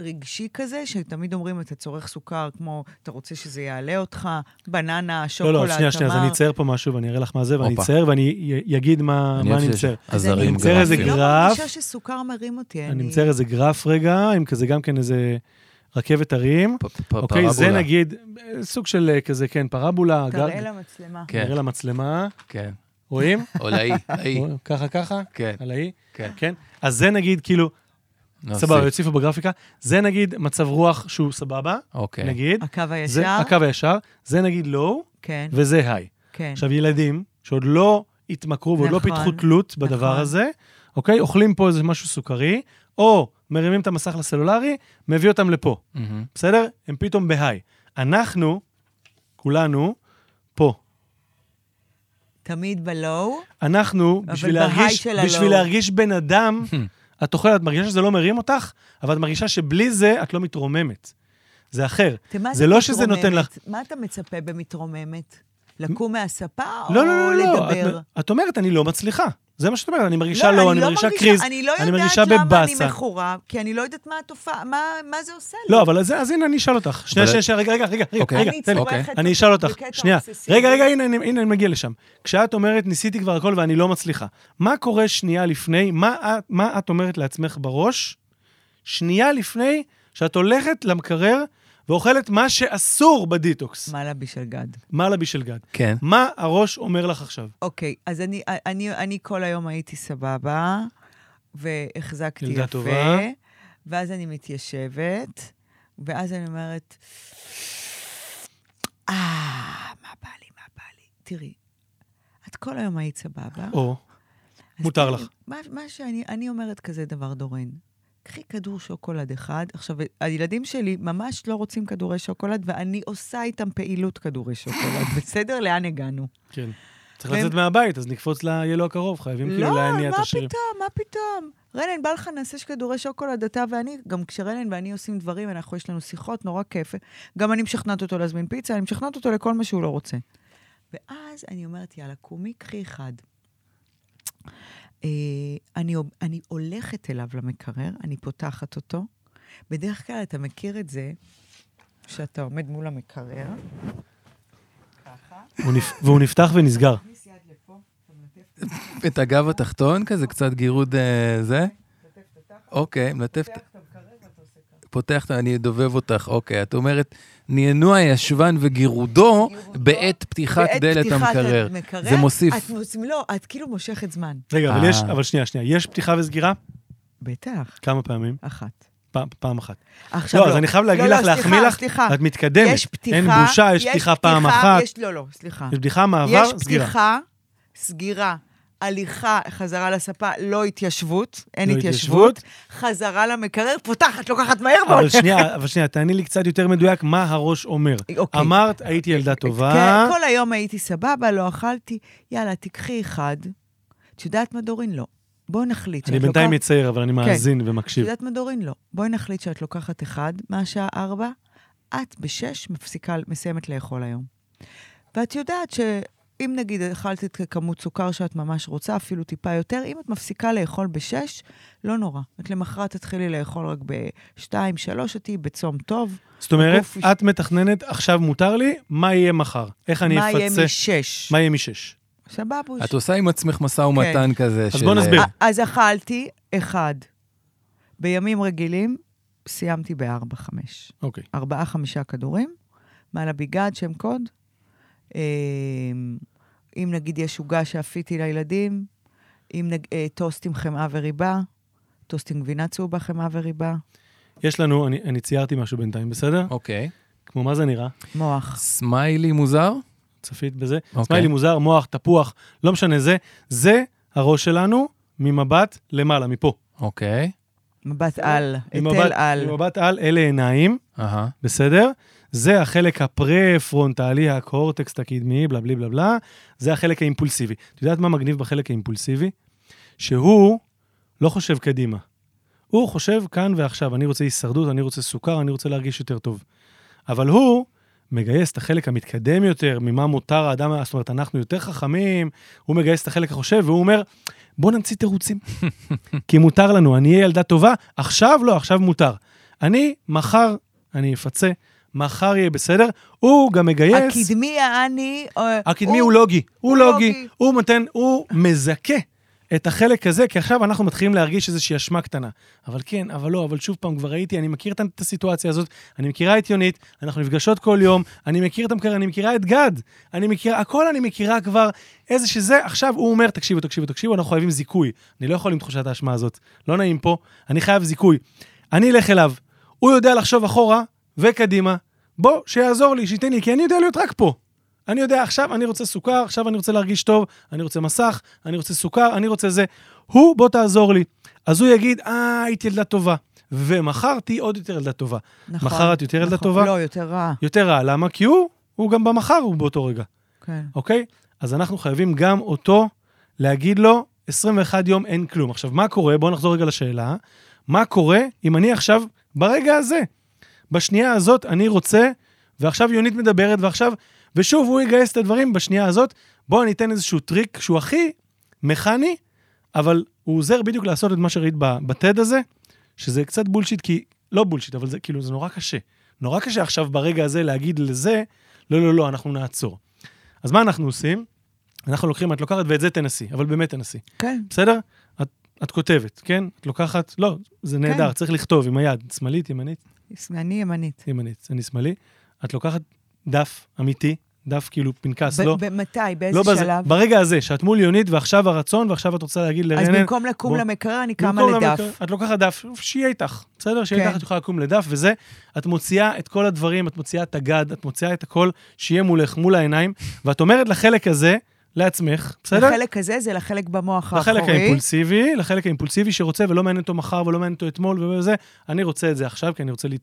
Speaker 1: רגשי כזה, שתמיד אומרים, אתה צורך סוכר, כמו, אתה רוצה שזה יעלה אותך, בננה,
Speaker 2: לא,
Speaker 1: שוקולד,
Speaker 2: לא, שנייה, שנייה, אז
Speaker 1: תמר.
Speaker 2: אני אצייר פה משהו ואני אראה לך מה זה, ואני
Speaker 3: הופה.
Speaker 2: אצייר ואני י- אגיד מה מה אני
Speaker 3: אוהב שיש
Speaker 2: מצייר.
Speaker 1: אז
Speaker 3: עזרים
Speaker 2: אני מצייר איזה
Speaker 3: גרפיים.
Speaker 1: אני לא
Speaker 2: גרף.
Speaker 1: מרגישה שסוכר מרים אותי.
Speaker 2: אני מצייר איזה גרף רגע, עם כזה גם כן איזה רכבת הרים.
Speaker 3: פ- פ-
Speaker 2: אוקיי, זה
Speaker 3: פרבולה.
Speaker 2: נגיד אה, סוג של אה, כזה, כן, פרבולה,
Speaker 1: תראה
Speaker 2: גר-
Speaker 1: למצלמה.
Speaker 3: כן.
Speaker 2: נראה למצלמה,
Speaker 3: כן.
Speaker 2: רואים?
Speaker 3: או לאי, לאי.
Speaker 2: רואים? ככה ככה,
Speaker 3: כן.
Speaker 2: על האי,
Speaker 3: כן. לא,
Speaker 2: כן. אז זה נגיד, כאילו,
Speaker 3: נוסיף.
Speaker 2: סבבה, יוסיפו בגרפיקה, זה נגיד מצב רוח שהוא סבבה,
Speaker 3: אוקיי.
Speaker 2: נגיד,
Speaker 1: הקו הישר,
Speaker 2: זה הקו הישר, זה נגיד לואו,
Speaker 1: כן,
Speaker 2: וזה היי.
Speaker 1: כן.
Speaker 2: עכשיו, ילדים שעוד לא התמכרו ועוד לא
Speaker 1: נכון,
Speaker 2: פיתחו תלות בדבר
Speaker 1: נכון.
Speaker 2: הזה, אוקיי? אוכלים פה איזה משהו סוכרי, או מרימים את המסך לסלולרי, מביא אותם לפה,
Speaker 3: מהמם.
Speaker 2: בסדר? הם פתאום בהיי. אנחנו, כולנו, פה.
Speaker 1: תמיד בלואו,
Speaker 2: אנחנו,
Speaker 1: אבל
Speaker 2: בשביל
Speaker 1: בהיי
Speaker 2: להרגיש,
Speaker 1: של הלא.
Speaker 2: בשביל להרגיש בן אדם,
Speaker 3: Hmm.
Speaker 2: את אוכלת, את מרגישה שזה לא מרים אותך, אבל את מרגישה שבלי זה את לא מתרוממת. זה אחר.
Speaker 1: אתה מה
Speaker 2: זה לא שזה נותן לך...
Speaker 1: מתרוממת? מה אתה מצפה במתרוממת? לקום מהספה או
Speaker 2: לא, לא, לא, לא.
Speaker 1: לדבר?
Speaker 2: את, את אומרת, אני לא מצליחה. זה מה שאת אומרת, אני מרגישה לא,
Speaker 1: לא,
Speaker 2: אני,
Speaker 1: לא
Speaker 2: מרגישה קריז,
Speaker 1: אני לא
Speaker 2: אני
Speaker 1: יודעת
Speaker 2: מרגישה
Speaker 1: למה
Speaker 2: בבאסה.
Speaker 1: אני מכורה, כי אני לא יודעת מה התופעה, מה, מה זה עושה לי.
Speaker 2: לא, אבל אז, אז הנה, אני אשאל אותך. שנייה,
Speaker 3: אבל-
Speaker 2: שנייה, שנייה, רגע, רגע, רגע, רגע,
Speaker 3: אוקיי.
Speaker 2: רגע,
Speaker 1: אני
Speaker 2: תן לי.
Speaker 1: צורכת
Speaker 2: אני אשאל אותך,
Speaker 1: בקטע
Speaker 2: שנייה.
Speaker 1: אובססיבי.
Speaker 2: רגע, רגע, הנה, אני- הנה, אני מגיע לשם. כשאת אומרת, ניסיתי כבר הכל ואני לא מצליחה, מה קורה שנייה לפני, מה את- מה את אומרת לעצמך בראש, שנייה לפני שאת הולכת למקרר ואוכלת מה שאסור בדיטוקס,
Speaker 1: מה לבי של גד?
Speaker 2: מעלה בשלגג?
Speaker 3: כן.
Speaker 2: מה הראש אומר לך עכשיו?
Speaker 1: אוקיי, אז אני, אני, אני כל היום הייתי סבבה, והחזקתי
Speaker 2: ילדה
Speaker 1: יפה,
Speaker 2: טובה.
Speaker 1: ואז אני מתיישבת, ואז אני אומרת, אה, מה בא לי, מה בא לי? תראי, את כל היום היית סבבה,
Speaker 2: או,
Speaker 1: אז
Speaker 2: מותר
Speaker 1: תראי,
Speaker 2: לך.
Speaker 1: מה, מה שאני אני אומרת כזה דבר, דורין. קחי כדור שוקולד אחד. עכשיו, הילדים שלי ממש לא רוצים כדורי שוקולד, ואני עושה איתם פעילות כדורי שוקולד. בסדר? לאן הגענו?
Speaker 2: כן. צריך
Speaker 1: והם-
Speaker 2: לצאת מהבית, אז נקפוץ ליהיה לו הקרוב, חייבים כאילו
Speaker 1: לא,
Speaker 2: להניע את
Speaker 1: מה
Speaker 2: השרירים.
Speaker 1: פתאום, מה פתאום? רנן, בא לך נעשה שכדורי שוקולד, אתה ואני, גם כשרנן ואני עושים דברים, אנחנו, יש לנו שיחות, נורא כיף. גם אני משכנעת אותו להזמין פיצה, אני משכנעת אותו לכל מה שהוא לא רוצה. ואז אני אומרת, יאללה, קומי, קחי אחד. אה, אני, אני הולכת אליו למקרר, אני פותחת אותו. בדרך כלל אתה מכיר את זה, שאתה עומד מול המקרר. ככה,
Speaker 2: הוא נפ- והוא נפתח ונסגר.
Speaker 1: מכניס יד לפה, אתה מלטף,
Speaker 3: את הגב התחתון כזה, קצת גירוד אה, זה?
Speaker 1: מלטף את התחת,
Speaker 3: אוקיי, מלטף,
Speaker 1: פותח את המקרר ואתה עושה ככה.
Speaker 3: פותח, את ה- אני אדובב אותך, אוקיי. את אומרת, נענו הישבן וגירודו בעת פתיחת
Speaker 1: בעת
Speaker 3: דלת
Speaker 1: פתיחת
Speaker 3: המקרר.
Speaker 1: המקרר,
Speaker 3: זה מוסיף.
Speaker 1: את מוס... לא, את כאילו מושכת זמן.
Speaker 2: רגע, אבל
Speaker 3: אה.
Speaker 2: יש, אבל שנייה, שנייה, יש פתיחה וסגירה?
Speaker 1: בטח,
Speaker 2: כמה פעמים?
Speaker 1: אחת.
Speaker 2: פעם- פעם אחת.
Speaker 1: עכשיו
Speaker 2: לא, אז אני חייב להגיד
Speaker 1: לא,
Speaker 2: לך,
Speaker 1: לא,
Speaker 2: להחמיא
Speaker 1: סליחה,
Speaker 2: לך,
Speaker 1: סליחה.
Speaker 2: את מתקדמת.
Speaker 1: יש פתיחה,
Speaker 2: אין בושה, יש פתיחה פעם
Speaker 1: פתיחה,
Speaker 2: אחת.
Speaker 1: יש, לא, לא, סליחה.
Speaker 2: יש פתיחה,
Speaker 1: יש
Speaker 2: מעבר, סגירה.
Speaker 1: פתיחה, סגירה. הליכה, חזרה לספה, לא התיישבות, אין
Speaker 2: לא
Speaker 1: התיישבות,
Speaker 2: התיישבות.
Speaker 1: חזרה למקרר, פותחת, לוקחת מהר
Speaker 2: אבל
Speaker 1: מאוד.
Speaker 2: שנייה, אבל שנייה, תעני לי קצת יותר מדויק מה הראש אומר.
Speaker 1: אוקיי.
Speaker 2: אמרת, הייתי ילדה טובה,
Speaker 1: כן, כל היום הייתי סבבה, לא אכלתי, יאללה, תיקחי אחד. את יודעת מה, דורין? לא. בואי נחליט.
Speaker 2: אני
Speaker 1: שאת כן.
Speaker 2: בינתיים
Speaker 1: לוקחת-
Speaker 2: מצייר, אבל אני מאזין ומקשיב.
Speaker 1: את יודעת מה דורין? לא. בואי נחליט שאת לוקחת אחד מהשעה ארבע, את בשש מפסיקה, מסיימת לאכול היום. ואת יודעת שאם נגיד אכלת את כמות סוכר שאת ממש רוצה, אפילו טיפה יותר, אם את מפסיקה לאכול בשש, לא נורא. את למחרת תתחילי לאכול רק בשתיים, שלוש, את תהיי בצום טוב.
Speaker 2: זאת אומרת,
Speaker 1: הגוף
Speaker 2: את מתכננת, עכשיו מותר לי, מה יהיה מחר? איך אני
Speaker 1: מה יהיה
Speaker 2: אפצה?
Speaker 1: משש?
Speaker 2: מה יהיה משש?
Speaker 1: סבבוש.
Speaker 3: את עושה עם עצמך משא
Speaker 1: כן.
Speaker 3: ומתן כזה.
Speaker 2: אז
Speaker 3: של,
Speaker 2: בוא נסביר.
Speaker 3: אה,
Speaker 1: א- אז אכלתי אחד. בימים רגילים סיימתי בארבע, חמש.
Speaker 2: אוקיי.
Speaker 1: ארבעה, חמישה כדורים, מעל הביגד, שם קוד. אה, אם נגיד יש עוגה שאפיתי לילדים, אם נג... אה, טוסט עם חמאה וריבה, טוסט עם גבינה צהובה, חמאה וריבה,
Speaker 2: יש לנו, אני אני ציירתי משהו בינתיים, בסדר?
Speaker 3: אוקיי.
Speaker 2: כמו מה זה נראה?
Speaker 1: מוח.
Speaker 3: סמיילי מוזר?
Speaker 2: צפית בזה.
Speaker 3: אוקיי.
Speaker 2: סמיילי מוזר, מוח, תפוח, לא משנה זה. זה הראש שלנו ממבט למעלה, מפה.
Speaker 3: אוקיי.
Speaker 1: מבט על,
Speaker 2: ממבט-
Speaker 1: היטל על.
Speaker 2: ממבט על, אלה עיניים,
Speaker 3: אהה.
Speaker 2: בסדר? זה החלק הפרה-פרונטלי, הקורטקס הקדמי, בלה בלי בלה בלה. זה החלק האימפולסיבי. את יודעת מה מגניב בחלק האימפולסיבי? שהוא לא חושב קדימה. הוא חושב כאן ועכשיו, אני רוצה הישרדות, אני רוצה סוכר, אני רוצה להרגיש יותר טוב. אבל הוא מגייס את החלק המתקדם יותר, ממה מותר האדם, זאת אומרת, אנחנו יותר חכמים, הוא מגייס את החלק החושב, והוא אומר, בוא נמציא תירוצים. כי מותר לנו, אני אהיה ילדה טובה, עכשיו לא, עכשיו מותר. אני, מחר, אני אפצה, מחר יהיה בסדר, הוא גם מגייס...
Speaker 1: הקדמי העני... אה,
Speaker 2: הקדמי הוא לא- לוגי, הוא
Speaker 1: הוא
Speaker 2: לוגי,
Speaker 1: לוגי.
Speaker 2: הוא נותן, הוא מזכה את החלק הזה, כי עכשיו אנחנו מתחילים להרגיש איזושהי אשמה קטנה. אבל כן, אבל לא, אבל שוב פעם, כבר הייתי, אני מכיר את את הסיטואציה הזאת, אני מכירה את יונית, אנחנו נפגשות כל יום, אני מכיר את המקרר, אני מכירה את גד, אני מכירה, הכל אני מכירה כבר, איזה שזה, עכשיו הוא אומר, תקשיבו, תקשיבו, תקשיבו, אנחנו חייבים זיכוי. אני לא יכול עם תחושת האשמה הזאת, לא נעים פה, אני חייב זיכוי. אני אלך אליו, הוא יודע לחשוב אחורה וקדימה, בוא, שיעזור לי, שייתן לי, כי אני יודע להיות רק פה. אני יודע, עכשיו אני רוצה סוכר, עכשיו אני רוצה להרגיש טוב, אני רוצה מסך, אני רוצה סוכר, אני רוצה זה. הוא, בוא תעזור לי. אז הוא יגיד, אה, היית ילדה טובה. ומחר תהיי עוד יותר ילדה טובה.
Speaker 1: נכון,
Speaker 2: מחר את יותר ילדה
Speaker 1: נכון.
Speaker 2: טובה?
Speaker 1: לא, יותר רע.
Speaker 2: יותר רע, למה? כי הוא, הוא גם במחר, הוא באותו רגע,
Speaker 1: כן.
Speaker 2: אוקיי? אז אנחנו חייבים גם אותו להגיד לו, 21 יום אין כלום. עכשיו, מה קורה? בואו נחזור רגע לשאלה. מה קורה אם אני עכשיו, ברגע הזה, בשנייה הזאת אני רוצה, ועכשיו יונית מדברת, ועכשיו, ושוב הוא יגייס את הדברים בשנייה הזאת, בואו אני אתן איזשהו טריק שהוא הכי מכני, אבל הוא עוזר בדיוק לעשות את מה שראית ב- בטד הזה, שזה קצת בולשיט, כי, לא בולשיט, אבל זה כאילו, זה נורא קשה. נורא קשה עכשיו ברגע הזה להגיד לזה, לא, לא, לא, אנחנו נעצור. אז מה אנחנו עושים? אנחנו לוקחים, את לוקחת ואת זה תנסי, אבל באמת תנסי.
Speaker 1: כן.
Speaker 2: בסדר? את, את כותבת, כן? את לוקחת, לא, זה נהדר,
Speaker 1: כן.
Speaker 2: צריך לכתוב עם היד, שמאלית, ימנית,
Speaker 1: אני ימנית.
Speaker 2: ימנית, אני שמאלי. את לוקחת דף אמיתי, דף כאילו פנקס, לא,
Speaker 1: ב- מתי? באיזה
Speaker 2: לא בזה,
Speaker 1: שלב?
Speaker 2: ברגע הזה, שאת מול יונית ועכשיו הרצון, ועכשיו את רוצה להגיד
Speaker 1: אז
Speaker 2: לרנן...
Speaker 1: במקום לקום
Speaker 2: בוא-
Speaker 1: למקרר, אני קמה
Speaker 2: במקום
Speaker 1: לדף.
Speaker 2: למקרא, את לוקחת דף, שיהיה איתך, בסדר? שיהיה
Speaker 1: כן.
Speaker 2: איתך, את יכולה לקום לדף, וזה, את מוציאה את כל הדברים, את מוציאה את הגד, את מוציאה את הכל, שיהיה מולך, מול העיניים, ואת אומרת לחלק הזה, לעצמך, בסדר?
Speaker 1: החלק הזה זה לחלק במוח האחורי.
Speaker 2: לחלק האימפולסיבי, לחלק האימפולסיבי שרוצה ולא מעניין אותו מחר ולא מעניין אותו אתמול וזה, אני רוצה את זה עכשיו כי אני רוצה, לי...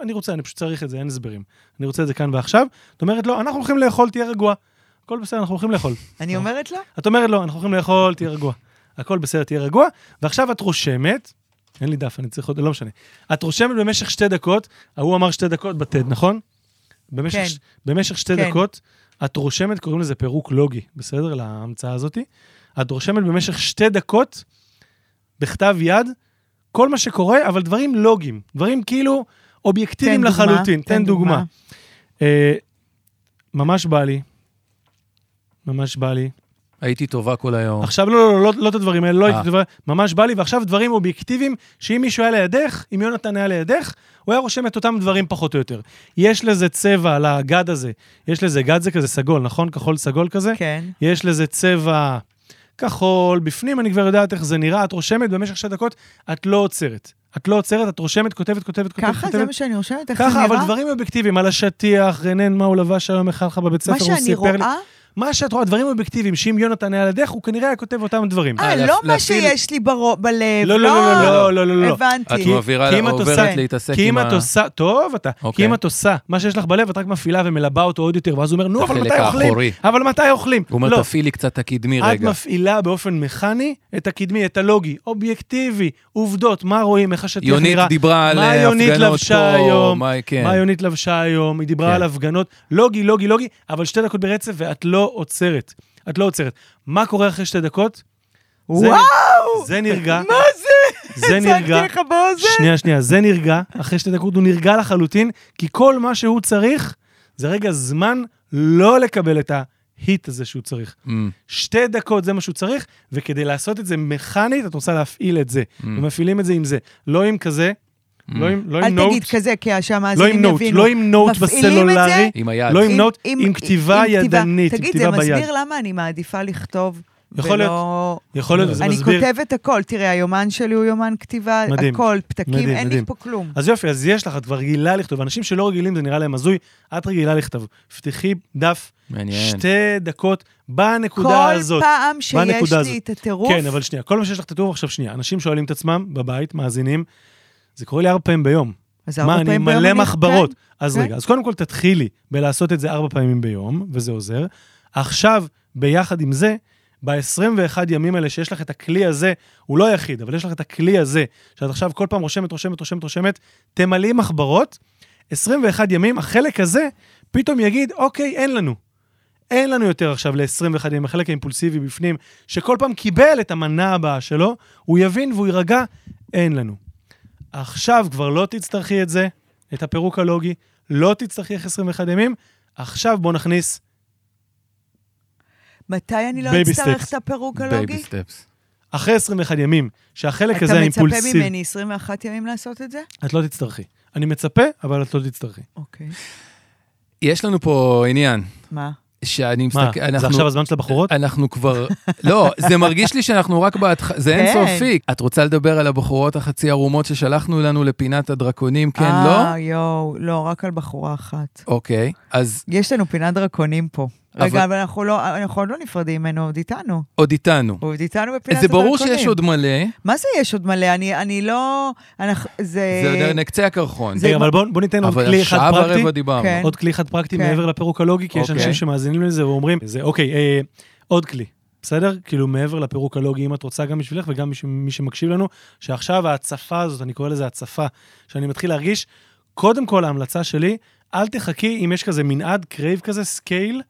Speaker 2: אני רוצה, אני פשוט צריך את זה, אין הסברים. אני רוצה את זה כאן ועכשיו. את אומרת לו, אנחנו הולכים לאכול, תהיה רגוע. הכל בסדר, אנחנו הולכים לאכול.
Speaker 1: אני אומרת לה,
Speaker 2: את אומרת לו, אנחנו הולכים לאכול, תהיה רגוע. הכל בסדר, תהיה רגוע. ועכשיו את רושמת, אין לי דף, אני צריך עוד, לא משנה. את רושמת במשך שתי דקות, ההוא אמר שתי דקות בטד, נכון? במשך,
Speaker 1: כן.
Speaker 2: ש- במשך שתי
Speaker 1: כן.
Speaker 2: דקות, את רושמת, קוראים לזה פירוק לוגי, בסדר? להמצאה הזאתי. את רושמת במשך שתי דקות, בכתב יד, כל מה שקורה, אבל דברים לוגיים. דברים כאילו אובייקטיביים
Speaker 1: תן כן, דוגמה,
Speaker 2: לחלוטין.
Speaker 1: תן
Speaker 2: תן דוגמה.
Speaker 1: דוגמה.
Speaker 2: אה, ממש בא לי. ממש בא לי.
Speaker 3: הייתי טובה כל היום.
Speaker 2: עכשיו לא, לא, לא, לא את הדברים האלה, לא
Speaker 3: נכון. אה.
Speaker 2: הייתי דבר, ממש בא לי, ועכשיו דברים אובייקטיביים, שאם מישהו היה לידך, אם יונתן היה לידך, הוא היה רושם את אותם דברים פחות או יותר. יש לזה צבע לגד הזה, יש לזה גד זה כזה סגול, נכון? כחול סגול כזה?
Speaker 1: כן.
Speaker 2: יש לזה צבע כחול, בפנים אני כבר יודעת איך זה נראה, את רושמת במשך שתי דקות, את לא עוצרת. את לא עוצרת, את רושמת, כותבת, כותבת, כותבת.
Speaker 1: ככה זה
Speaker 2: כותבת.
Speaker 1: מה שאני רושמת, איך זה
Speaker 2: ככה, אבל
Speaker 1: נראה?
Speaker 2: דברים אובייקטיביים, על השטיח, רנן, מה הוא לבש היום, איך היה לך בבית ספר,
Speaker 1: מה
Speaker 2: הוא סיפר לי.
Speaker 1: שאני רואה,
Speaker 2: מה שאת רואה, דברים אובייקטיביים, שאם יונתן היה לידך, הוא כנראה היה כותב אותם דברים.
Speaker 1: אה,
Speaker 3: אה,
Speaker 1: לא
Speaker 3: להפ-
Speaker 1: מה
Speaker 3: להפעיל-
Speaker 1: שיש לי ברו- בלב,
Speaker 2: לא, לא, לא, לא, לא, לא, לא, לא.
Speaker 1: הבנתי.
Speaker 3: את מעבירה,
Speaker 2: כי אם את
Speaker 3: עוברת
Speaker 2: עושה-
Speaker 3: להתעסק
Speaker 2: כי
Speaker 3: עם
Speaker 2: אם
Speaker 3: ה...
Speaker 2: את עושה, טוב אתה,
Speaker 3: אוקיי.
Speaker 2: כי אם את עושה מה שיש לך בלב, את רק מפעילה ומלבה אותו עוד יותר, ואז הוא אומר, נו, אבל
Speaker 3: החלק
Speaker 2: מתי אוכלים?
Speaker 3: האחורי.
Speaker 2: אבל מתי אוכלים?
Speaker 3: הוא אומר,
Speaker 2: לא,
Speaker 3: תפעילי קצת את הקדמי
Speaker 2: את
Speaker 3: רגע.
Speaker 2: מפעילה באופן מכני את הקדמי, את הלוגי, אובייקטיבי, עובדות, מה רואים, איך השטיח נראה.
Speaker 3: יונית דיברה על
Speaker 2: מה
Speaker 3: אה,
Speaker 2: יונית
Speaker 3: הפגנות
Speaker 2: לבשה
Speaker 3: פה,
Speaker 2: היום?
Speaker 3: מה כן.
Speaker 2: מה יונית לבשה היום, היא דיברה
Speaker 3: כן.
Speaker 2: על הפגנות, לוגי, לוגי, לוגי, אבל שתי דקות ברצף ואת לא עוצרת. את לא עוצרת. מה קורה אחרי שתי דקות? זה-
Speaker 1: וואו!
Speaker 2: זה נרגע.
Speaker 1: מה זה?
Speaker 2: זה נרגע.
Speaker 1: צעקתי לך באוזן.
Speaker 2: שנייה, שנייה, זה נרגע, אחרי שתי דקות הוא נרגע לחלוטין, כי כל מה שהוא צריך זה רגע זמן לא לקבל את ההיט הזה שהוא צריך.
Speaker 3: Mm,
Speaker 2: שתי דקות זה מה שהוא צריך, וכדי לעשות את זה מכנית, את רוצה להפעיל את זה. ומפעילים את זה עם זה, לא עם כזה, לא עם לא עם
Speaker 1: אל
Speaker 2: נוט,
Speaker 1: תגיד כזה, כי
Speaker 2: לא עם
Speaker 1: שהמאזינים
Speaker 2: נוט,
Speaker 1: יבינו.
Speaker 2: לא עם נוט
Speaker 1: מפעילים את זה?
Speaker 2: בסלולרי,
Speaker 3: עם היד.
Speaker 2: לא עם נוט, עם כתיבה ידנית, עם
Speaker 1: תגיד,
Speaker 2: כתיבה
Speaker 1: זה
Speaker 2: ביד.
Speaker 1: מסביר למה אני מעדיפה לכתוב.
Speaker 2: יכול להיות,
Speaker 1: ולא-
Speaker 2: יכול להיות, וזה
Speaker 1: אני
Speaker 2: מסביר.
Speaker 1: כותבת הכל, תראה, היומן שלי הוא יומן כתיבה,
Speaker 2: מדהים.
Speaker 1: הכל, פתקים,
Speaker 2: מדהים,
Speaker 1: אין לי
Speaker 2: מדהים.
Speaker 1: פה כלום.
Speaker 2: אז יופי, אז יש לך, את כבר רגילה לכתוב. אנשים שלא רגילים, זה נראה להם הזוי, את רגילה לכתוב. פתחי דף,
Speaker 3: מעניין.
Speaker 2: שתי דקות בנקודה
Speaker 1: כל
Speaker 2: הזאת.
Speaker 1: פעם שיש
Speaker 2: בנקודה
Speaker 1: לי
Speaker 2: הזאת.
Speaker 1: את הטירוף,
Speaker 2: כן, אבל שנייה, כל מה שיש לך כתוב עכשיו, שנייה, אנשים שואלים את עצמם בבית, מאזינים, זה קורה לי ארבע פעמים ביום.
Speaker 1: אז
Speaker 2: מה,
Speaker 1: הרבה
Speaker 2: אני
Speaker 1: פעמים ביום
Speaker 2: מלא
Speaker 1: אני-
Speaker 2: מחברות.
Speaker 1: כן,
Speaker 2: אז
Speaker 1: כן.
Speaker 2: רגע, אז קודם כל תתחילי בלעשות את זה ארבע פעמים ביום, וזה עוזר. עכשיו, ביחד עם זה, ב-21 ימים האלה שיש לך את הכלי הזה, הוא לא היחיד, אבל יש לך את הכלי הזה, שאת עכשיו כל פעם רושמת, רושמת, רושמת, רושמת, תמלאי מחברות, 21 ימים, החלק הזה פתאום יגיד, אוקיי, אין לנו. אין לנו יותר עכשיו ל-21 ימים, החלק האימפולסיבי בפנים, שכל פעם קיבל את המנה הבאה שלו, הוא יבין והוא יירגע, אין לנו. עכשיו כבר לא תצטרכי את זה, את הפירוק הלוגי, לא תצטרכי איך 21 ימים, עכשיו בוא נכניס,
Speaker 1: מתי אני לא
Speaker 2: Baby
Speaker 1: אצטרך
Speaker 2: steps.
Speaker 1: את הפירוק
Speaker 3: בייבי
Speaker 1: הלוגי?
Speaker 3: סטפס.
Speaker 2: אחרי 21 ימים, שהחלק
Speaker 1: אתה
Speaker 2: הזה
Speaker 1: מצפה
Speaker 2: האימפולסיבי,
Speaker 1: ממני 21 ימים לעשות את זה?
Speaker 2: את לא תצטרכי. אני מצפה, אבל את לא תצטרכי.
Speaker 1: אוקיי.
Speaker 3: יש לנו פה עניין,
Speaker 1: מה?
Speaker 3: שאני
Speaker 2: מה,
Speaker 3: מסתכל...
Speaker 2: זה
Speaker 3: אנחנו-
Speaker 2: עכשיו הזמן של הבחורות?
Speaker 3: אנחנו כבר... לא, זה מרגיש לי שאנחנו רק בהתחלה, זה
Speaker 1: כן.
Speaker 3: אינסופי. את רוצה לדבר על הבחורות החצי ערומות ששלחנו לנו לפינת הדרקונים, כן, לא?
Speaker 1: אה, יואו, לא, רק על בחורה אחת.
Speaker 3: אוקיי, אז
Speaker 1: יש לנו פינת דרקונים פה.
Speaker 3: אבל-
Speaker 1: רגע, אבל אנחנו לא- אנחנו עוד לא נפרדים ממנו, הוא עוד איתנו.
Speaker 3: עוד איתנו.
Speaker 1: הוא עוד איתנו בפינת
Speaker 3: זה
Speaker 1: הדרקונים.
Speaker 3: ברור שיש עוד מלא,
Speaker 1: מה זה יש עוד מלא? אני- אני לא... אנחנו- זה...
Speaker 3: זה עוד נקצה הקרחון.
Speaker 1: אה. זה-
Speaker 2: רגע, אבל בוא בוא ניתן עוד
Speaker 3: אבל
Speaker 2: כלי אחד
Speaker 3: שעה
Speaker 2: פרקטי.
Speaker 3: ורבע דיברנו.
Speaker 1: כן.
Speaker 2: עוד כלי אחד פרקטי
Speaker 1: כן.
Speaker 2: מעבר לפירוק הלוגי, כי יש
Speaker 3: אוקיי.
Speaker 2: אנשים שמאזינים לזה ואומרים, זה אוקיי, אה, עוד כלי, בסדר? כאילו מעבר לפירוק הלוגי, אם את רוצה, גם בשבילך וגם בשביל מי שמקשיב לנו, שעכשיו ההצפה הזאת, אני קורא לזה הצפה, שאני מתחיל להרגיש, קודם כל ההמלצה שלי, אל תחכי אם יש כזה מנעד קרייב כזה, סקייל.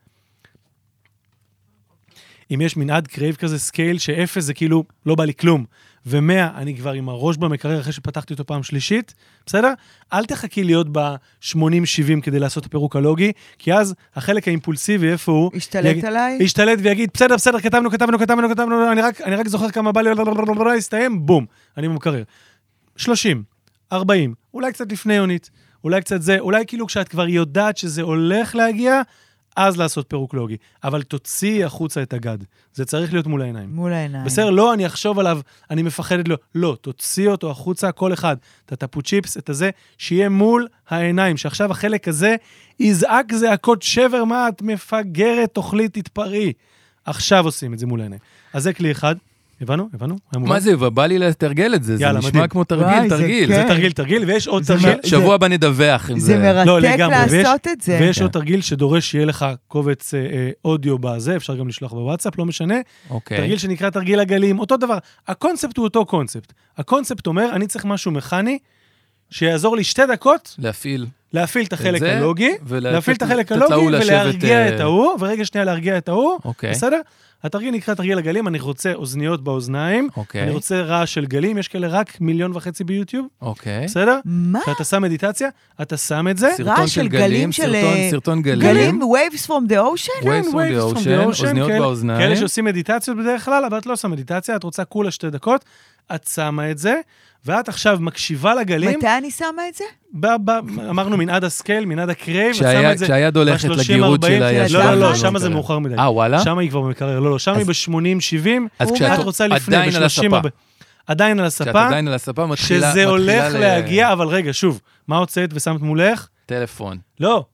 Speaker 2: אם יש מנעד קרייב כזה, סקייל, שאפס זה כאילו, לא בא לי כלום. ומאה, אני כבר עם הראש במקרר אחרי שפתחתי אותו פעם שלישית, בסדר? אל תחכי להיות ב-80-70 כדי לעשות את הפירוק הלוגי, כי אז החלק האימפולסיבי, איפה הוא?
Speaker 1: השתלט עליי?
Speaker 2: ישתלט ויגיד, בסדר, בסדר, כתבנו, כתבנו, כתבנו, כתבנו, אני רק, אני רק זוכר כמה בא לי, לא הסתיים, בום, אני במקרר. 30, 40, אולי קצת לפני יונית, אולי קצת זה, אולי כאילו כשאת כבר יודעת שזה הולך להגיע, אז לעשות פירוק לוגי. אבל תוציאי החוצה את הגד, זה צריך להיות מול העיניים.
Speaker 1: מול העיניים.
Speaker 2: בסדר, לא, אני אחשוב עליו, אני מפחדת לו. לא, תוציא אותו החוצה, כל אחד. את הטפו צ'יפס, את הזה, שיהיה מול העיניים, שעכשיו החלק הזה יזעק זעקות שבר, מה את מפגרת, תאכלי, תתפרעי. עכשיו עושים את זה מול העיניים. אז זה כלי אחד. הבנו? הבנו? היה מובן?
Speaker 3: מה זה, ובא לי לתרגל את זה, זה
Speaker 2: יאללה, מדהים.
Speaker 3: נשמע כמו
Speaker 1: וואי,
Speaker 3: תרגיל,
Speaker 1: זה
Speaker 3: תרגיל.
Speaker 1: כן.
Speaker 2: זה תרגיל, תרגיל, ויש עוד
Speaker 1: זה
Speaker 2: תרגיל.
Speaker 1: מה-
Speaker 3: שבוע הבא נדווח אם
Speaker 1: זה
Speaker 3: זה...
Speaker 2: לא,
Speaker 1: מרתק
Speaker 2: לגמרי, ויש-
Speaker 1: לעשות את זה.
Speaker 2: ויש עוד תרגיל שדורש שיהיה לך קובץ אה, אה, אודיו בזה, אפשר גם לשלוח בוואטסאפ, לא משנה.
Speaker 3: אוקיי.
Speaker 2: תרגיל שנקרא תרגיל הגלים, אותו דבר. הקונספט הוא אותו קונספט. הקונספט אומר, אני צריך משהו מכני, שיעזור לי שתי דקות
Speaker 3: להפעיל.
Speaker 2: להפעיל את החלק
Speaker 3: זה,
Speaker 2: הלוגי,
Speaker 3: ולתת-
Speaker 2: להפעיל את החלק
Speaker 3: לתת להוא
Speaker 2: הלוגי
Speaker 3: לשבת,
Speaker 2: ולהרגיע
Speaker 3: אה,
Speaker 2: את ההוא, ורגע שנייה להרגיע את ההוא,
Speaker 3: אוקיי.
Speaker 2: בסדר? התרגיל נקרא תרגיל הגלים, אני רוצה אוזניות באוזניים, אני
Speaker 3: אוקיי.
Speaker 2: רוצה רעש של גלים, יש כאלה רק מיליון וחצי ביוטיוב,
Speaker 3: אוקיי.
Speaker 2: בסדר?
Speaker 1: מה?
Speaker 2: כשאתה שם מדיטציה, אתה שם את זה,
Speaker 1: של
Speaker 3: סרטון של
Speaker 1: גלים
Speaker 3: גלים,
Speaker 1: של,
Speaker 3: סרטון-
Speaker 1: אה,
Speaker 3: סרטון גלים.
Speaker 1: גלים, waves from the ocean?
Speaker 3: Waves from the
Speaker 2: waves from the
Speaker 3: ocean,
Speaker 2: ocean,
Speaker 3: אוזניות
Speaker 2: כאלה-
Speaker 3: באוזניים.
Speaker 2: כן, כאלה שעושים מדיטציות בדרך כלל, אבל את לא עושה מדיטציה, את רוצה כולה שתי דקות, את שמה את זה, ואת עכשיו מקשיבה לגלים,
Speaker 1: מתי אני שמה את זה?
Speaker 2: ב- ב- אמרנו מנעד הסקייל, מנעד הקרייב, את שמה
Speaker 3: כשהיה-
Speaker 2: את זה
Speaker 3: כשהיד הולכת
Speaker 2: ב- 30,
Speaker 3: לגירות
Speaker 2: 40,
Speaker 3: שלה,
Speaker 1: של
Speaker 3: יש
Speaker 2: לא,
Speaker 3: לה-
Speaker 2: לא, לא,
Speaker 1: אחת.
Speaker 2: שמה זה מאוחר מדי.
Speaker 3: אה, וואלה?
Speaker 2: שם היא כבר במקרר, לא, לא, שם היא
Speaker 3: אז-
Speaker 2: ב-80-70,
Speaker 3: אז
Speaker 2: את
Speaker 3: כשאת
Speaker 2: רוצה לפני,
Speaker 3: עדיין על
Speaker 2: ב-30...
Speaker 3: הספה.
Speaker 2: עדיין על
Speaker 3: כשאת
Speaker 2: הספה,
Speaker 3: עדיין על הספה מתחילה...
Speaker 2: שזה
Speaker 3: מתחילה
Speaker 2: הולך
Speaker 3: ל-
Speaker 2: להגיע, אבל רגע, שוב, מה הוצאת ושמת מולך?
Speaker 3: טלפון.
Speaker 2: לא,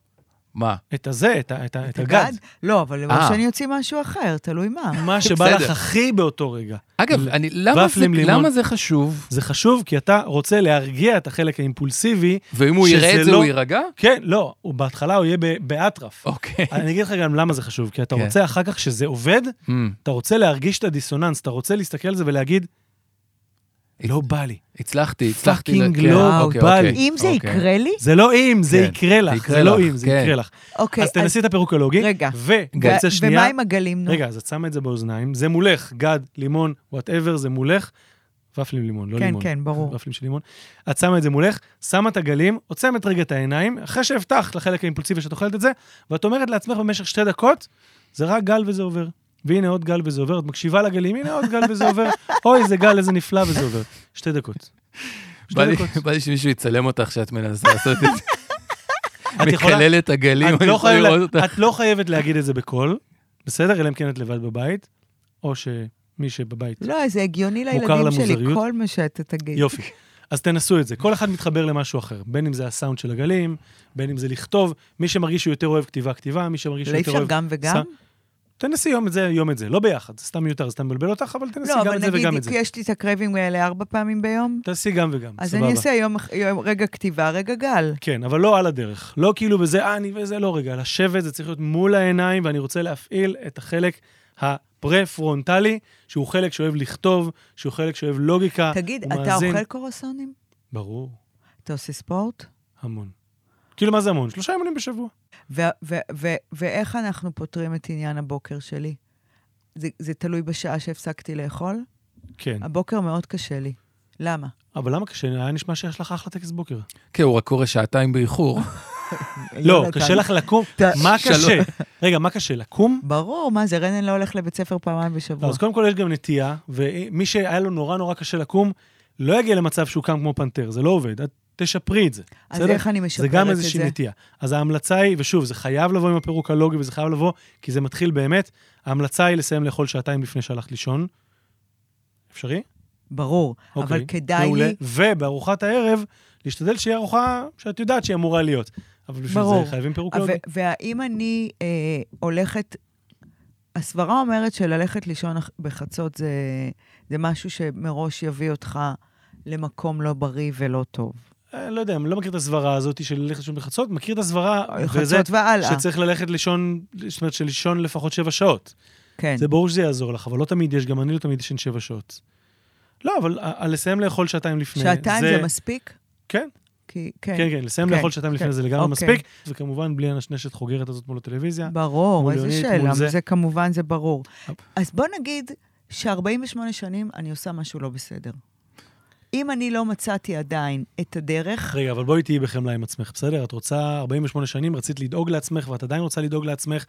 Speaker 3: מה?
Speaker 2: את הזה, את ה- את ה- את הגד.
Speaker 1: לא, אבל
Speaker 3: אה.
Speaker 1: שאני אוציא משהו אחר, תלוי מה.
Speaker 2: מה שבא לך
Speaker 3: בסדר.
Speaker 2: הכי באותו רגע.
Speaker 3: אגב, אני- למה זה-
Speaker 2: ופלים, לימון.
Speaker 3: למה זה חשוב?
Speaker 2: זה חשוב כי אתה רוצה להרגיע את החלק האימפולסיבי.
Speaker 3: ואם הוא יראה
Speaker 2: שזה
Speaker 3: את זה,
Speaker 2: לא-
Speaker 3: הוא יירגע?
Speaker 2: כן, לא, הוא בהתחלה הוא יהיה ב- באטרף.
Speaker 3: אוקיי.
Speaker 2: אני אגיד לך גם למה זה חשוב, כי אתה
Speaker 3: כן.
Speaker 2: רוצה אחר כך שזה עובד,
Speaker 3: Hmm,
Speaker 2: אתה רוצה להרגיש את הדיסוננס, אתה רוצה להסתכל על זה ולהגיד, לא בא לי.
Speaker 3: הצלחתי, הצלחתי.
Speaker 2: פאקינג
Speaker 3: כן,
Speaker 2: לא
Speaker 3: אוקיי,
Speaker 2: בא
Speaker 3: אוקיי,
Speaker 2: לי.
Speaker 1: אם זה
Speaker 3: אוקיי.
Speaker 1: יקרה לי,
Speaker 2: זה לא אם, זה
Speaker 3: כן,
Speaker 2: יקרה לך,
Speaker 3: יקרה
Speaker 2: זה לא
Speaker 3: לך,
Speaker 2: אם, זה
Speaker 3: כן.
Speaker 2: יקרה לך.
Speaker 1: אוקיי.
Speaker 2: אז תנסי את הפרוקולוגי,
Speaker 1: רגע.
Speaker 2: וקבוצה
Speaker 1: ו-
Speaker 2: שנייה.
Speaker 1: ומה עם הגלים? נו?
Speaker 2: רגע, אז את שמה את זה באוזניים, זה מולך, גד, לימון, וואטאבר, זה מולך. ופלים לימון, לא
Speaker 1: כן,
Speaker 2: לימון.
Speaker 1: כן, ברור.
Speaker 2: ופלים של לימון. את שמה את זה מולך, שמה את הגלים, עוצמת רגע את העיניים, אחרי שהבטחת לחלק האימפולסיבי שאת אוכלת את זה, ואת אומרת לעצמך במשך שתי דקות, זה רק גל וזה עובר. והנה עוד גל וזה עובר, את מקשיבה לגלים, הנה עוד גל וזה עובר, אוי, איזה גל, איזה נפלא וזה עובר. שתי דקות.
Speaker 3: בא
Speaker 2: שתי
Speaker 3: לי-
Speaker 2: דקות.
Speaker 3: בא לי שמישהו יצלם אותך כשאת מנסה לעשות את זה.
Speaker 2: את יכולה-
Speaker 3: מקלל את הגלים,
Speaker 2: את
Speaker 3: אני
Speaker 2: לא
Speaker 3: יכול
Speaker 2: חייבת-
Speaker 3: לראות אותך.
Speaker 2: את לא חייבת להגיד את זה בקול, בסדר? אלא אם כן את לבד בבית, או שמי שבבית
Speaker 1: לא, זה הגיוני
Speaker 2: מוכר
Speaker 1: לילדים שלי,
Speaker 2: למוזריות.
Speaker 1: כל מה שאתה תגיד.
Speaker 2: יופי. אז תנסו את זה. כל אחד מתחבר למשהו אחר. בין אם זה הסאונד של הגלים, בין אם זה לכתוב. מי שמרגיש שהוא יותר אוהב כתיבה, כתיבה, מי שמרגיש שהוא
Speaker 1: לא
Speaker 2: יותר
Speaker 1: אפשר
Speaker 2: אוהב...
Speaker 1: גם וגם?
Speaker 2: סאונד. תנסי יום את זה, יום את זה. לא ביחד, זה סתם מיותר, זה סתם מבלבל אותך, אבל תנסי
Speaker 1: לא,
Speaker 2: גם
Speaker 1: אבל
Speaker 2: את זה וגם את
Speaker 1: נגיד,
Speaker 2: זה.
Speaker 1: כי יש לי את הקרבים האלה ארבע פעמים ביום,
Speaker 2: תעשי גם וגם,
Speaker 1: אז
Speaker 2: סבבה.
Speaker 1: אני אעשה יום אח- יום- רגע כתיבה, רגע גל.
Speaker 2: כן, אבל לא על הדרך. לא כאילו בזה, אה, אני וזה, לא רגע. לשבת, זה צריך להיות מול העיניים, ואני רוצה להפעיל את החלק הפרה-פרונטלי, שהוא חלק שאוהב לכתוב, שהוא חלק שאוהב לוגיקה.
Speaker 1: תגיד,
Speaker 2: אה, הוא
Speaker 1: אתה
Speaker 2: מאזין.
Speaker 1: אוכל קורסונים?
Speaker 2: ברור,
Speaker 1: אתה עושה ספורט?
Speaker 2: המון. כאילו, מה זה המון? שלושה ימים בשבוע.
Speaker 1: ו- ו- ו- ואיך אנחנו פותרים את עניין הבוקר שלי? זה, זה תלוי בשעה שהפסקתי לאכול?
Speaker 2: כן.
Speaker 1: הבוקר מאוד קשה לי. למה?
Speaker 2: אבל למה קשה? היה נשמע שיש לך אחלה טקס בוקר.
Speaker 3: כן, הוא רק קורא שעתיים באיחור.
Speaker 2: לא,
Speaker 1: יונתן.
Speaker 2: קשה לך לקום?
Speaker 1: ת-
Speaker 2: מה קשה?
Speaker 3: שלום.
Speaker 2: רגע, מה קשה? לקום?
Speaker 1: ברור, מה זה, רנן לא הולך לבית ספר פעמיים
Speaker 2: לא,
Speaker 1: בשבוע.
Speaker 2: אז קודם כל יש גם נטייה, ומי שהיה לו נורא נורא קשה לקום, לא יגיע למצב שהוא קם כמו פנתר, זה לא עובד. את תשפרי את זה.
Speaker 1: אז
Speaker 2: בסדר?
Speaker 1: איך אני
Speaker 2: זה
Speaker 1: משפרת
Speaker 2: גם
Speaker 1: את
Speaker 2: איזושהי
Speaker 1: זה?
Speaker 2: נטייה. אז ההמלצה היא, ושוב, זה חייב לבוא עם הפירוק הלוגי וזה חייב לבוא, כי זה מתחיל באמת. ההמלצה היא לסיים לאכול שעתיים לפני שהלכת לישון. אפשרי?
Speaker 1: ברור, אבל
Speaker 2: אוקיי,
Speaker 1: כדאי
Speaker 2: מעולה.
Speaker 1: לי...
Speaker 2: ובארוחת הערב, להשתדל שיהיה ארוחה שאת יודעת שהיא אמורה להיות. אבל בשביל
Speaker 1: ברור.
Speaker 2: זה חייבים פירוק
Speaker 1: ו-
Speaker 2: לוגי.
Speaker 1: והאם אני אה, הולכת... הסברה אומרת שללכת לישון אח- בחצות זה, זה משהו שמראש יביא אותך למקום לא בריא ולא טוב.
Speaker 2: אה, לא יודע, אני לא מכיר את הסברה הזאת של ללכת לישון בחצות, מכיר את הסברה, וזה
Speaker 1: אה, חצות והלאה.
Speaker 2: שצריך ללכת לישון, זאת אומרת שלישון לפחות שבע שעות.
Speaker 1: כן.
Speaker 2: זה ברור שזה יעזור לך, אבל לא תמיד יש, גם אני לא תמיד ישן שבע שעות. לא, אבל ה- ה- לסיים לאכול שעתיים לפני,
Speaker 1: שעתיים זה מספיק?
Speaker 2: כן.
Speaker 1: כי, כן,
Speaker 2: כן, כן, לסיים
Speaker 1: כן,
Speaker 2: לאכול שעתיים לפני
Speaker 1: כן,
Speaker 2: זה לגמרי
Speaker 1: אוקיי.
Speaker 2: מספיק, וכמובן בלי הנשנשת חוגרת הזאת מול הטלוויזיה. כן. מול
Speaker 1: ברור, איזה
Speaker 2: יונית,
Speaker 1: שאלה,
Speaker 2: מול זה.
Speaker 1: זה. זה כמובן, זה ברור.
Speaker 2: אפ.
Speaker 1: אז בוא נגיד ש-48 שנים אני עושה משהו לא בסדר. אם אני לא מצאתי עדיין את הדרך,
Speaker 2: רגע, אבל בואי תהיי בחמלה עם עצמך, בסדר? את רוצה 48 שנים, רצית לדאוג לעצמך, ואת עדיין רוצה לדאוג לעצמך,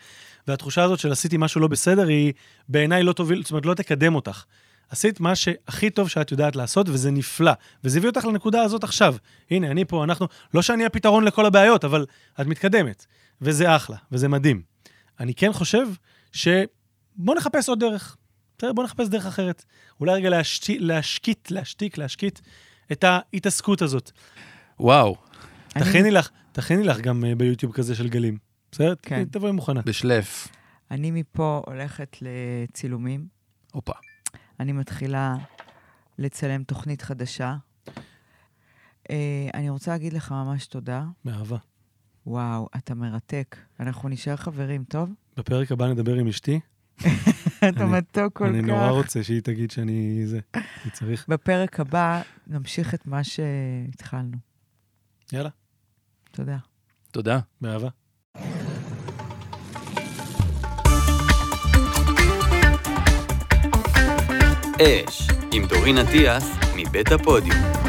Speaker 2: והתחושה הזאת של עשיתי משהו לא בסדר, היא בעיניי לא תוביל, זאת אומרת, לא תקדם אותך. עשית מה שהכי טוב שאת יודעת לעשות, וזה נפלא. וזה הביא אותך לנקודה הזאת עכשיו. הנה, אני פה, אנחנו... לא שאני הפתרון לכל הבעיות, אבל את מתקדמת. וזה אחלה, וזה מדהים. אני כן חושב ש... בוא נחפש עוד דרך. בסדר? בוא נחפש דרך אחרת. אולי רגע להשתי, להשקיט, להשתיק, להשקיט את ההתעסקות הזאת.
Speaker 3: וואו,
Speaker 1: אני-
Speaker 2: תכיני לך, תכיני לך גם אה, ביוטיוב כזה של גלים. בסדר?
Speaker 1: כן.
Speaker 2: כן. תבואי מוכנה.
Speaker 3: בשלף.
Speaker 1: אני מפה הולכת לצילומים,
Speaker 3: הופה.
Speaker 1: אני מתחילה לצלם תוכנית חדשה. אה, אני רוצה להגיד לך ממש תודה.
Speaker 2: באהבה.
Speaker 1: וואו, אתה מרתק. אנחנו נשאר חברים, טוב?
Speaker 2: בפרק הבא נדבר עם אשתי.
Speaker 1: אתה
Speaker 2: אני-
Speaker 1: מתוק כל כך.
Speaker 2: אני נורא רוצה שהיא תגיד שאני זה, אני צריך.
Speaker 1: בפרק הבא נמשיך את מה שהתחלנו.
Speaker 2: יאללה,
Speaker 1: תודה.
Speaker 3: תודה.
Speaker 2: באהבה.
Speaker 4: אש, עם דורין אטיאס, מבית הפודיום.